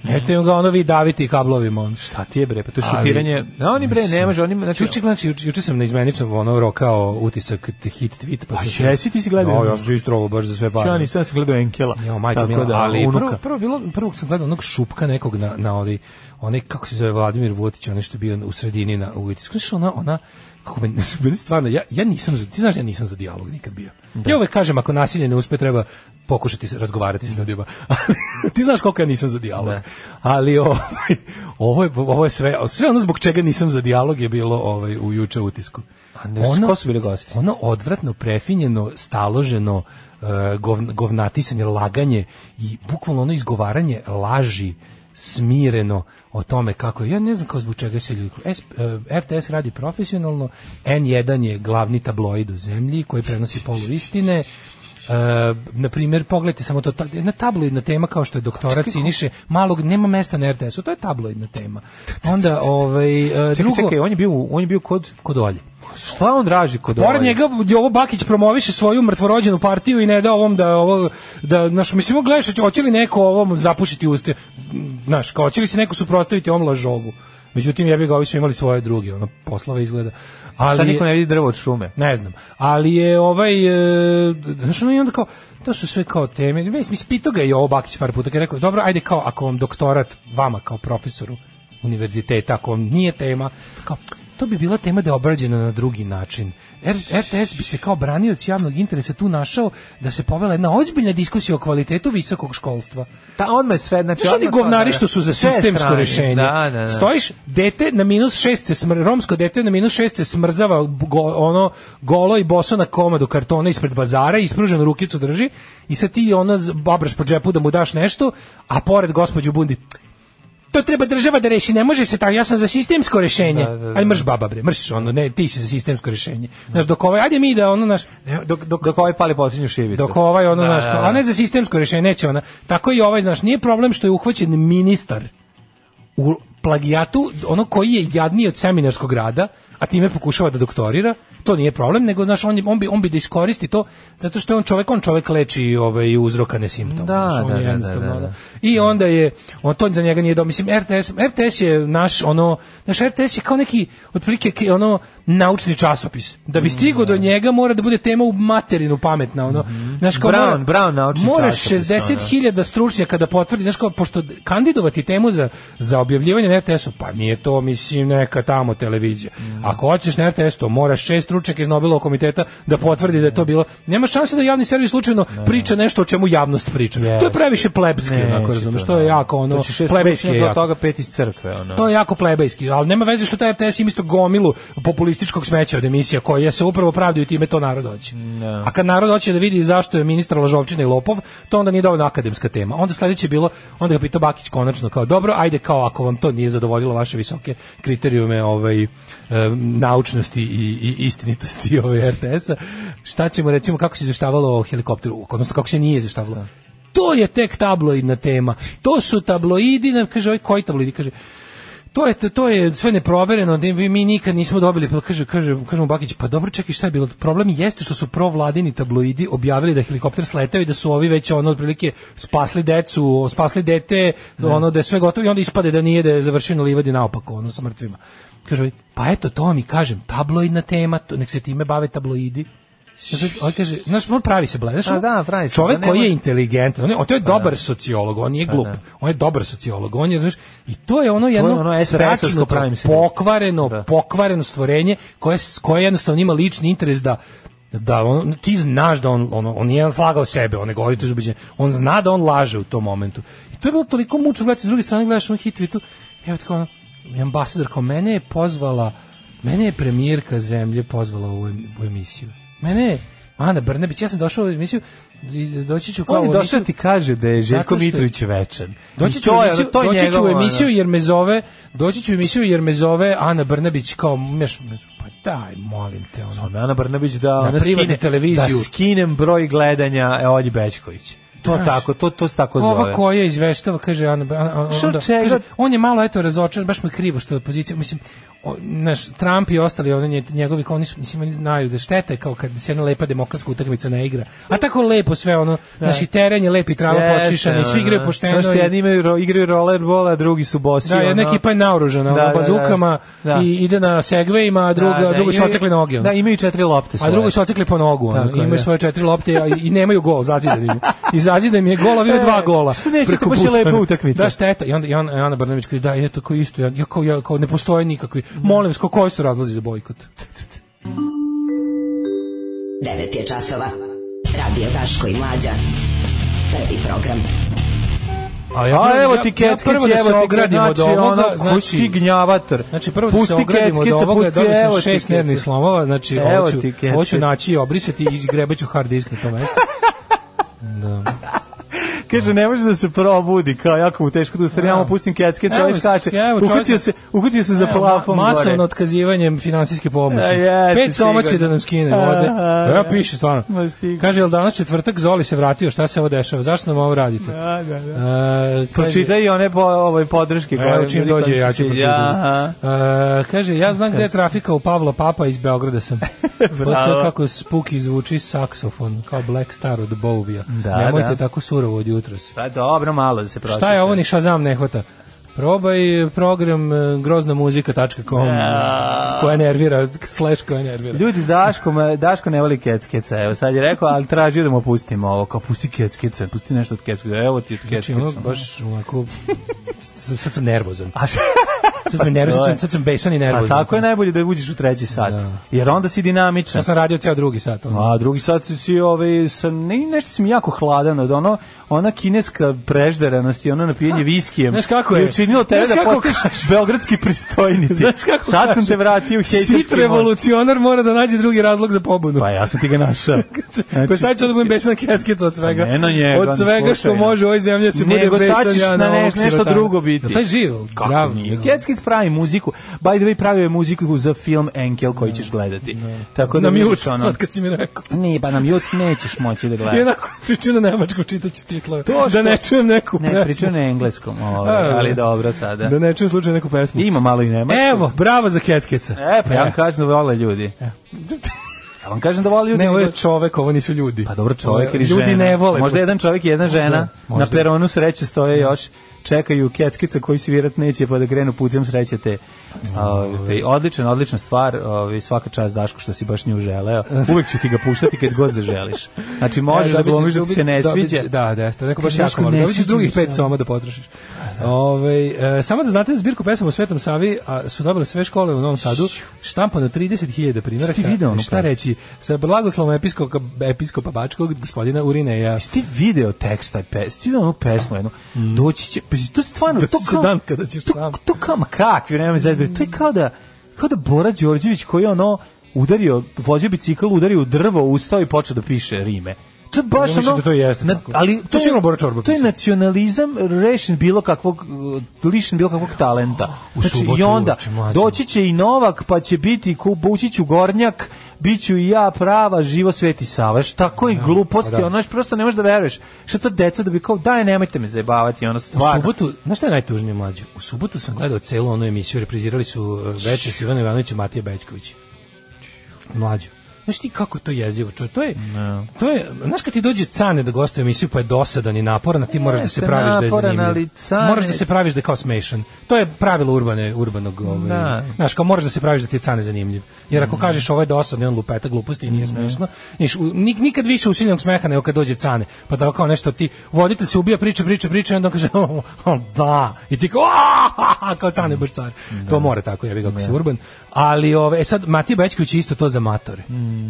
F: ga ono vi daviti kablovima, ono.
E: Šta ti je bre, pa to je
F: Ali-
E: šutiranje. Na oni bre ne može, oni znači
F: Juče, znači, juče, juče sam na izmeničnom ono rokao utisak t- hit tweet, pa sam se...
E: jesi, ti si gledao?
F: No, ja sam se istrovo baš za sve pare.
E: ja nisam se gledao Enkela.
F: Jo, majko
E: tako
F: mila,
E: da,
F: ali
E: unuka.
F: prvo, prvo bilo, prvo sam gledao onog šupka nekog na, na onaj, onaj, kako se zove Vladimir Votić, onaj što je bio u sredini na u utisku. Znaš, ona, ona, kako [LAUGHS] meni, meni stvarno, ja, ja nisam, za, ti znaš, da ja nisam za dijalog nikad bio.
E: Da.
F: Ja uvek kažem, ako nasilje ne uspe, treba pokušati se razgovarati s ljudima. [LAUGHS] Ali, ti znaš koliko ja nisam za dijalog.
E: Da.
F: Ali ovaj, ovo, je, ovo je sve, sve ono zbog čega nisam za dijalog je bilo ovaj, u juče utisku.
E: A ne, ko su bili gosti?
F: Ono odvratno, prefinjeno, staloženo, e, govn- govnatisanje, laganje i bukvalno ono izgovaranje laži smireno o tome kako je. ja ne znam kao zbog čega se ljudi S- e, RTS radi profesionalno N1 je glavni tabloid u zemlji koji prenosi poluistine E, na primjer, pogledajte samo to, ta, jedna tabloidna tema kao što je doktorat Siniše, malog, nema mesta na RTS-u, to je tabloidna tema. Onda, ovaj, e,
E: Čekaj,
F: drugo,
E: čekaj, on je bio, u- on je bio kod
F: kod Olje.
E: Šta on draži kod
F: Pored
E: ovaj?
F: njega Jovo Bakić promoviše svoju mrtvorođenu partiju i ne da ovom da ovo da naš mislimo gledaš hoće- hoće li neko ovom zapušiti uste znaš kao hoće li se neko suprotstaviti ovom lažovu. Međutim ja bih ga ovi su imali svoje druge ono poslove izgleda.
E: Šta
F: Ali
E: niko ne vidi drvo od šume?
F: ne znam, ali je ovaj e, znaš ono i onda kao to su sve kao teme. Mislim ispitao ga je Jovo Bakić par puta kad je rekao dobro ajde kao ako vam doktorat vama kao profesoru univerziteta ako vam nije tema kao to bi bila tema da je obrađena na drugi način. R RTS bi se kao branioc javnog interesa tu našao da se povela jedna ozbiljna diskusija o kvalitetu visokog školstva.
E: Ta on me sve, znači
F: Znaš oni
E: odmah to-
F: govnari što su za
E: Sve
F: sistemsko
E: strane.
F: rešenje.
E: Da, da, da.
F: Stojiš, dete na minus šest se smr, romsko dete na minus šest se smrzava go- ono golo i boso na komadu kartona ispred bazara i ispruženu rukicu drži i sad ti ono z- babraš po džepu da mu daš nešto, a pored gospođu Bundi to treba država da reši, ne može se tako, ja sam za sistemsko rešenje.
E: Da, da, da.
F: Aj mrš baba bre, mrš ono, ne, ti si za sistemsko rešenje. Znaš, dok ovaj, ajde mi da ono, naš, dok, dok,
E: Dok ovaj pali posljednju šibicu.
F: dok ovaj ono
E: Da,
F: znaš,
E: da,
F: kao,
E: da.
F: a ne za sistemsko rešenje neće ona. Tako i ovaj znaš, nije problem što je uhvaćen ministar u plagijatu, ono koji je jadniji od seminarskog rada, a time pokušava da doktorira, to nije problem, nego znaš on, je- on bi on bi da iskoristi to zato što je on čovjek, on čovjek leči ovaj uzrokane simptome.
E: Da,
F: znaš, on
E: da,
F: je
E: da, da,
F: jednostavno,
E: da,
F: ono.
E: da.
F: I onda je on to za njega nije dobro, mislim RTS, RTS je naš ono, naš RTS je kao neki otprilike ke- ono naučni časopis. Da
E: Mm,
F: bi stigao do njega mora da bude tema u materinu pametna, ono. Znaš, kao
E: Mhm. Brown,
F: mora-
E: Brown naučni
F: Moraš
E: časopis,
F: 60.000 stručnjaka da potvrdi, znaš kao, pošto kandidovati temu za, za objavljivanje na RTS-u, pa nije to, mislim, neka tamo televizija. Ako hoćeš na RTS to moraš šest stručnjaka iz Nobelovog komiteta da potvrdi da je to bilo. Nema šanse da javni servis slučajno priča nešto o čemu javnost priča. To je previše plebski, onako razumeš, to je jako ono
E: da. Znači, šest
F: plebejski je
E: plebejski od
F: jako.
E: toga pet iz crkve, ono.
F: To je jako plebejski, ali nema veze što taj RTS ima isto gomilu populističkog smeća od emisija koje se upravo pravdaju time to narod hoće. A kad narod hoće da vidi zašto je ministar Lažovčina i Lopov, to onda nije dovoljno akademska tema. Onda sledeće je bilo, onda ga pitao Bakić konačno kao dobro, ajde kao ako vam to nije zadovoljilo vaše visoke kriterijume ovaj, e, naučnosti i, i istinitosti ovaj RTS-a, šta ćemo recimo kako se izveštavalo o helikopteru, odnosno kako se nije izveštavalo. To je tek tabloidna tema. To su tabloidi, nam kaže, ovaj, koji tabloidi? Kaže, to je to je sve neprovereno, ne- mi nikad nismo dobili, pa kaže kaže kažemo Bakić, pa dobro čekaj šta je bilo? Problem jeste što su provladini tabloidi objavili da je helikopter sletao i da su ovi već ono otprilike spasli decu, o, spasli dete, ono da je sve gotovo i onda ispade da nije da je završeno livadi naopako, ono sa mrtvima. Kaže, ovaj, pa eto to mi kažem, tabloidna tema, to, nek se time bave tabloidi. Kaže, on kaže, znaš, on pravi se bled, znaš,
E: A
F: ono,
E: da, pravi se, Pa
F: čovek
E: da ne
F: koji je
E: može-
F: inteligentan, on je, o, to je
E: da.
F: dobar sociolog, on nije
E: Pa
F: glup, on je dobar sociolog, on je, znaš, i to je ono jedno
E: ono SRS-ovsko
F: sračno,
E: pravim se bled.
F: pokvareno,
E: Da.
F: pokvareno stvorenje koje, s- koje jednostavno ima lični interes da da on, ti znaš da on, on, on nije slagao sebe, on ne govori to iz ubeđenja. On zna da on laže u tom momentu. I to je bilo toliko mučno gledati, s druge strane gledaš on hit tweetu, evo tako ono, ambasador kao mene je pozvala, mene je premijerka zemlje pozvala u, em- u emisiju. Mene je Ana Brnebić, ja sam došao u emisiju, i doći ću kao
E: On
F: u
E: je
F: emisiju-
E: došao ti kaže da je Željko
F: Zato što-
E: Mitrović večan.
F: Doći
E: I
F: ću,
E: to
F: u
E: je-
F: emisiju,
E: to je
F: doći ću u
E: njegovo, ono.
F: emisiju jer me zove, doći ću u emisiju jer me zove Ana Brnabić kao, meš, meš- pa daj, molim te, ono.
E: Ana Brnabić da ona
F: privatnu
E: skine-
F: televiziju.
E: Da skinem broj gledanja e, Olji Bećković. To
F: Znaš,
E: tako, to to se tako
F: Ova
E: zove.
F: koja izveštava, kaže Ana, Br- a- a-
E: Šta
F: onda,
E: čega?
F: kaže, on je malo, eto, razočaran, baš mu je krivo što je opozicija, mislim, o, naš, Trump i ostali oni, nje- njegovi, kao, oni su, mislim, oni znaju da šteta je kao kad se jedna lepa demokratska utakmica ne igra. A tako lepo sve, ono, naši teren je lep i trava
E: Da. Jeste,
F: počišana i svi
E: ono,
F: igraju pošteno.
E: Samo što
F: i-
E: jedni imaju ro- igraju rollerball, a drugi su bosi.
F: Da, jedna
E: ono.
F: ekipa je naoružana,
E: Da,
F: ono,
E: da, da.
F: bazukama
E: Da.
F: i ide na segvejima, a druga,
E: Da, da,
F: drugo su
E: imaju-
F: otekli noge. ono.
E: Da, imaju četiri lopte
F: A
E: svoje.
F: drugo su otekli po nogu, ono.
E: Tako je,
F: imaju
E: da.
F: svoje četiri lopte a i, i nemaju gol, zazidan im. je. I zazidan im je gol, a imaju dva
E: E,
F: gola.
E: što nećete,
F: preko
E: baš je
F: puta.
E: lepa utakmica.
F: Da, šteta. I onda i Ana, Ana Brnabić kaže, da, je to kao isto, ja, ja kao, ja, kao ne postoje nikakvi. Molim, sko, koji su razlozi za bojkot?
H: 9 je časova. Radio Daško i Mlađa. Prvi program.
F: A,
E: A Pa, evo ti
F: ja, ja
E: keckice,
F: prvo da se
E: evo ti
F: ogradim od ovoga,
E: ono, znači, ti gnjavator.
F: Znači prvo da se ogradimo od
E: keckice,
F: ovoga,
E: puci,
F: dobio
E: evo
F: sam
E: ti
F: šest
E: keckice.
F: nervnih slomova, znači
E: Evo
F: hoću,
E: ti keckice.
F: hoću naći i obrisati i izgrebaću hard disk na to mesto.
E: Kaže, ne može da se probudi, kao jako mu teško da ustane, ja mu pustim keckice,
F: Evo,
E: ovaj skače.
F: evo, čovjek-
E: Uhutio se, uhutio se za
F: Evo,
E: plafon
F: E, ma-
E: gore.
F: Masovno otkazivanjem finansijske pomoći.
E: E, jeste,
F: Pet soma će
E: sigurno.
F: da nam skine
E: Aha,
F: vode.
E: da.
F: Evo piše stvarno.
E: Ma, sigurno.
F: Kaže, jel danas četvrtak Zoli se vratio, šta se ovo dešava? Zašto nam ovo radite?
E: Da, da, da.
F: E, kaže-
E: Pročitaj i one po, ovaj podrške.
F: Evo čim dođe, ja ću pročitati.
E: Ja,
F: E, kaže, ja znam gde je trafika u Pavla Papa, iz Beograda
E: [LAUGHS]
F: sam. Posle kako spuki zvuči saksofon, kao Black Star od Bovija.
E: Da,
F: Nemojte
E: da.
F: tako surovo od jutros.
E: pa dobro, malo da se pročita.
F: Šta je ovo, ni Shazam ne hvata. Probaj program e, groznamuzika.com
E: Ja.
F: eh, koja nervira, slash koja nervira.
E: Ljudi, Daško, me- Daško ne voli keckice, evo sad je rekao, ali tražio da mu pustimo ovo, kao pusti keckice, pusti nešto od keckice, evo ti od
F: Znači,
E: keckice.
F: ono, baš onako, sad sad sam nervozan.
E: A šta?
F: Sad sam, nervozan, sad sam, sad sam besan i nervozan.
E: A Pa tako je najbolje da uđeš u treći sat,
F: Da.
E: jer onda si dinamičan.
F: Ja sam radio ceo drugi sat. ono.
E: A drugi sat si ovaj sa ne, nešto sam jako hladan od ono ona kineska prežderenost i ono napijenje viskijem.
F: Znaš kako je?
E: I učinilo tebe
F: Znaš
E: da
F: kako
E: postaneš beogradski
F: [LAUGHS]
E: pristojnik.
F: Znaš kako
E: Sad sam
F: kaže?
E: te vratio u
F: Sit
E: hejterski mod.
F: revolucionar mora da nađe drugi razlog za pobunu.
E: Pa ja sam ti ga
F: [LAUGHS]
E: našao.
F: Pa šta ću da budem besan keckica od svega?
E: pa Ne na njega,
F: od svega
E: ni
F: što
E: slučajno.
F: može u ovoj zemlji da se bude
E: Nego
F: besan.
E: sad ćeš
F: ja
E: na
F: ovog
E: neš- nešto
F: sirotana.
E: drugo biti.
F: Jel Taj živ,
E: Kako
F: zdrav.
E: nije? Keckic pravi muziku. By the way, pravio je muziku za film Enkel koji ćeš gledati. Tako da
F: Na
E: vidiš
F: mute,
E: ono-
F: sad kad si mi rekao.
E: Ni, pa na mute nećeš moći da
F: I
E: gledaš.
J: [LAUGHS]
F: onako pričam na nemačkom čitaću titlove.
E: To što-
F: Da ne čujem neku
E: Ne,
F: pesmu.
E: pričaju na engleskom, ovaj,
F: A,
E: ali dobro sada.
F: Da ne čujem slučajno neku pesmu.
E: Ima malo i nemački.
F: Evo, bravo za keckeca.
E: E, pa ja vam kažem da vole ljudi. Ja vam kažem da vole ljudi.
F: Ne, ovo je
E: nego-
F: čovek, ovo nisu ljudi.
E: Pa dobro, čovjek
F: Ovo je-
E: ili žena.
F: Ljudi ne vole.
E: Možda jedan čovjek i jedna žena.
F: možda. Da.
E: Na peronu sreće stoje još čekaju keckica koji svirat neće pa da krenu putem sreće te.
F: Mm.
E: Ovaj, te odličan, odlična stvar, ovaj, svaka čast Daško što si baš nju želeo. Uvek ću ti ga puštati kad god zaželiš.
F: [LAUGHS]
E: Znači možeš da glumiš da ti se ne sviđa.
J: Da, da, jeste, rekao baš
E: Daško,
J: jako
E: ne
J: malo. Dobit ćeš
E: sviđa mi
J: drugih
E: se,
J: pet
E: da.
J: soma da potrošiš. Ove, e, samo da znate da zbirku pesama u Svetom Savi a, su dobile sve škole u Novom Sadu, štampano 30.000 primjeraka.
E: Jesi ti video ono
J: Šta
E: pravo?
J: reći, sa blagoslovom episkopa, episkopa Bačkog, gospodina Urineja.
E: Jesi ti video tekst taj pes? Jesi Ti video onu pesmu jednu? Doći će, pa to je
J: Mm.
E: stvarno...
J: Doći
E: to
J: će
E: kao-
J: dan kada ćeš
E: to,
J: sam.
E: To kao, ma kakvi, nema mi zezbri. To je kao da, kao da Bora Đorđević koji je ono udario, vozio bicikl, udario u drvo, ustao i počeo da piše rime. To je baš
J: Ja mislim
E: ono...
J: da to jeste tako.
E: ali
J: To sigurno Bora Čorba
E: To je
J: pisao.
E: nacionalizam rešen bilo kakvog, uh, lišen bilo kakvog talenta.
F: U
E: znači,
F: subotu
E: I onda,
F: uveče, mlađe.
E: doći će i Novak, pa će biti Kubućić u Gornjak, bit ću i ja prava, živo Sveti Sava. Znaš, tako
F: Da,
E: i gluposti,
F: pa
E: ono, znaš, prosto ne možeš da veruješ. Šta to deca da bi kao, daj, nemojte me zajebavati, ono,
F: U
E: stvarno.
F: subotu, znaš šta je najtužnije mlađe? U subotu sam gledao celu onu emisiju, reprizirali su e, večer s Ivanom Ivanovićem Matija Bečković. Mlađo. Znaš ti kako je to jezivo, čo? To je, to je, znaš kad ti dođe cane da gostuje emisiju pa je dosadan i naporan, a ti moraš da se
E: Jeste
F: praviš da je
E: naporan,
F: zanimljiv.
E: ali Cane-
F: Moraš da se praviš da je kao smešan. To je pravilo urbane, urbanog, ovaj,
E: Da.
F: Znaš, kao moraš da se praviš da ti je cane zanimljiv. Jer ako kažeš ovo je dosadno, i on lupeta gluposti i nije smešno. Znaš, u- nik- nikad više usiljenog smeha nego kad dođe cane. Pa da kao nešto ti, voditelj se ubija, priča, priča, priča, i onda on kaže, "O, o, da, i ti kao, "Ahaha", kao cane baš car. To mora tako, ja bih kako si urban. Ali, ove, e sad, Matija Bećković je isto to za matore.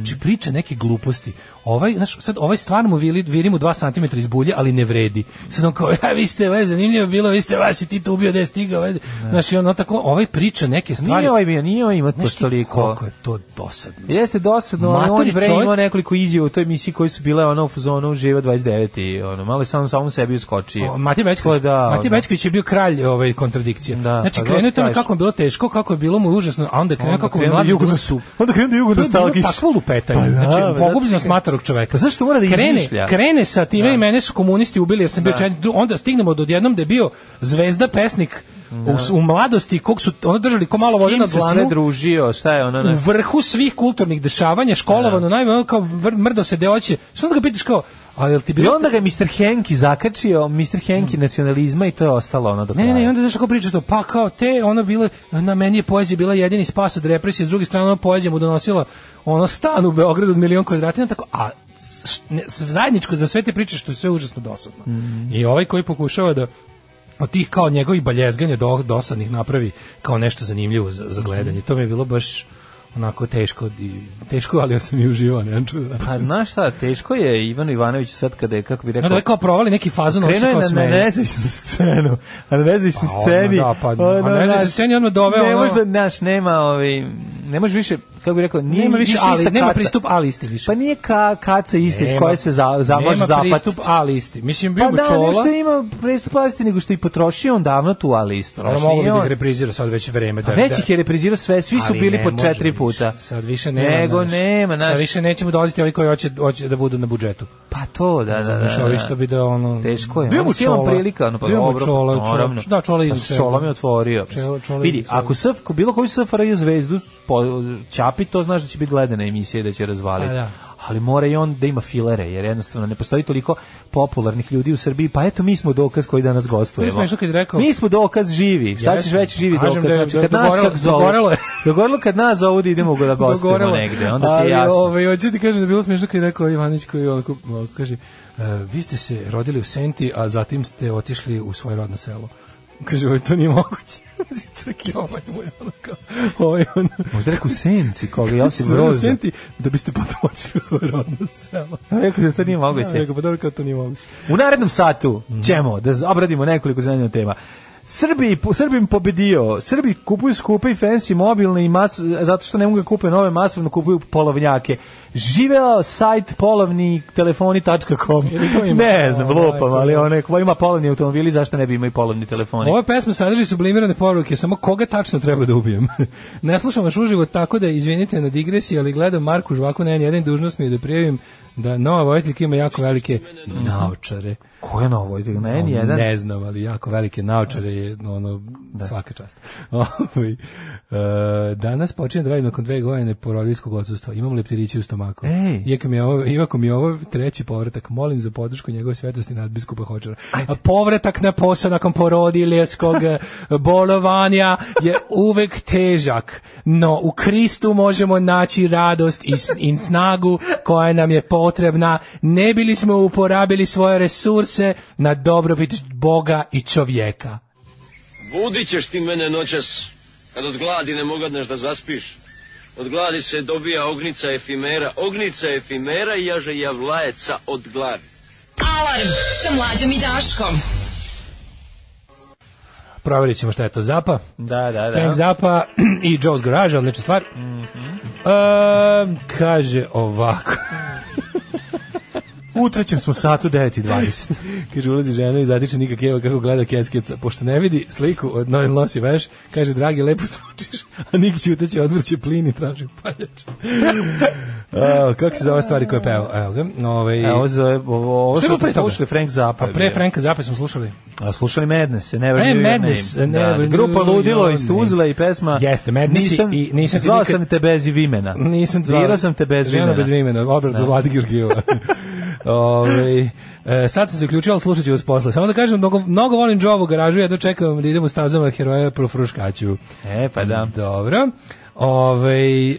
F: Či priča neke gluposti. Ovaj, znaš, sad ovaj stvarno mu vili, viri mu dva santimetra iz bulje, ali ne vredi. Sad on kao, ja, vi ste, ovo je zanimljivo bilo, vi ste vas i ti to ubio, da je stigao, ovaj. Znaš, i ono tako, ovaj priča neke stvari.
E: Nije ovaj bio, nije ovaj imao
F: Znaš ti
E: toliko.
F: koliko je to dosadno.
E: Jeste dosadno, ali
F: Matori
E: on bre
F: čovjek-
E: imao nekoliko izjava u toj emisiji koji su bile ono u fuzonu Živa 29 i ono, malo je samo samom sebi uskočio.
F: O, Matija
E: Ko
F: Bećković,
E: da,
F: Matija
E: ono.
F: Bećković je bio kralj ovaj kontradikcije.
E: Da,
F: znači
E: pa
F: krenuo je
E: zato
F: tamo
E: kažeš.
F: kako je bilo teško, kako je bilo mu užasno, a onda je krenuo
E: Onda
F: kako mu
E: krenu
F: mladi
E: da jugo
F: bilo
E: nas-
F: su.
E: onda krenu da jugo
F: To je bilo
E: nostalgiš.
F: Takvo lupetanje.
E: Pa da,
F: znači,
E: pa da,
F: pogubljenost
E: čekaj.
F: matorog čoveka.
E: Pa zašto mora da
F: krene,
E: izmišlja? Da.
F: Krene sa time i mene su komunisti ubili jer sam bio četnik. Onda stignemo do jednom da je bio zvezda pesnik u, s- u mladosti kog su ono držali ko malo
E: Da.
F: vode
E: S
F: na
E: kim se sve
F: dlanu Mm.
E: družio, šta je ono,
F: u
E: na,
F: vrhu svih kulturnih dešavanja,
E: Da.
F: školovano, najbolje ono kao vr- mrdo se deoće. Što onda ga pitaš kao, a jel ti
E: I
F: bilo
E: onda ga je Mr. Henki zakačio, Mr. Henki nacionalizma i to je ostalo ono do
F: Mm. Ne,
E: kraja.
F: ne, ne, i onda znaš kako priča to, pa kao te, ono bile, na meni je poezija bila jedini spas od represije, s druge strane ono poezija mu donosila ono stan u Beogradu od milion kvadratina, tako, a s- ne, s- zajedničko za sve te priče što je sve užasno dosadno. I ovaj koji pokušava da od tih kao njegovih baljezganja do, dosadnih napravi kao nešto zanimljivo za, za gledanje. To mi je bilo baš onako teško, i, teško ali ja sam i uživao, ne čudo.
E: Pa znaš šta, teško je Ivanu Ivanoviću sad kada je, kako bi rekao,
F: Onda je kao provali neki fazon, ono se
E: Krenuo je
F: kao
E: na, na
F: smeje.
E: nezavisnu scenu, a na nezavisnoj
F: Pa ono,
E: sceni...
F: da, pa, a na nezavisnoj
E: znaš,
F: sceni odmah doveo
E: Ne
F: ono-
E: može da, znaš, nema, ovaj, ne može više, kako bi rekao, nije
F: Nema više, ali,
E: ista
F: nema
E: kaca.
F: pristup, ali isti više.
E: Pa nije ka, kaca iste iz
F: Nema-
E: koje se za, za, može
F: Nema
E: zapatiti.
F: pristup A listi. Mislim, bio
E: Pa
F: bi
E: da,
F: čola.
E: nešto ima pristup alisti, nego što je i potrošio on davno tu alistu.
F: Ono mogu bi da ih reprizira sad već vreme. Da,
E: Već ih je reprizirao sve, svi su
F: Ali
E: bili
F: ne
E: po
F: može
E: četiri
F: više.
E: puta.
F: Sad više nema.
E: Nego
F: znaš.
E: nema, znaš.
F: Sad više nećemo dolaziti ovi koji hoće, hoće da budu na budžetu.
E: Pa to, da, da, da.
F: Znaš, ovi
E: da.
F: što bi da ono...
E: Teško je.
F: Bio
E: ono,
F: mu
E: silom
F: čola.
E: prilika, ono pa
F: Bio mu
E: dobro.
F: čola, čola.
E: naravno.
F: Da, čola iz
E: Pa s čolom je otvorio.
F: Čelo- čola
E: Vidi,
F: iz čela.
E: ako SFK, bilo koji SFRJ zvezdu po, čapi, to znaš da će biti gledana emisija i da će razvaliti.
F: Pa da.
E: Ali mora i on da ima filere, jer jednostavno ne postoji toliko popularnih ljudi u Srbiji. Pa eto, mi smo dokaz koji danas
F: Mi
E: gostujemo.
F: smo išli kad je rekao-
E: Mi smo dokaz živi. Šta ćeš
F: Jeste.
E: reći živi
F: Kažem
E: dokaz?
F: da je-
E: Znači,
F: da-
E: kad nas
F: dogorelo-
E: čak zovu.
F: dogorelo je.
E: [LAUGHS] Dogorelo kad nas zovu da idemo da gostujemo negde. Onda ti je
F: Ali,
E: jasno.
F: Ovaj, hoću ti kažem da je bilo smiješno kad je rekao Ivanić koji onako, onako kaže, e, vi ste se rodili u Senti, a zatim ste otišli u svoje rodno selo. Kaže, ovo to nije moguće. [LAUGHS] Čak i ovaj mu je ono kao, ovaj ono,
E: Možda rekao u senci, koga ja
F: [LAUGHS] Sve
E: sam
F: u
E: roze.
F: Senti, da biste potom otišli u svoje rodno selo.
E: Rekao da to nije
F: Ja
E: moguće.
F: rekao, pa dobro kao to nije moguće.
E: U narednom satu ćemo da z- obradimo nekoliko zanimljivih tema. Srbi, po- Srbim pobedio. Srbi kupuju skupe i fancy mobilne i mas, zato što ne mogu da kupe nove masovno kupuju polovnjake. Živeo sajt polovni telefoni.com.
F: Ili ko ima?
E: Ne znam,
F: O,
E: lupam,
F: majko.
E: ali onaj ko ima polovni automobili, zašto ne bi imao i polovni telefoni?
F: Ova pesma sadrži sublimirane poruke, samo koga tačno treba da ubijem. [LAUGHS] ne slušam vaš uživo tako da izvinite na digresiji, ali gledam Marku Žvaku na jedan dužnost mi je da prijavim da nova vojiteljka ima jako velike naočare.
E: Ko je na ovoj? Na N1?
F: Ne znam, ali jako velike naočare je ono, svaka čast. [LAUGHS] Ovaj, e, danas počinje da radim nakon dve godine porodiljskog odsustva. Imam leptiriće u stomaku.
E: Ej.
F: Iako mi je ovo, iako mi je ovo treći povratak, molim za podršku njegove svetosti nadbiskupa Hočara. A povratak na posao nakon porodiljskog bolovanja je uvek težak, no u Kristu možemo naći radost i, s- i snagu koja nam je potrebna. Ne bili smo uporabili svoje resurse na dobrobit Boga i čovjeka.
K: Budit ćeš ti mene noćas, kad od gladi ne mogadneš da zaspiš. Od gladi se dobija ognica efimera, ognica efimera i jaže javlajeca od gladi.
D: Alarm sa mlađom i Daškom.
F: Proverit ćemo šta je to Zapa.
E: Da, da, Mhm. da.
F: Frank Zappa [CLEARS THROAT] i Joe's Garage, odlična stvar. Ehm, kaže ovako.
E: U trećem smo satu 9.20.
F: [LAUGHS] kaže, ulazi žena i zatiče nikak evo kako gleda keckeca. Pošto ne vidi sliku, od no, nosi veš, kaže, dragi, lepo zvučiš, a Nik će uteći, odvrće plin i traži
E: [LAUGHS]
F: paljač. A, kako se zove stvari koje peva? Evo ga. Ove,
E: E, ovo zove, ovo, ovo
F: Šta je bilo
E: što
F: pre toga?
E: slušali Frank Zappa.
F: Pa
E: je
F: pre
E: bio.
F: Franka Zappa smo slušali.
E: A slušali Madness, Never
F: E,
E: Knew Your
F: Madness,
E: Name.
F: Never
E: da,
F: Knew
E: grupa
F: Your
E: Ludilo iz
F: Name.
E: Tuzle i pesma
F: Jeste, Madness i-
E: nisam,
F: i nisam ti
E: zvao
F: nikad-
E: sam te bez imena.
F: Nisam zvao.
E: Zvirao sam te bez
F: Žena
E: imena. Da.
F: bez imena, obrat za Vlade
E: [LAUGHS]
F: Georgijeva. Ove, e, sad sam se uključio, ali slušat ću vas posle. Samo da kažem, mnogo, mnogo volim Jovu garažu, ja dočekam da idem u stazama heroja pro fruškaću.
E: E, pa da.
F: Dobro. Ove, e,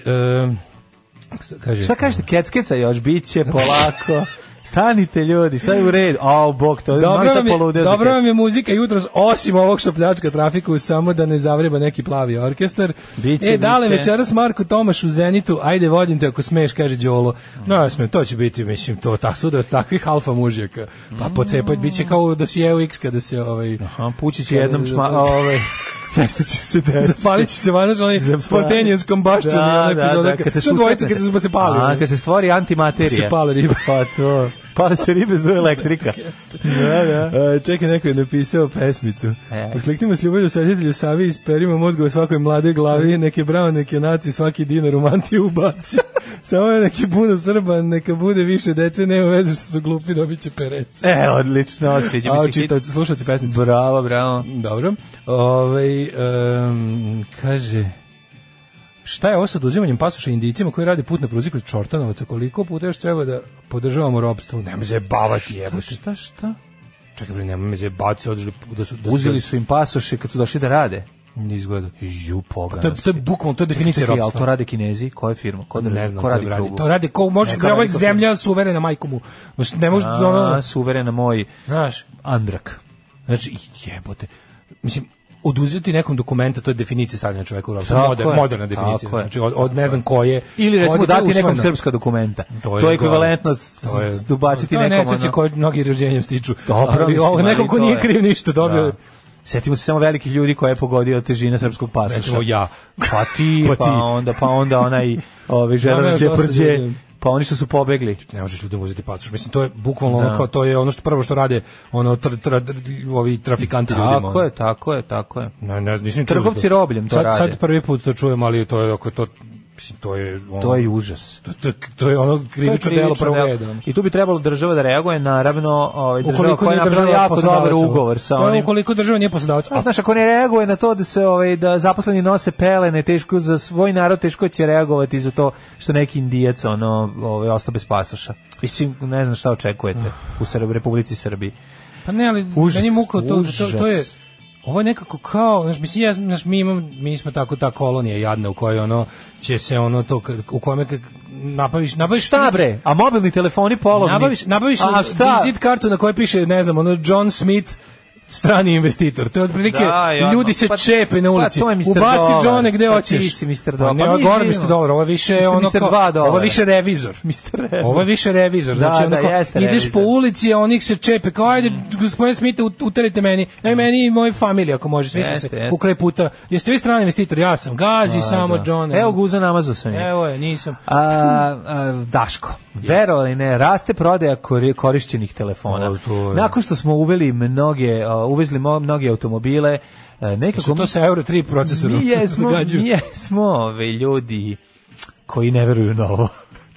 F: s- kaže,
E: Šta kažete, keckeca još, bit će
F: [LAUGHS]
E: polako. Stanite ljudi, šta je u redu? O, bog, to je
F: Dobro
E: malo
F: vam,
E: sam
F: je,
E: poludeo za
F: dobro
E: kecke.
F: vam je muzika jutros, osim ovog što pljačka trafiku, samo da ne zavreba neki plavi orkestar.
E: Biće,
F: e, dale
E: biće.
F: večeras Marko Tomaš u Zenitu, ajde vodim te ako smeš, kaže Đolo. No, ja smem, to će biti, mislim, to ta suda od takvih alfa mužjaka. Pa pocepati, bit će kao u dosijeu X kada se ovaj...
E: Mm. Aha, pući će jednom čma... [LAUGHS] Ovaj, nešto će se desiti.
F: [LAUGHS] Zapalit će se vanaš onaj
E: Zapali-
F: spontanijos combustion i
E: Da,
F: onaj
E: da,
F: epizoda
E: da,
F: kad-
E: kad se
F: što dvojica
E: susretnete.
F: kad se, pa se pali.
E: A,
F: ono.
E: kad se stvori antimaterija.
F: se pale ribe.
E: Pa to, pale se ribe zove elektrika. da, da.
F: E, čekaj, neko je napisao pesmicu.
E: E.
F: Uskliknimo s ljubavlju svetitelju Savi i sperimo mozgove svakoj mlade glavi, neke bravo, neke naci, svaki dinar u mantiju ubaci. [LAUGHS] Samo je neki puno Srba, neka bude više dece, nema veze što su glupi, dobit će perece.
E: E, odlično, sviđa
F: A,
E: mi se hit.
F: čitavci, slušalci pesnice.
E: Bravo, bravo.
F: Dobro. Ovaj em, kaže Šta je ovo sa oduzimanjem pasoša indicima koji rade put na pruzi kod Čortanovaca? Koliko puta još treba da podržavamo robstvo? Nemoj zajebavati, jebote.
E: Šta, šta?
F: Čekaj, bre, nemoj me zajebati, su održali da su... Da,
E: Uzeli su im pasoše kad su došli da rade.
F: Ne izgleda.
E: Ju, pogano.
F: To je, to je bukvalno, to je definicija
E: Čekaj, ali to
F: robstva.
E: rade kinezi? Koje firma? Ko da
F: Ne znam
E: ko
F: ko
E: radi
F: radi.
E: prugu?
F: To radi ko može,
E: Ne, ko
F: bre, ovo je
E: radi ko-
F: zemlja suverena majkomu. Ne može,
E: A,
F: ono,
E: suverena moj
F: znaš.
E: Andrak.
F: Znači, jebote. Mislim, oduzeti nekom dokumenta, to je definicija stavljanja čoveka u robstvo.
E: Tako
F: Moder,
E: je.
F: moderna definicija.
E: Tako je.
F: Znači, od, od ne znam koje.
E: Ili recimo
F: Od- to je
E: dati nekom
F: usvojeno.
E: srpska dokumenta.
F: To je
E: To je
F: glavno.
E: ekvivalentno s-
F: To je-
E: s- ubaciti
F: to je
E: nekom.
F: nesreće
E: ono-
F: koje mnogi rođenjem stiču.
E: Dobro,
F: Ali
E: mislim,
F: ovo,
E: ali
F: nekom ko
E: to
F: nije
E: je.
F: kriv ništa dobio.
E: Da. Setimo se samo velikih ljudi koje je pogodio težina srpskog pasoša.
F: Recimo ja.
E: Pa ti,
F: Pa
E: pa,
F: ti.
E: onda, pa onda onaj [LAUGHS] ovaj,
F: Znam ja
E: Žeran
F: dosta
E: Đeprđe,
F: ljudi.
E: pa oni što su pobegli.
F: ne možeš ljudima uzeti pasoš. Mislim to je bukvalno ono
E: Da.
F: kao to je ono što prvo što rade ono tra, tra, tra- ovi trafikanti ljudima.
E: Tako je, tako je, tako je.
F: Ne, ne, nisam čuo
E: Trgovci
F: za
E: robljem to
F: sad,
E: rade.
F: Sad prvi put to čujem, ali to je ako to mislim to je ono,
E: To je užas.
F: to, to, to je ono krivično delo prvog
E: delo.
F: reda. ono.
E: I tu bi trebalo država da reaguje, naravno, ovaj, država koja je
F: nije
E: napravila
F: država
E: jako
F: poslodavac,
E: dobar
F: ono.
E: ugovor sa
F: Pa,
E: onim.
F: Ukoliko država nije poslodavac,
E: A
F: a
E: znaš, ako ne reaguje na to da se ovaj da zaposleni nose pelene, teško za svoj narod teško će reagovati za to što neki indijac ono ovaj ostao bez pasoša. Mislim, ne znam šta očekujete u Srbiji, Republici Srbiji.
F: Pa ne, ali
E: Užas,
F: meni je muka od toga, to, to je
E: užas.
F: ovo je nekako kao, znaš, mislim, ja, znaš, mi, imam, mi smo tako ta kolonija jadna u kojoj ono će se ono to, k- u kome kad nabaviš, nabaviš
E: Šta bre? A mobilni telefoni polovni.
F: Nabaviš, nabaviš
E: A šta?
F: vizit kartu na kojoj piše, ne znam, ono John Smith strani investitor. To je otprilike,
E: Da, i ono,
F: ljudi se
E: pa-
F: čepe na
E: pa
F: ulici.
E: to je Mr.
F: Ubaci
E: Dolar.
F: Johne gde
E: Pa ti
F: hoćeš.
E: si Mr.
F: Pa
E: Dolar.
F: ne,
E: Pa mi
F: ovo je
E: živimo.
F: Mr. Dolar, ovo je više
E: Mr.
F: ono
E: Mr.
F: kao,
E: dva dolara.
F: ovo je više revizor.
E: Mr. Revizor.
F: Ovo je više revizor.
E: Da,
F: Znači,
E: da,
F: onako,
E: jeste
F: ideš
E: revizor.
F: po ulici, a onih se čepe, kao ajde, gospodine Smith, ut- uterite meni, e, meni i moje familije, ako može, svi smo
E: Jeste,
F: se
E: jeste. Da,
F: u kraj puta. Jeste vi strani investitor? Ja sam, gazi samo Johne.
E: Evo guza namazo sam je.
F: Evo je, nisam.
E: A, a, Daško, verovali ne, raste prodaja kori- korišćenih telefona.
F: O, to je.
E: Nakon što smo uveli mnoge, a, uvezli mo- mnoge automobile, a, nekako
F: Su to sa Euro 3 procesorom [LAUGHS]
E: mi jesmo,
F: zagađuju.
E: mi jesmo ove ljudi koji ne veruju na ovo.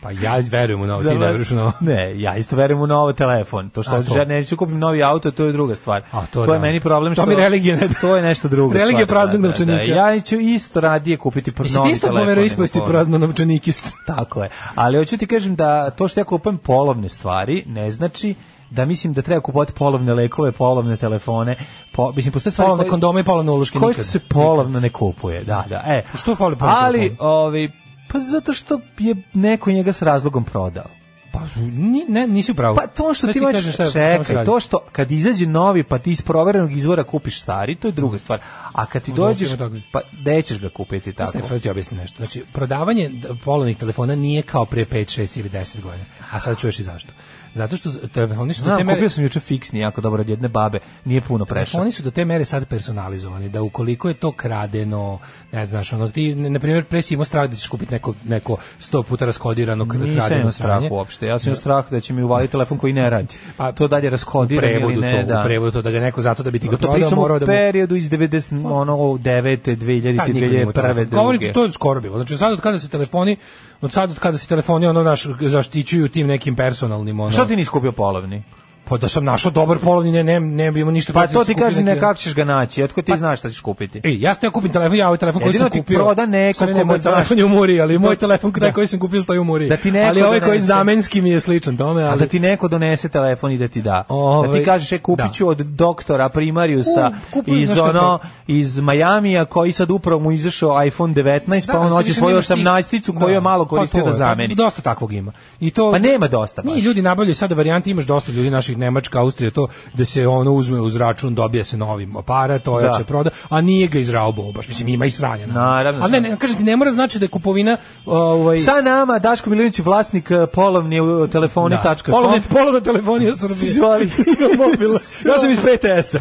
F: Pa ja verujem u novo, [LAUGHS] ti ne veruješ u novo.
E: Ne, ja isto verujem u novo telefon. To što
F: A, to.
E: ja neću kupim novi auto, to je druga stvar.
F: A, to
E: to
F: da.
E: je meni problem
F: To
E: što
F: mi religija ne da.
E: To je nešto drugo.
J: Religija praznog novčanika.
E: da, Ja ću isto radije kupiti pr-
J: Mislim,
E: novi telefon.
J: isto po
E: nego
J: veroispovesti
E: polovni.
J: prazno novčanikist.
E: Tako je. Ali hoću ti kažem da to što ja kupujem polovne stvari ne znači da mislim da treba kupovati polovne lekove, polovne telefone, po, mislim postoje stvari
J: Polovne
E: koje-
J: kondome i polovne uluške
E: koje
J: nikad.
E: se polovno ne kupuje. Da, da. E,
J: Što fali polovni
E: ali
J: telefon?
E: ovi pa zato što je neko njega s razlogom prodao.
J: Pa, ni, ne, nisi u pravu.
E: Pa to što
J: Sad
E: ti
J: ti
E: imaš,
J: kažem šta je- o čemu se
E: čekaj,
J: radi.
E: to što kad izađe novi pa ti iz proverenog izvora kupiš stari, to je druga stvar. A kad ti
J: da
F: Možda
E: dođeš,
F: ostavimo tako.
E: pa nećeš ga kupiti tako.
F: Stefan, ti objasni nešto. Znači, prodavanje d- polovnih telefona nije kao pre 5, 6 ili 10 godina. A sad čuješ i zašto. Zato što z- telefoni su do te
E: Znam,
F: mere,
E: kupio sam juče fiksni, jako dobar od jedne babe, nije puno prešao.
F: telefoni su do te mere sad personalizovani, da ukoliko je to kradeno, ne znaš, ono, ti, na primjer, pre si imao strah da ćeš kupiti neko, neko sto puta raskodirano kr-
E: Nisam
F: kradeno
E: imao strah
F: sranje.
E: uopšte, ja sam imao strah da će mi uvaliti telefon koji ne radi. A to dalje
F: U
E: raskodiram ili
F: prevodu
E: ne,
F: to,
E: da. Pa
F: u prevodu to, da ga neko zato da bi ti ga
E: to
F: prodao
E: pričamo
F: morao
E: u
F: da mu
E: periodu iz 90, ono, 9. 2000,
F: Tad niko nije imao telefon.
E: 2001,
F: Govorim
E: 2002.
F: ti, to je skoro bilo. Znači, sad od kada se telefoni, od sad od kada se telefoni, ono, naš, zaštićuju tim nekim personalnim, ono...
E: Što ti nisi kupio polovni?
F: Pa da sam našao dobar polovni, ne, ne, ne bi imao ništa
E: Pa
F: protiv da
E: to ti
F: sam kupio
E: kaži
F: neki- Pa- E,
E: ne kako ćeš ga naći, otko ti znaš šta ćeš kupiti.
F: Ej, ja sam ja kupim telefon, ja ovaj telefon koji
E: Jedino
F: sam
E: ti
F: kupio.
E: proda neko
F: Sorry, ne,
E: kome
F: moj
E: znaš.
F: telefon je u muri, ali moj
E: To-
F: telefon taj
E: da.
F: koji sam kupio stoji u muri.
E: Da ti neko
F: ali ovaj koji
E: donese.
F: zamenski mi je sličan tome,
E: A
F: ali
E: da ti neko donese telefon i da ti da. da
F: Ovaj,
E: ti kažeš, e, kupit ću od doktora Primariusa
F: U, kupujem,
E: iz,
F: znaš kako-
E: ono, iz Majamija, koji sad upravo mu izašao iPhone 19,
F: Da,
E: pa on
F: sad
E: hoće
F: više
E: svoju
F: nemaš tih-
E: 18-icu koju je malo koristio
F: to
E: da
F: je,
E: zameni.
F: Dosta takvog ima. I to
E: Pa nema dosta baš.
F: Ni ljudi nabavljaju sada varijante, imaš dosta ljudi naših Nemačka, Austrija, to da se ono uzme uz račun, dobija se novi aparat, to
E: Da.
F: će proda, a nije ga izraubao baš, mislim ima i sranja.
E: Naravno.
F: Ali ne, ne, kažem ti, ne mora znači da je kupovina ovaj
E: Sa nama Daško Milinović, vlasnik eh, polovne eh,
F: Da.
E: telefoni.com.
F: Polovna, polovna telefonija Srbije. [LAUGHS]
E: Izvali. [LAUGHS]
F: Mobil. Ja sam iz PTS-a.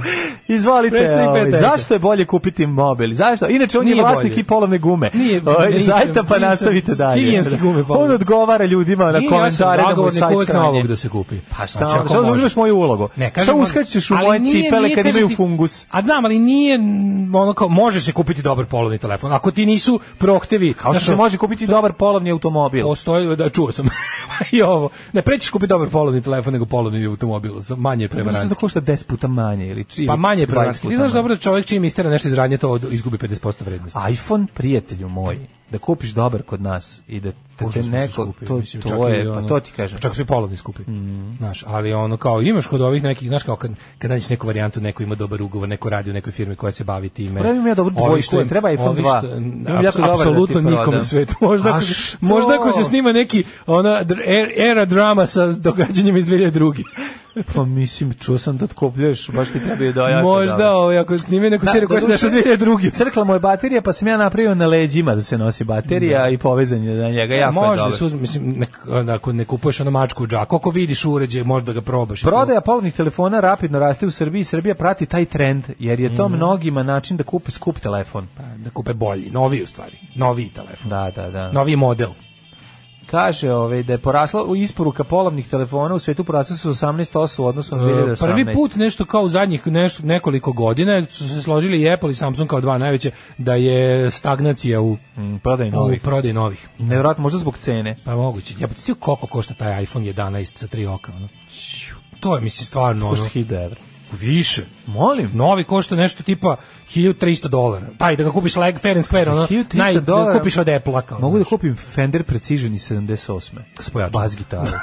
E: Izvalite.
F: Predstavnik
E: ovaj,
F: PTS-a.
E: zašto je bolje kupiti mobil? Zašto? Inače, on je
F: Nije
E: vlasnik
F: bolje.
E: i polovne gume.
F: Nije,
E: Ovaj,
F: nisam,
E: Zajta, pa
F: nisam.
E: nastavite dalje.
F: Higijenske gume polovne.
E: On odgovara ljudima na
F: Nije, ja sam
E: komentare. da mu
F: zagovornik
E: sajt
F: uvek
E: stranje.
F: novog da se kupi.
E: Pa šta,
F: Znači, ako
E: sad
F: može.
E: uzmeš moju ulogu. šta
F: kažem, može.
E: uskačeš u
F: Ali
E: moje
F: nije-
E: cipele
F: nije,
E: kad
F: kažem
E: imaju
F: ti-
E: fungus?
F: A znam, ali nije mm, ono kao, može se kupiti dobar polovni telefon. Ako ti nisu da prohtevi,
E: Kao što
F: znaš,
E: se može kupiti dobar polovni automobil.
F: Postoji, da, čuo sam [LAUGHS] i ovo. Ne, prećeš kupiti dobar polovni telefon nego polovni automobil. Manje je
E: Mislim da
F: prevaranski.
E: košta 10 puta manje ili či-
F: Pa manje je
E: 20
F: prevaranski. Ti
E: puta
F: znaš
E: manje.
F: dobro da čovjek čim istera nešto iz radnje, to od- izgubi 50% vrednosti.
E: iPhone, prijatelju moj, da kupiš dobar kod nas i da te, te
F: Užasno su
E: neko,
F: skupi,
E: to,
F: mislim, čak
E: to
F: i
E: je, pa
F: ono-
E: to ti kažem. Mhm.
F: Čak su i polovni skupi. Znaš, ali ono kao imaš kod ovih nekih, znaš kao kad kad nađeš neku varijantu, neko ima dobar ugovor, neko radi u nekoj firmi koja se bavi time.
E: Pravi mi ja dobru
F: Ovi
E: dvojku,
F: što im-
E: treba iPhone
F: ovi
E: 2.
F: što-
E: Imam
F: aps-
E: jako dobar da ti
F: Apsolutno nikom
E: prodam.
F: na svetu. Možda
E: A
F: ako, se-
E: što?
F: možda ako se snima neki ona dr- er- era drama sa događanjima iz 2002.
E: Pa mislim, čuo sam da otkopljuješ, baš ti da treba i dojati.
F: možda ovaj ako snime neku seriju koja se našla 2002.
E: Da, Crkla mu je baterija, pa sam ja napravio na leđima da se nosi baterija i povezan je na
F: Da,
E: njega. [LAUGHS] Jako je
F: Možda
E: dobro.
F: se uzme, mislim, nek- onda ako ne kupuješ ono mačku u džaku, ako vidiš uređaj, možda ga probaš. i to.
E: Prodaja polovnih telefona rapidno raste u Srbiji i Srbija prati taj trend, jer je
F: Mhm.
E: to mnogima način da kupe skup telefon.
F: da kupe bolji, noviji u stvari, noviji telefon,
E: Da, da, da.
F: noviji model. E,
E: Kaže ovaj, da je porasla u isporuka polovnih telefona u svetu porasla su 18% u odnosu na 2018.
F: E, Prvi put nešto kao u zadnjih nešto, nekoliko godina su se složili i Apple i Samsung kao dva najveće da je stagnacija u,
E: Mm, Prodaj
F: u
E: novih.
F: prodaji novih.
E: Nevjerojatno, možda zbog cene.
F: Pa moguće. Ja potisio koliko košta taj iPhone 11 sa tri oka. Ono. To je, mislim, stvarno...
E: Košta
F: Ono,
E: 1000 evra.
F: više.
E: Molim.
F: Novi košta nešto tipa 1300 dolara. Taj, da ga kupiš leg, fair and square, ono,
E: 1300
F: naj, da
E: dolara?
F: ga kupiš od Apple-a. kao,
E: Mogu da
F: znaš.
E: kupim Fender Precision iz 78.
F: S pojačalom.
E: Bas
F: [LAUGHS]
E: gitaru. [LAUGHS]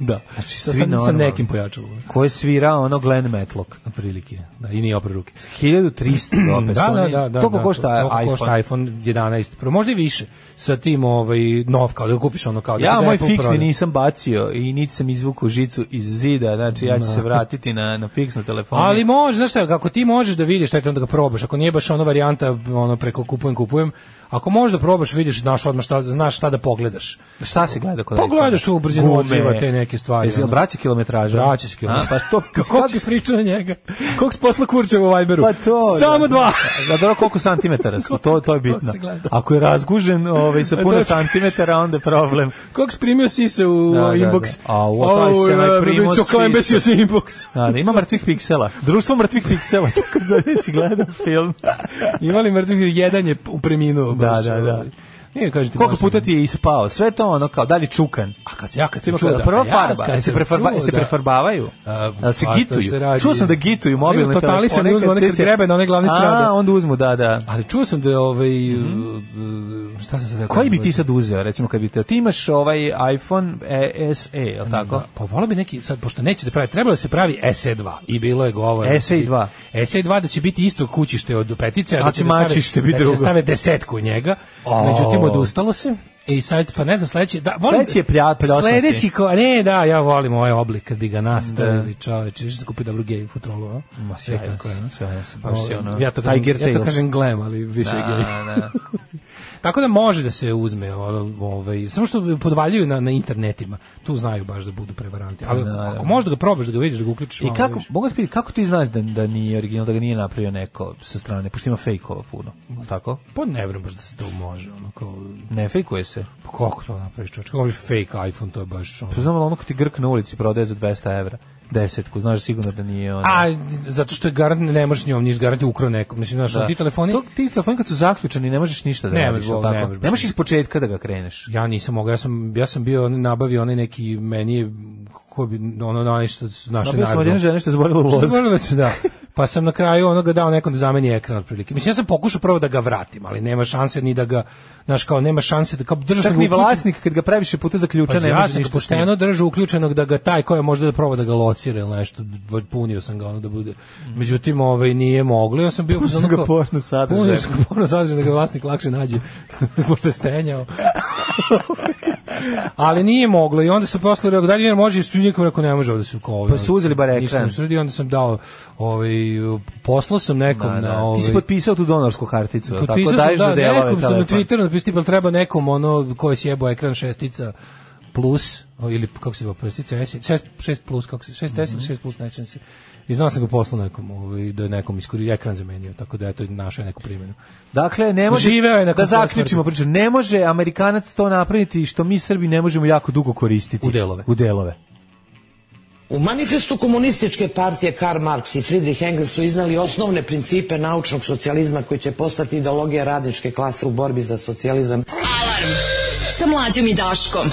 F: da. Znači, sa,
E: svi
F: sa, sa
E: normalni.
F: nekim pojačalom.
E: Koje svira ono Glenn Matlock.
F: Na prilike. Da, I nije opra ruke.
E: 1300 dope.
F: Da, da, da, da.
E: Toliko
F: da,
E: košta
F: toliko
E: iPhone.
F: košta iPhone 11 Pro, možda i više. Sa tim ovaj nov kao da ga kupiš ono kao da
E: Ja
F: ga
E: moj
F: Apple
E: fiksni
F: proda.
E: nisam bacio i niti sam izvukao žicu iz zida, znači ja ću se vratiti na, na fiksnu telefonu.
F: Da. Ali može, znaš šta, ako ti možeš da vidiš, taj onda ga probaš. Ako nije baš ono varijanta ono preko kupujem, kupujem, ako možeš da probaš, vidiš, znaš odmah šta, znaš šta da pogledaš.
E: Šta se gleda kod
F: Pogledaš
E: iPhone-a?
F: Pa u brzinu
E: Gume.
F: odziva te neke stvari,
E: Jesi li
F: ono.
E: vraća kilometraža?
F: Vraća se kilometraža.
E: A, Pa to,
F: Kako si pričao na njega? Kako si posla kurčeva u Viberu?
E: Pa to,
F: Samo
E: da.
F: dva!
E: Da, dobro, koliko santimetara
F: [LAUGHS]
E: su, to, to je bitno.
F: se gleda.
E: Ako je razgužen ovaj,
F: [LAUGHS]
E: sa puno
F: Da.
E: santimetara, onda je problem.
F: Kako si primio sise u
E: Da,
F: da,
E: da,
F: inbox?
E: da. A, u, taj
F: Au,
E: se onaj
F: jebe,
E: primio
F: biću kao
E: sise.
F: imbecil sa inbox.
E: Da, da, ima mrtvih piksela. Društvo mrtvih piksela, [LAUGHS] tako
F: [LAUGHS]
E: zove si gledao film.
F: Imali mrtvih, jedan je u preminuo.
E: Da,
F: baš,
E: da, da.
F: ovaj. Nije, kažete,
E: Koliko
F: možda-
E: puta ti je ispao? Sve to ono kao, da li čukan?
F: A kad ja kad
E: Ima
F: sam čuo
E: kao
F: da
E: prva
F: a ja
E: farba,
F: kad
E: jel se
F: sam
E: prefarba-
F: čuo da.
E: jel se prefarbavaju?
F: A,
E: Jel se
F: svašta
E: gituju?
F: se radi.
E: Čuo sam da gituju
F: Oni imaju
E: mobilne
F: totali se ne uzmu,
E: kad
F: oni kad
E: se-
F: grebe na one glavne strade.
E: A, onda uzmu, da, da.
F: Ali čuo sam da je ovaj uh, šta sam sad rekao?
E: Mhm. Koji bi ti sad uzeo, recimo, kad bi te... Ti imaš ovaj iPhone e, SE, je li tako?
F: Da, pa volao bi neki, sad, pošto neće da pravi, trebalo da se pravi SE2 i bilo je govora.
E: SE2.
F: SE2 da će biti isto kućište od petice, a
E: A
F: da
E: će
F: će, da stave-
E: Znači, mačište biti
F: da će
E: drugo.
F: stave desetku u njega.
E: O.
F: Međutim, odustalo se. I sad, pa ne znam, sledeći... Da, volim,
E: Sledeći je plja- pljosnati.
F: Sledeći ko... Ne, da, ja volim ovaj oblik kad bi ga nastavili,
E: Da.
F: da. čoveče. Više se kupi dobru gej futrolu, a?
E: Ma,
F: Sve
E: sjajan
F: kako je,
E: si,
F: no?
E: sjajan si, baš si ono,
F: Ja to kažem,
E: Tiger
F: ja to
E: Tales.
F: kažem glam, ali više je gej.
E: Da, da.
F: Tako da može da se uzme, o- ovaj, samo što podvaljuju na, na internetima, tu znaju baš da budu prevaranti. Ali
E: Da, da.
F: ako možeš da ga probaš, da ga vidiš, da ga uključiš,
E: I
F: malo
E: kako,
F: vidiš.
E: mogu da pitam, kako ti znaš da, da nije original, da ga nije napravio neko sa strane, pošto ima fejkova puno, je li tako?
F: Pa ne vjerujem baš da se to može, ono kao,
E: Ne fejkuje se.
F: pa kako to napraviš čovječ, kako bi fake iPhone, to je baš ono.
E: Pa znam, ali ono ko ti grk na ulici prodaje za 200 evra, desetku, znaš sigurno da nije ono...
F: A, zato što je garant, ne možeš njom niš garant je ukro nekom, mislim, znaš,
E: Da.
F: ti telefoni,
E: To, ti telefoni kad su zaključani ne možeš ništa da
F: Ne
E: radiš,
F: možeš,
E: je li
F: ne
E: tako?
F: možeš.
E: Ne možeš iz početka da ga kreneš.
F: ja nisam mogao, ja sam, ja sam bio, on- nabavio onaj neki, meni je, ko bi, ono, onaj što su našli
E: Dobio sam od
F: najbolje.
E: jedne žene što je zaboravila u [LAUGHS]
F: Što
E: vozu.
F: zaboravio sam, da. Pa sam na kraju onoga dao nekom da zameni ekran otprilike. Mislim ja sam pokušao prvo da ga vratim, ali nema šanse ni da ga, znaš kao nema šanse da kao držao sam
E: Čak
F: ga
E: ni
F: uključen-
E: vlasnik kad ga previše puta zaključa
F: Pa
E: ne
F: ja
E: može
F: sam ga
E: ništa. s njim.
F: pošteno držao uključenog da ga taj ko je možda da proba da ga locira ili nešto, punio sam ga ono da bude. Međutim, ovaj nije moglo, ja sam bio
E: Punio sam
F: onako-
E: ga porno sadržajem.
F: Punio sam ga porno sadržajem da ga vlasnik lakše nađe, [LAUGHS] pošto je
E: [LAUGHS]
F: stenjao. Ali nije moglo i onda sam posle rekao, dalje jer može, i nikom rekao ne može ovde se kao ovaj.
E: Pa su uzeli bar ekran.
F: Ništa nam se uradi, onda sam dao, ovaj, poslao sam nekom
E: Da, da.
F: na ovaj...
E: Ti si potpisao tu donorsku karticu, je li tako
F: Potpisao sam,
E: daješ za
F: da,
E: delove
F: nekom sam na
E: telefon.
F: Twitteru napisao, tipa, jel treba nekom ono ko je sjebao ekran šestica plus, o, ili kako se zove, šestica, S, šest, šest plus, kako se, šest
E: Mhm.
F: S ili šest plus, ne sjećam se. I znao sam ga poslao nekom, ovaj, da je nekom iskoristio, ekran zamenio, tako da eto, našao je neku primjenu.
E: Dakle, ne može
F: Živeo je nakon
E: da
F: svoje
E: zaključimo priču. Ne može Amerikanac to napraviti što mi Srbi ne možemo jako dugo koristiti.
F: U delove.
E: U delove.
I: U manifestu komunističke partije Karl Marx i Friedrich Engels su iznali osnovne principe naučnog socijalizma koji će postati ideologija radničke klase u borbi za socijalizam.
D: Alarm sa mlađom i Daškom.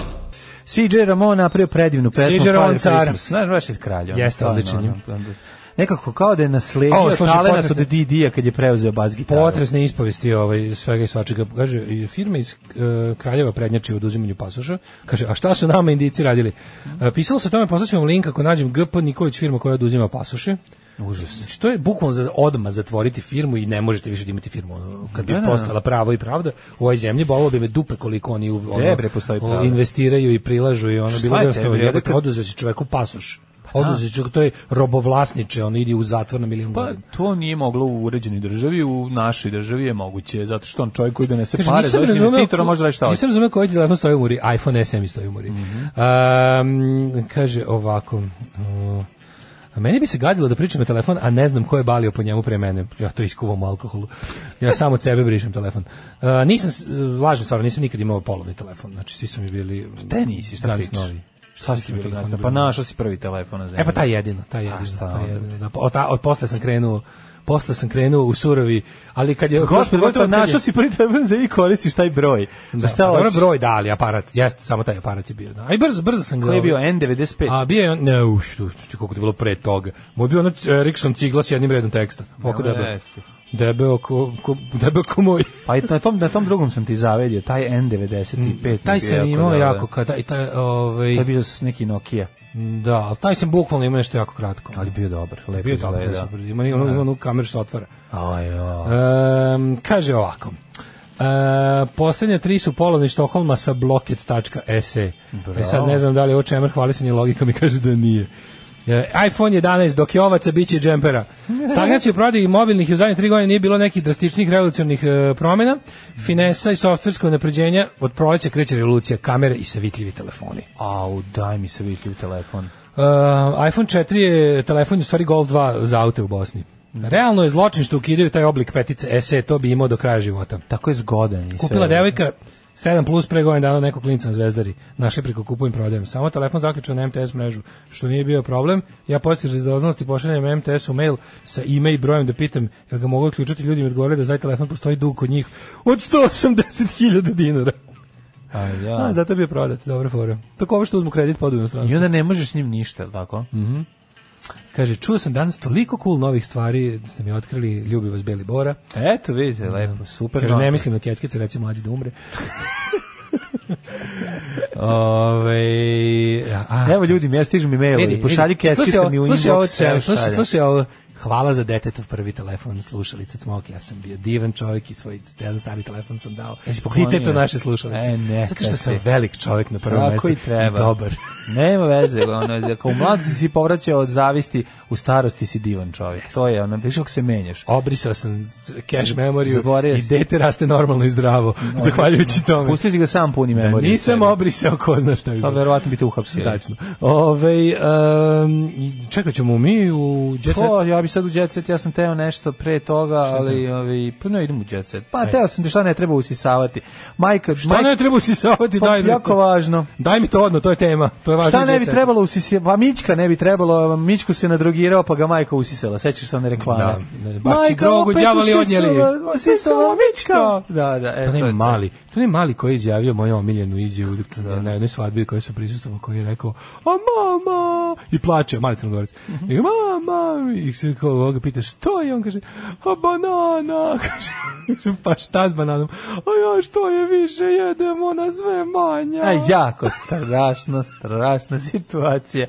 E: CJ Ramon napravio predivnu pesmu.
F: C.J. Ramon
E: Father
F: car.
E: Christmas. Znaš, baš je kralj. on.
F: Jeste,
E: Stvarno,
F: odličan je.
E: ono, ono, Nekako kao da je
F: O,
E: nasledio
F: slušaj,
E: talenat od
F: potresne-
E: Didija kad je preuzeo bas gitaru.
F: Potresne ispovesti ovaj, svega i svačega. Kaže, i firme iz e, Kraljeva prednjači u oduzimanju pasoša. Kaže, a šta su nama indici radili? E, pisalo se o tome, poslaću vam link ako nađem GP Nikolić firma koja oduzima pasoše. Užas. Znači, to je bukvalno za odma zatvoriti firmu i ne možete više da imate firmu. Ono, kad bi
E: Da, da, da.
F: postala pravo i pravda u ovoj zemlji, bolo bi me dupe koliko oni u- ono,
E: Gde, bre, postoji pravda?
F: investiraju i prilažu i ono
E: Šta
F: bilo
E: je
F: da
E: tebi, jebote, kad- Pa da.
F: oduzeo si čoveku pasoš. Oduzeo si čoveku, to je robovlasniče, on ide u zatvor na milion
E: Pa
F: godina.
E: to nije moglo u uređenoj državi, u našoj državi je moguće, zato što on čovjek koji donese
F: Kaže,
E: pare,
F: nisam
E: zove se
F: razumeo
E: investitora,
F: ko-
E: može raditi šta Mhm. hoće.
F: Nisam razumeo koji telefon stoji u muri. iPhone SE mi stoji u muri. Um, kaže ovako... uh, A meni bi se gadilo da pričam na telefon, a ne znam ko je balio po njemu pre mene. Ja to iskuvam u alkoholu. Ja samo od sebe brišem telefon. Uh, nisam, s- lažem stvarno, nisam nikad imao polovni telefon. Znači, svi su mi bili...
E: Te nisi, šta
F: danas
E: pričaš?
F: novi.
E: Šta si
F: Mislim,
E: bili
F: telefon
E: gazda?
F: da
E: Pa
F: bi-
E: našao si prvi telefon na zemlji.
F: E pa taj jedino, taj jedino,
E: šta
F: taj
E: onda?
F: jedino. Da, pa od, ta- od posle sam krenuo, posle sam krenuo u surovi, ali kad je...
E: Gospod,
F: pogotovo
E: gotovo,
F: kad je-
E: našao si prvi telefon za i koristiš taj broj. Da,
F: Da,
E: šta
F: pa dobro
E: hoćeš?
F: broj da, ali aparat, jeste, samo taj aparat je bio. Da. A i brzo, brzo sam ga...
E: Koji je bio
F: ovaj,
E: N95?
F: A bio je, on- ne, u, što, što, koliko je bilo pre toga. Moj je bio ono Ericsson cigla s jednim redom teksta. Oko
E: Nemoj
F: debeo.
E: reći.
F: Debeo ko, ko, debeo ko moj.
E: Pa i na tom, na tom drugom sam ti zavedio, taj N95.
F: Mm, Taj sam imao
E: dobar.
F: jako, kad, taj, taj, ovaj,
E: To je bio s neki Nokia,
F: da, ali taj sam bukvalno imao nešto jako kratko.
E: ali bio dobar, lepo
F: bio
E: izgleda.
F: dobro, super. Ima, ima, ima onu kameru se otvara.
E: Aj, aj.
F: Ehm, kaže ovako. E, poslednje tri su polovni Štokholma sa blocket.se. E sad ne znam da li je ovo čemer hvalisanje logikom i kaže da nije. E, iPhone 11, dok je ovaca, bit će i džempera. Stagnacija u prodaji mobilnih i u zadnje tri godine nije bilo nekih drastičnih revolucionih e, promjena. Finesa i softversko napređenja od proleća kreće revolucija kamere i savitljivi telefoni.
E: Au, daj mi se vidjeti telefon.
F: Uh, iPhone 4 je telefon, u stvari Gold 2 za aute u Bosni. Realno je e, zločin što ukidaju taj oblik petice SE, to bi imao do kraja života.
E: Tako je zgodan i sve.
F: Kupila devojka 7 plus pre godinu dana neko klinica na Zvezdari. Našli preko kupujem prodajem. Samo telefon zaključen na MTS mrežu, što nije bio problem. Ja poslije razdoznalosti pošaljem MTS-u mail sa ime i brojem da pitam jel ga mogu odključiti. Ljudi mi odgovorili da za taj telefon postoji dug kod njih od 180.000 dinara.
E: A ja.
F: A, zato bi je prodat, dobra fora. Tako ovo što uzmu kredit pod
E: I
F: inostranstvo.
E: onda ne možeš s njim ništa, jel tako?
F: Mhm. Kaže, čuo sam danas toliko cool novih stvari, da ste mi otkrili, ljubi vas Beli Bora.
E: Eto, vidite, lepo, super.
F: Kaže, ne
E: Dobro.
F: mislim na ketkice, reci mlađi da umre.
E: Ove, Evo ljudi, ja stižu mi mailovi, pošalji kestice mi u inbox.
F: Slušaj ovo,
E: sve
F: čem, slušaj,
E: šalje.
F: slušaj ovo. Hvala za detetov prvi telefon, slušalice Cmoki, ja sam bio divan čovjek i svoj jedan stari telefon sam dao.
E: Jesi poklonio?
F: Ditetu naše slušalice.
E: E, neka
F: Zato što sam
E: se.
F: velik čovjek na prvom
E: Tako
F: mjestu.
E: i treba.
F: Dobar.
E: [LAUGHS] Nema veze, ono, ako u mladosti si povraćao od zavisti, u starosti si divan čovjek. To je, ono, viš kako se menjaš.
F: Obrisao sam s- cache memoriju
E: Zaboravio
F: i
E: si.
F: dete raste normalno i zdravo, zahvaljujući tome. E,
E: Pusti si ga sam puni memoriju.
F: Da, Nisam obrisao, ko zna šta bi
E: Pa
F: bilo.
E: verovatno bi te uhapsili.
F: Tačno. Ove, um, čekat ćemo mi u Jet Set.
E: To, ja bi sad u jet set, ja sam teo nešto pre toga, ali
F: znam?
E: ovi, pa ne idem u jet set. Pa
F: Ajde.
E: teo sam ti šta ne treba usisavati. Majka,
F: Šta Pa ne treba usisavati, daj mi
E: Pa, jako
F: to.
E: važno.
F: Daj mi to odno, to je tema. To je važno
E: Šta
F: u
E: ne
F: Jet
E: bi
F: Setu.
E: trebalo usisavati? Pa Mićka ne bi trebalo, Mićku se nadrogirao pa ga majka usisala. Sećaš se one reklame?
F: Da, ne, baci drogu,
E: opet
F: đavoli
E: usisala-
F: odnijeli.
E: Usisala Mićka! Da, da,
F: To
E: eto.
F: ne mali, to ne mali koji je izjavio moju omiljenu izjavu
E: da?
F: na jednoj svadbi kojoj sam prisustvovao koji je rekao: "A mama!" i plače, mali crnogorac.
E: Mhm.
F: I mama, i se kao ovoga pita što je, on kaže: "A banana." [LAUGHS] Kaže, Kažem, pa šta s bananom? A ja što je više jedem, ona sve manja.
E: A jako strašna, strašna situacija.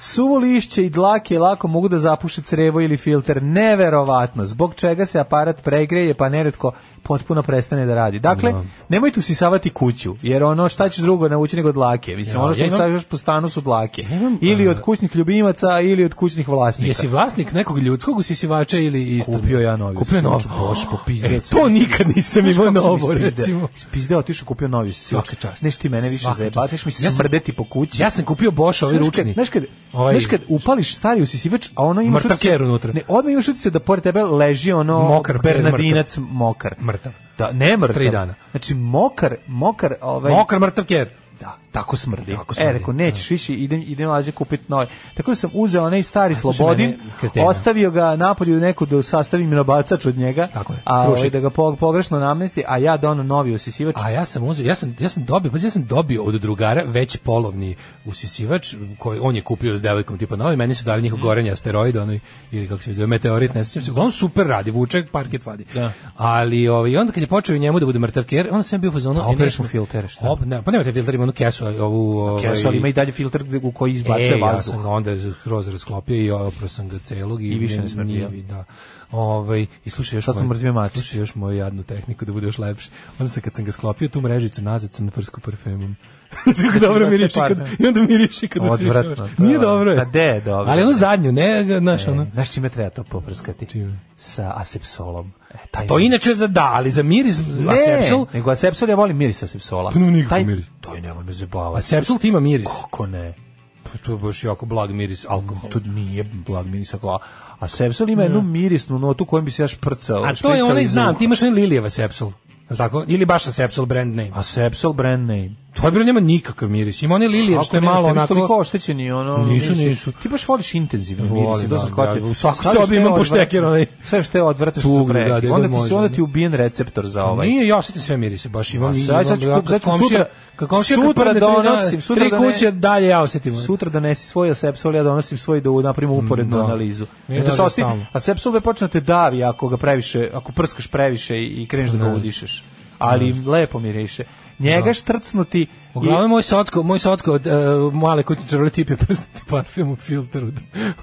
E: Suvo lišće i dlake lako mogu da zapuše crevo ili filter. Neverovatno. Zbog čega se aparat pregreje pa neretko potpuno prestane da radi. Dakle,
F: Da.
E: nemojte usisavati kuću, jer ono šta ćeš drugo naučiti nego dlake. Mislim,
F: Ja,
E: ono što
F: ja imam-
E: usisavaš po stanu su dlake.
F: imam,
E: ili od
F: e,
E: kućnih ljubimaca, ili od kućnih vlasnika.
F: Jesi vlasnik nekog ljudskog usisivača ili isto?
E: Kupio ja novi znači,
F: Kupio novo.
E: usisivač, boš, popizdeo
F: [GASPS] E,
E: sam.
F: to nikad nisam
E: Znaš
F: imao
E: kako sam
F: novo,
E: ispizdeo?
F: recimo.
E: Ispizdeo, otišao kupio novi usisivač.
F: Svaka čast.
E: Neš ti mene više
F: Svaka
E: zajebateš,
F: čast.
E: mi
F: Ja sam-
E: smrdeti po kući.
F: Ja sam kupio Bosch ovaj
E: Znaš kad-
F: ručni.
E: Znaš kad,
F: Ovaj-
E: znaš kad upališ stari usisivač, a ono imaš
F: Mrtav ker unutra.
E: Ne, odmah imaš utice da pored tebe leži ono
F: Mokar ker,
E: Bernardinac mokar.
F: Mrtav.
E: Da, ne mrtav.
F: Tri dana.
E: Znači mokar, mokar, ovaj
F: Mokar mrtav ker.
E: Da, tako smrdi.
F: Tako smrdi, da.
E: e, rekao, nećeš više, idem, idem lađe kupiti novi. Tako da sam uzeo onaj stari
F: slušaj
E: Slobodin,
F: mene, kretena.
E: ostavio ga napolju neku da sastavim minobacač od njega,
F: Tako je,
E: a
F: krušik.
E: ovaj, da ga po- pogrešno namesti, a ja dono novi usisivač.
F: A ja sam uzeo, ja sam, ja sam dobio, pazi, ja sam dobio od drugara već polovni usisivač koji on je kupio s devojkom tipa novi, meni su dali njihov
E: Mm.
F: gorenje asteroid onaj ili kako se zove meteorit, ne sećam se. On super radi, vuče parket vadi.
E: Da.
F: Ali ovaj onda kad je počeo i njemu da bude mrtav ker, onda sam ja bio u fazonu
E: A opereš mu filtere, šta?
F: Op, ne, pa nemate filter, ima onu kesu, ovu ovaj
E: Kesu, ali ima i dalje filtr u koji izbacuje
F: e, ja
E: vazduh.
F: sam ga onda kroz rasklopio i oprao sam ga celog i,
E: I više ne
F: nije-
E: smrdi,
F: nije
E: ja?
F: vi- Da. Ovaj i slušaj još
E: Sad sam
F: moj-
E: mrtvi mač.
F: Slušaj još moju jadnu tehniku da bude još lepše. Onda sam kad sam ga sklopio tu mrežicu nazad sam naprskao parfemom. [LAUGHS] Kako dobro
E: Sve
F: miriši kad
E: parfem.
F: i onda miriši kad osjećaš.
E: Odvratno, to je
F: [LAUGHS] Nije
E: ono.
F: dobro. je.
E: Pa gde je dobro?
F: Ali ono zadnju, ne, ga, znaš ono.
E: E, Znaš čime treba to poprskati?
F: Čime?
E: Sa asepsolom. E, taj
F: To
E: miris.
F: inače za da, ali za miris
E: Ne,
F: asepsul,
E: nego asepsol ja volim miris asepsola.
F: Pa, no, nikako
E: taj,
F: miris.
E: To je nemoj me zabavati.
F: asepsul ti ima miris.
E: Kako ne?
F: Pa To je baš jako blag miris alkohola.
E: To nije blag miris alkohola. A sepsol ima jednu mirisnu notu kojom bi se ja šprcao.
F: Da. A to je
E: špricao
F: onaj,
E: iz
F: znam,
E: uha.
F: ti imaš onaj Lilijeva sepsul. Jel tako? Ili baš asepsul brand name.
E: A sepsol brand name.
F: To je bilo nema nikakav miris. Ima one lilije
E: Ako
F: što je
E: ne,
F: malo
E: tebi su Toliko
F: onako...
E: oštećeni, ono...
F: Nisu,
E: mirisi.
F: nisu.
E: Ti baš voliš intenzivne
F: Volim,
E: mirise, to sam
F: da,
E: shvatio.
F: da, u svakoj
E: Sve što
F: sobi
E: je
F: imam
E: odvratno-
F: poštekir onaj.
E: Sve što je odvratno su
F: Svugde,
E: pre.
F: da, gde
E: Onda ti,
F: god
E: se-
F: može,
E: onda
F: da. Pa
E: ti je ubijen receptor za ovaj.
F: Nije, ja osetim sve mirise, baš imam.
E: A
F: i-
E: sad
F: imam,
E: sad ću
F: ja
E: kup- sad
F: kad
E: ću
F: komšija-
E: sutra-
F: kad komšija
E: sutra
F: kad prene tri dana-
E: donosim, sutra
F: tri
E: da ne-
F: kuće dalje ja osetim.
E: Sutra donesi svoj asepsol, ja donosim svoj da napravimo uporednu
F: da.
E: analizu.
F: Ne
E: Jer da se
F: lažem
E: osti,
F: stalno.
E: asepsol je počne da te davi ako ga previše, ako prskaš previše i kreneš da ga
F: Ne. Da.
E: udišeš. Ali lepo miriše. Njega štrcnuti
F: Uglavnom moj socko, moj socko od uh, male kućice roli je prstati parfem u filteru od,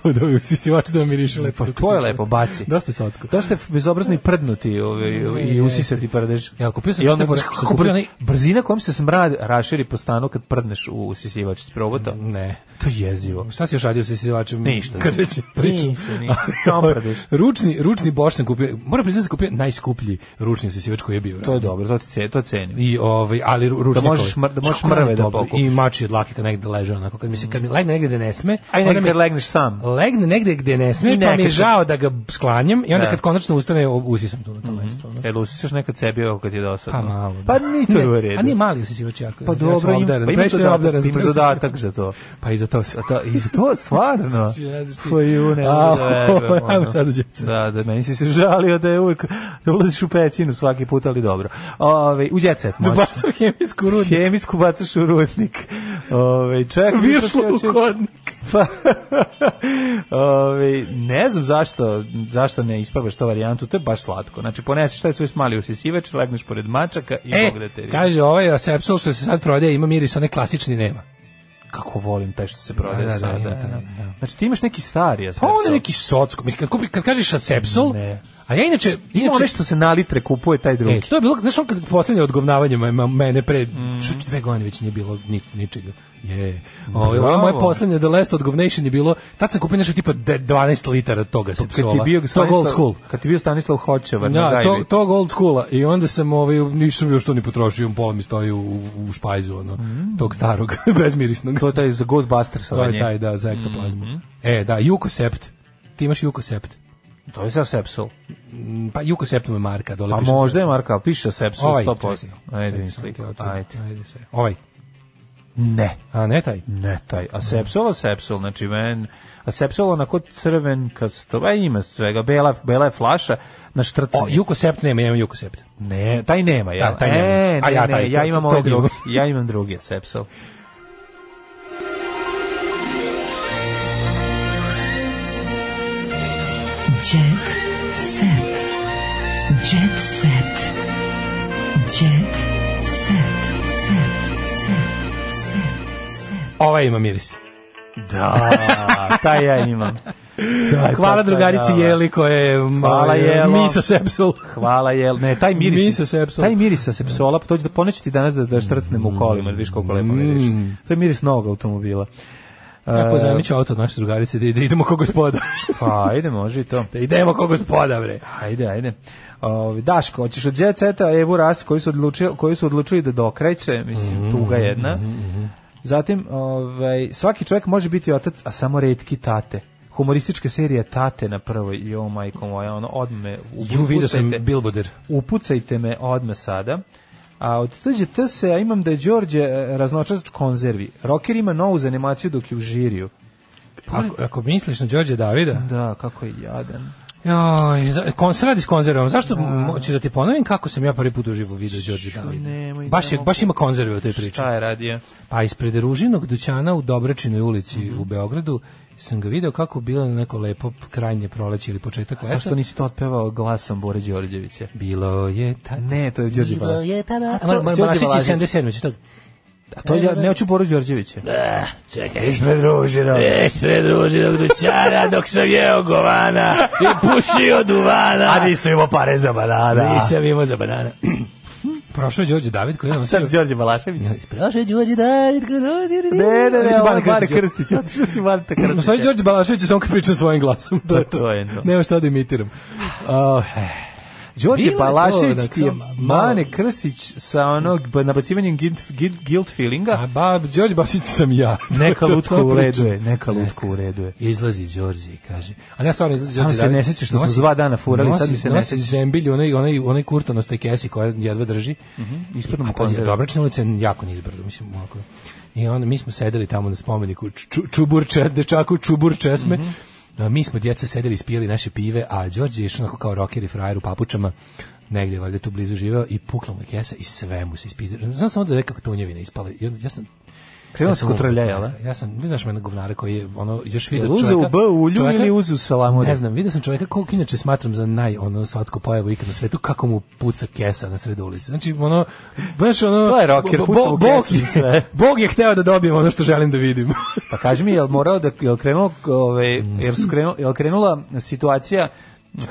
F: od ovih usisivača da miriše lepo.
E: Pa to je lepo, baci.
F: Dosta je socko.
E: Dosta je bezobrazni prdnuti ovaj, i usisati prdež.
F: Ja, kupio sam
E: I
F: nešto
E: onda
F: fora,
E: znaš
F: sam
E: kako
F: kupio
E: br-
F: onaj-
E: Brzina kojom se smrad raširi po stanu kad prdneš u usisivač. Ti probao to?
F: Ne.
E: To je jezivo.
F: Šta si još radio sa isivačem?
E: Ništa.
F: Kad već pričam.
E: Nisam, nisam. Samo
F: [LAUGHS]
E: prdeš.
F: ručni, ručni Bosch sam kupio. Moram priznati da sam kupio najskuplji ručni usisivač koji je bio.
E: To je dobro, to, ti ce, to cenim.
F: I ovaj ali ru- ručnjakove.
E: možeš mr- da možeš moraš mrve da
F: dobro.
E: pokupiš. Mm.
F: I mači od lake kad negde da leže onako. Kad mi se kad mi legne negde gde ne sme,
E: Aj
F: onda
E: negde
F: mi-
E: kad legneš sam.
F: Legne negde gde ne
E: I
F: sme,
E: ne
F: pa mi je
E: kaže.
F: žao da ga sklanjam i onda
E: Da. Mhm.
F: kad konačno ustane, o, usisam tu na to mesto. ono.
E: Jel usiseš E, nekad sebi ovo kad je dosadno?
F: Pa malo, da.
E: Pa ni to
F: Ne,
E: u redu.
F: a nije mali usisivač Jarko.
E: Pa
F: ja sam
E: dobro, im,
F: obdaren,
E: pa ima
F: previše sam
E: dodatak,
F: obdaren za
E: imaš
F: to.
E: dodatak za to.
F: Pa i za to se. [LAUGHS]
E: Da, I za to, stvarno.
F: Znači, ne znaš ti.
E: Pa ju, ne
F: A,
E: mogu da verujem.
F: ajmo
E: ono.
F: sad u Jet Set.
E: Da, da, meni si se žalio da je uvijek, da ulaziš u pećinu svaki put, ali dobro. Ove, u djecet
J: Da
E: možeš.
J: bacam hemijsku rudnju.
F: [LAUGHS]
E: Hemijsku bacaš u rudnik. Ove, čekaj,
J: Viršlo
E: što
J: u
E: se još-
J: kodnik.
E: Pa, [LAUGHS] ove, ne znam zašto, zašto ne ispravaš to varijantu, to je baš slatko. Znači, poneseš taj svoj mali usisivač, legneš pored mačaka i
F: E,
E: Bog da te vidi.
F: kaže ovaj Asepsol što se sad prodaje, ima miris, onaj klasični nema.
E: Kako volim taj što se prodaje
F: Da, da, da,
E: sada.
F: ima taj, da.
E: Znači, ti imaš neki stari
F: Pa
E: Asepsol.
F: on je neki socko. Mislim, kad, kupi, kad kažeš Asepsol,
E: Ne.
F: a ja inače...
E: Ima
F: inače
E: onaj što se na litre kupuje taj drugi.
F: E, to je bilo, znaš, on kad poslednje odgovnavanje me- ma- mene pre,
E: Mm.
F: što dve godine već nije bilo ni, ničega. Je. Ovo,
E: Bravo.
F: moje poslednje The Last Odgovnation je bilo, tad sam kupio nešto tipa de- 12 litara toga
E: Pa kad
F: sepsola.
E: ti bio Pa
F: Tog
E: Stanislav,
F: old school.
E: kad ti bio Stanislav Hočevar na
F: Da, to,
E: gajbi.
F: tog old schoola. I onda sam, ovaj, nisam još to ni potrošio, pola mi stoji u, u špajzu, ono, tog starog, [LAUGHS] bezmirisnog.
E: Mm. To je Mm-hmm. taj za Ghostbusters.
F: To je taj, da, za ektoplazmu. E, da, Jukosept. Ti imaš Jukosept.
E: To je sa Sepsol.
F: Mm, Pa Jukosept mu je marka, dole
E: Pa
F: piše
E: možda je
F: Sepsol.
E: Marka, piše Sepsol
F: Ovaj,
E: 100%.
F: čekaj,
E: Ajde,
F: čekaj,
E: vidim
F: sam ti
E: sliku.
F: otvori.
E: Ajde.
F: Ajde se. Ovaj.
E: Ne.
F: A ne taj?
E: Ne, taj. A Sepsol, a Sepsol, znači men, a Sepsol onako crven, kasto, a ima svega, bela, bela je flaša, na štrcanje.
F: O, Jukosept nema, ja imam Jukosept.
E: Ne, taj nema, ja.
F: Da, taj nema.
E: e,
F: A
E: ne,
F: ja
E: ne,
F: taj,
E: ja
F: to-
E: imam
F: to-
E: ovaj
F: tog imam.
E: drugi. Ja imam drugi Sepsol.
D: Jet set. Jet set. Jet set. Set. Set. Set. Set.
F: Ovaj ima miris.
E: Da, taj ja imam. Taj,
F: Hvala
E: taj,
F: drugarici
E: da.
F: Jeli koja je
E: Hvala, Jelo.
F: Misa Sepsul.
E: Hvala jel. Ne, taj miris.
F: Mirisa Sepsola.
E: Taj miris sa sepsola, pa to ću da poneću ti danas da da štrtnem u kolima, da vidiš koliko lepo miriš.
F: Mm.
E: To je miris novog automobila.
F: Ja pozajmit ću auto od naše drugarice da, da idemo ko gospoda.
E: Pa, ajde, može i to.
F: [LAUGHS] da idemo ko gospoda, bre.
E: Ajde, ajde. Ovi, Daško, hoćeš od Jet Seta Evu Ras koji su odlučili, koji su odlučili da dokreće, mislim,
F: Mm-hmm,
E: tuga jedna. Zatim, ovaj, svaki čovjek može biti otac, a samo retki tate. Humoristička serija Tate na prvoj, jo majko moja, ono, odme u
F: Ju, vidio sam Bilboder.
E: upucajte me odme sada. A od tuđe T se, a imam da je Đorđe e, raznočač konzervi. Rocker ima novu zanimaciju dok je u žiriju.
F: Ako, ako misliš na Đorđe Davida,
E: Da, kako je jadan.
F: Joj, za- kon se radi s konzervom. Zašto moću da ti ponovim kako sam ja prvi put uživo video Đorđe Davida?
E: nemoj,
F: Baš, je,
E: nemoj.
F: baš ima konzerve u toj priči.
E: Šta je radio?
F: Pa ispred ružinog dućana u Dobračinoj ulici u Beogradu sam ga video kako bilo na neko lepo krajnje proleće ili početak leta.
E: Zašto nisi to otpevao glasom Bore Đorđevića?
F: Bilo je tada.
E: Ne, to je Đorđe Balašić.
F: je tada.
E: A,
F: Moram
E: Đorđe
F: Balašić
E: Balašić.
F: je 77. Ću tog.
E: A to je, ne hoću Boru Đorđevića.
F: Da, Čekaj. Ispred ružinog. Ispred ružinog dućana dok sam jeo govana i pušio duvana. A
E: nisu imao pare za banana.
F: nisam imao za banana. Prošao je Đorđe David koji je nosio...
E: Sad Đorđe Balašević.
F: Prošao je Đorđe David koji je nosio...
E: Ne, ne, ne,
F: Mislim,
E: ovo je
F: Bane
E: Bata
F: Krstić.
E: Krstić. Otišao si Bata
F: U stvari,
E: Krstića.
F: Đorđe Balašević je samo kad priča svojim glasom. To je to.
E: To je to.
F: Nema šta da imitiram. Uh,
E: Đorđe
F: Bilo je to,
E: Balašević
F: onak,
E: ti je
F: samo malo.
E: Mane Krstić sa onog ba- nabacivanjem guilt, guilt, guilt feelinga.
F: a ba, Đorđe Balašević sam ja. [LAUGHS]
E: Neka
F: To
E: lutka
F: samo
E: u redu
F: pričam.
E: je, neka lutka u redu je.
F: Izlazi Đorđe i kaže. A ne stvarno izlazi
E: Samo
F: Đorđe.
E: se
F: David.
E: ne sjećaš što smo
F: Nosi-
E: dva dana furali,
F: nosi-
E: sad mi se ne
F: nosi
E: sjećaš.
F: zembilj, onaj, onaj, onaj kurton ostoj kesi koja jedva drži.
E: Mhm. Ispadno mu
F: A pazi,
E: konzerve.
F: Dobračna ulica je jako nizbrdo, mislim, ovako. I onda mi smo sedeli tamo na spomeniku ču, Čuburče, dečaku Čubur Česme.
E: Mhm.
F: A Mi smo djeca sedeli, ispijali naše pive, a Đorđe je išao onako kao roker i frajer u papučama, negdje valjda tu blizu živeo i pukla mu je kesa i sve mu se ispizira. Znam samo da je neka tunjevina ispala. I onda, ja sam
E: Krenuo da se
F: sam
E: kod trlja,
F: ono,
E: jel?
F: Ja sam, ne znaš mene govnara koji je, ono, još vidio
E: Jel uzeo
F: čoveka...
E: u B ulju
F: čoveka-
E: ili uzeo salamure?
F: Ne znam, vidio sam čoveka kog inače smatram za naj, ono, svatko pojavu ikad na svetu, kako mu puca kesa na sred ulice. Znači, ono, baš ono...
E: To je rocker,
F: bo-
E: puca
F: bo-
E: mu
F: Bog
E: kesa i
F: je-
E: sve.
F: [LAUGHS] Bog je hteo da dobijem ono što želim da vidim.
E: Pa kaži mi, jel morao da, jel krenuo, ove, jel, su krenu, jel krenula situacija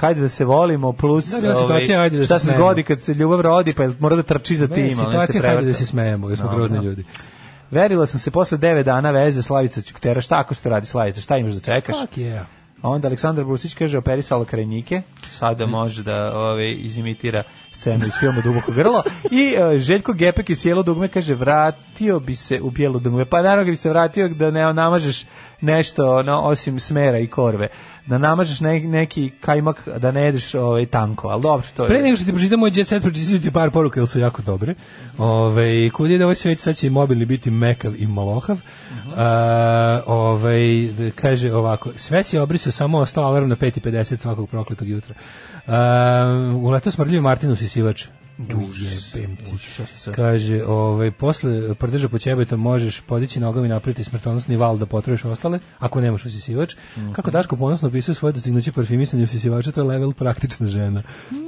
E: Hajde da se volimo, plus
F: Da, bila situacija, ajde da se
E: šta se
F: smejemo.
E: zgodi kad se ljubav rodi, pa jel mora da trči za tim,
F: [LAUGHS] Ne,
E: ali se
F: situacija, hajde da
E: prevrta.
F: se smejemo, jer smo
E: Dobro.
F: grozni ljudi. Pa,
E: Verila sam se posle 9 dana veze Slavica Ćuktera. Šta ako se radi Slavica? Šta imaš da čekaš?
F: Fuck yeah.
E: A onda Aleksandar Brusić kaže operisala krajnike, sada može da ove, izimitira scenu iz filma Duboko grlo. I e, Željko Gepek je cijelo dugme, kaže vratio bi se u bijelo dugme. Pa naravno ga bi se vratio da ne namažeš nešto ono, osim smera i korve. Da namažeš ne- neki kajmak da ne jedeš ovaj, tanko, ali dobro, to je...
J: Pre nego što ti pročitam moj jet set, pročitam ti par poruka, jer su jako dobre. Ove, kud je da ovaj svet, sad će i mobilni biti mekav i malohav.
E: Mhm.
J: A, ovaj, d- kaže ovako, sve si obrisao, samo ostao alarm na 5.50 svakog prokletog jutra. A, uletao smrdljiv Martinus isivač.
F: Užas,
J: Ujebem ti.
F: užas.
J: Kaže, ovaj, posle prdeža po ćebetom možeš podići nogom i napraviti smrtonosni val da potrojiš ostale, ako nemaš usisivač. Kako Daško ponosno opisuje svoje dostignuće parfimisanja usisivača, to je level praktična žena.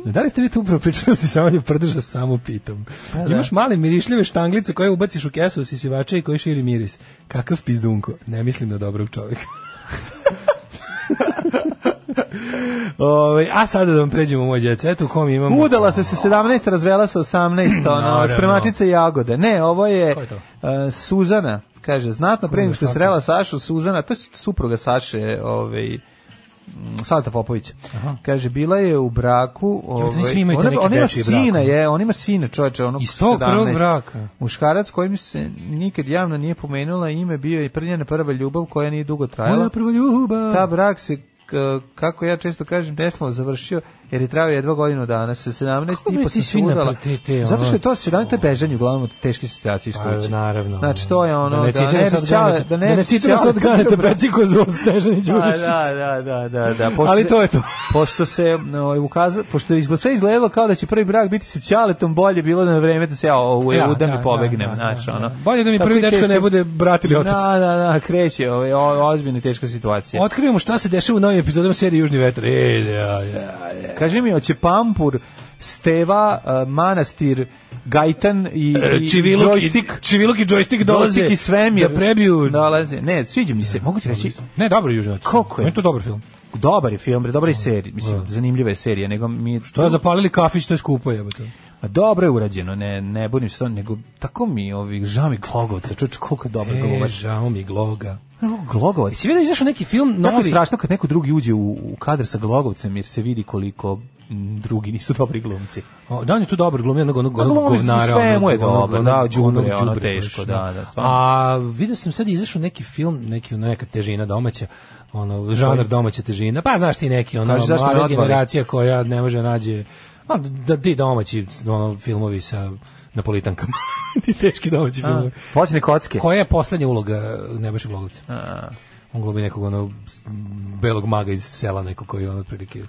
J: Da li ste vi tu upravo pričali o usisivanju prdeža, samo pitam.
E: da.
J: Imaš male mirišljive štanglice koje ubaciš u kesu usisivača i koji širi miris. Kakav pizdunko. Ne mislim na dobrog [LAUGHS] čovjeka. Ovaj, a sada da vam pređemo u moj jet set u kom imamo...
E: Udala se sa 17, razvela sa 18, ono,
J: Naravno.
E: spremačica jagode. Ne, ovo je,
J: Ko je to?
E: e, Suzana, kaže, znatno pre nego što je srela Sašu, Suzana, to je supruga Saše, ovaj, mm, Salata Popovića. Kaže, bila je u braku...
F: Jebote,
E: Ovaj,
F: da svi imaju te
E: ona,
F: neke
E: ona ima
F: dečije
E: sina,
F: brakove.
E: je, on ima sina, čoveče, ono
F: Iz tog prvog braka.
E: Muškarac kojim se nikad javno nije pomenula ime bio je prljena prva ljubav koja nije dugo trajala.
J: Moja prva ljubav.
E: Ta brak se k- kako ja često kažem, neslovno završio, jer je trajao jedva godinu dana, sa 17
F: Kako
E: i
F: mi
E: po
F: ti
E: sam se
F: svi
E: udala.
F: napre- te- te,
E: Zato što je
F: ono,
E: to 17, to je bežanje uglavnom od teške situacije iz
F: Pa,
E: kuće.
F: naravno.
E: Znači, to je ono,
F: Da ne
E: da ne
F: citiram
E: bi
F: sad
E: ćale-
F: Ganeta.
E: da ne
J: Da
E: bi
J: ne citiram
E: ćale-
J: sad Ganeta Peciko zvon Snežani
E: [LAUGHS] Da,
J: Đurišić.
E: da, da, da, da, pošto
J: Ali
E: se-
J: to je to.
E: pošto se ovaj ukaza, pošto je izgled, sve izgledalo kao da će prvi brak biti sa Ćaletom, bolje bilo da na vreme da se ja u
J: Ja,
E: EU
J: da,
E: da mi
J: da,
E: pobegnem,
J: da,
E: znači
J: da,
E: ono.
J: da. Bolje da mi
E: Tako
J: prvi
E: je
J: dečko
E: teško-
J: ne bude brat ili otac.
E: Da, da, da, kreće, ovaj o- ozbiljno i teška situacija.
J: Otkrivamo šta se dešava u novim epizodama serije Južni vetar. E, ja, ja, ja.
E: Kaži mi, hoće Pampur, Steva, e, Manastir, Gajtan i,
F: E,
E: i
J: Čivilok i,
E: joystick.
J: Čivilok i joystick dolaze
E: Joystick i svemir.
J: da prebiju
E: Dolaze. Ne, sviđa mi se. Mogu ti reći,
J: ne dobro Južni vetar
E: Koliko je?
J: Meni to dobar film
E: dobar je film, bre, dobra je serija, mislim, zanimljiva je serija, nego mi...
J: to je zapalili kafić to je skupo jebote
E: Ma dobro je urađeno, ne, ne budim se to, nego tako mi ovih žami glogovca, čuč, koliko je dobar
F: E,
E: glogovač.
F: žao mi gloga.
E: Glogovac.
F: Si vidio da je izašao neki film
E: Tako je
F: novi?
E: strašno kad neko drugi uđe u, u kadar sa glogovcem, jer se vidi koliko m, drugi nisu dobri glumci.
F: O, da on je tu dobar glumio onog onog
E: Pa
F: onog
E: glumi,
F: govnara.
E: sve
F: onog-
E: mu je
F: onog-
E: dobro,
F: onog-
E: da, đubre,
F: onog
E: ono,
F: đubre,
E: teško,
F: baš,
E: da, da, stvarno.
F: A vidio sam sad izašao neki film, neki neka težina domaća, ono žanar domaća težina. Pa znaš ti neki ono
E: Kaži, zašto me
F: mlada
E: odvali?
F: generacija koja ne može nađe a, da di domaći ono filmovi sa napolitankama. [LAUGHS] ti teški domaći filmovi.
E: Počne kocke.
F: Koja je poslednja uloga Nebojša Glogovca? On glumi nekog ono s- belog maga iz sela nekog koji on otprilike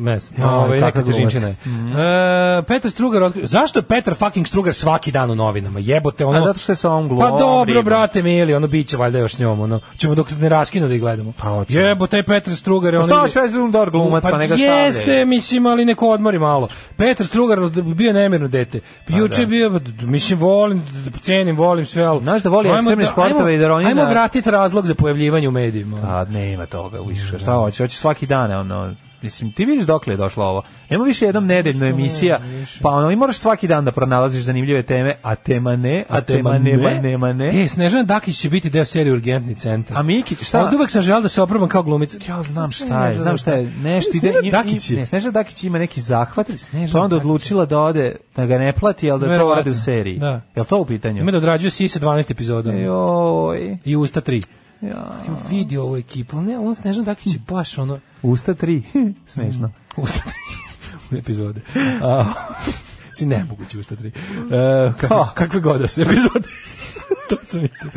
F: ne znam,
E: Ja,
F: ovaj, neka
E: kakav glumac. Mhm.
F: težinčina je. E, Petar Strugar, otkri- zašto je Petar fucking Strugar svaki dan u novinama? Jebote, ono...
E: A zato što je sa ovom glumom,
F: Pa dobro,
E: ribom.
F: brate, mili, ono bit će valjda još s njom, ono, ćemo dok ne raskinu da ih gledamo.
E: Pa, hoćemo.
F: Jebote, Petar Strugar je
E: Pa
F: ono...
E: šta hoće, već je on dobar glumac, pa neka stavljaju.
F: jeste, mislim, ali neko odmori malo. Petar Strugar bio nemirno dete.
E: Pa
F: Juče je bio, mislim, volim, cenim, volim sve, ali...
E: da. Znaš da voli
F: Ajmo
E: ekstremne
F: da-
E: sportove
F: ajmo-
E: i da Ronina-
F: Ajmo vratiti razlog za pojavljivanje u medijima.
E: A nema toga više. Šta hoće? Hoće svaki dan ono. Mislim, ti vidiš dokle je došlo ovo. Nema više jednom nedeljna emisija, pa ono, i moraš svaki dan da pronalaziš zanimljive teme, a tema ne, a, tema, nema, nema ne.
F: E, Snežana Dakić će biti deo serije Urgentni centar.
E: A Mikić, šta?
F: Od uvek sam želeo da se oprobam kao glumica.
E: Ja znam šta je, znam šta je, nešto ide.
F: Snežana
E: i- i-
F: Dakić je.
E: Ne, Snežana Dakić ima neki zahvat,
F: Snežana
E: pa onda
F: Dakić.
E: odlučila da ode, da ga ne plati, ali da to
F: Verovatno,
E: radi u seriji.
F: da.
E: Jel to u pitanju?
F: Ima da odrađuje Sise 12 epizoda.
E: E, Joj,
F: I Usta 3. Ja. Vidi ovu ekipu. ali Ne, on Snežana Dakić je baš ono...
E: usta tri, [LAUGHS]
F: Mm.
E: smešno.
F: Usta tri. [LAUGHS] u epizode. A, [LAUGHS] si nemoguće usta tri. E, kakve, kakve god da su epizode. [LAUGHS] to sam mislio.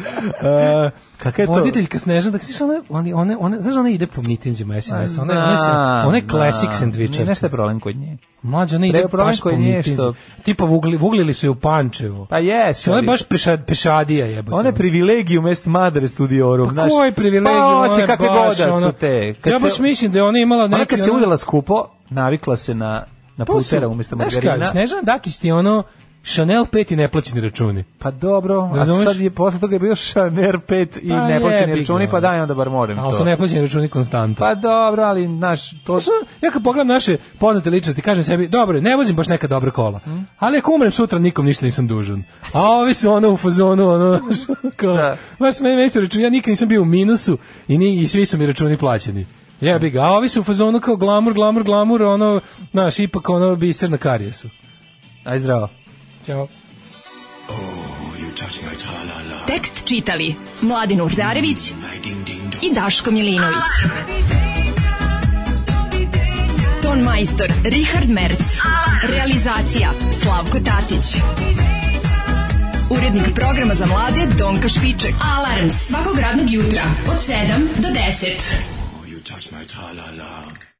F: E,
E: Kaka je to?
F: Voditeljka Snežana, da ksiš ona, ona, ona, ona, znaš da ona ide po mitinzima SNS, ona, ona, se- ona je classic sandvičar.
E: Da, Nešto je problem kod nje.
F: Mlađa ona ide
E: Treba problem
F: baš po
E: koji nije
F: mitinzima.
E: što-
F: Tipa vugli, vuglili su je u Pančevu.
E: Pa jes.
F: ona je
E: ali-
F: baš peša, pešadija jebote.
E: One privilegiju mest madre studiorum.
F: Pa koji privilegij,
E: Pa
F: ona
E: hoće
F: je
E: kakve god
F: baš,
E: da
F: ono-
E: su te. Kad
F: ja
E: se-
F: baš mislim da je ona imala neki...
E: Ona kad se
F: ono-
E: udala skupo, navikla se na, na
F: To su-
E: putera umjesto
F: znaš
E: margarina.
F: kako, Snežana Dakić ti je ono Chanel 5 i neplaćeni računi.
E: Pa dobro, a
F: Razumeš?
E: sad je posle toga je bio Šaner 5 i
F: Pa
E: neplaćeni
F: jebi ga.
E: računi, pa daj onda bar moram
F: Ali
E: to.
F: su Pa neplaćeni računi konstanta.
E: Pa dobro, ali naš, to su...
F: Znaš, ja kad pogledam naše poznate ličnosti, kažem sebi, dobro, ne vozim baš neka dobra kola, ali ako umrem sutra, nikom ništa nisam dužan. A ovi su ono u fazonu, [LAUGHS] ono, znaš, kao,
E: Da.
F: baš meni, meni su računi, ja nikad nisam bio u minusu i, ni, i svi su mi računi plaćeni. Jebi ga, a ovi su u fazonu kao glamur, glamur, glamur, ono, znaš, ipak ono biser na karijesu.
E: Aj zdravo.
F: Ćao.
D: Tekst čitali Mladin Urdarević i Daško Milinović. Ton majstor Richard Merc. Realizacija Slavko Tatić. Urednik programa za mlade Donka Špiček. Alarms svakog radnog jutra od 7 do 10.
L: You touch my tra-la-la.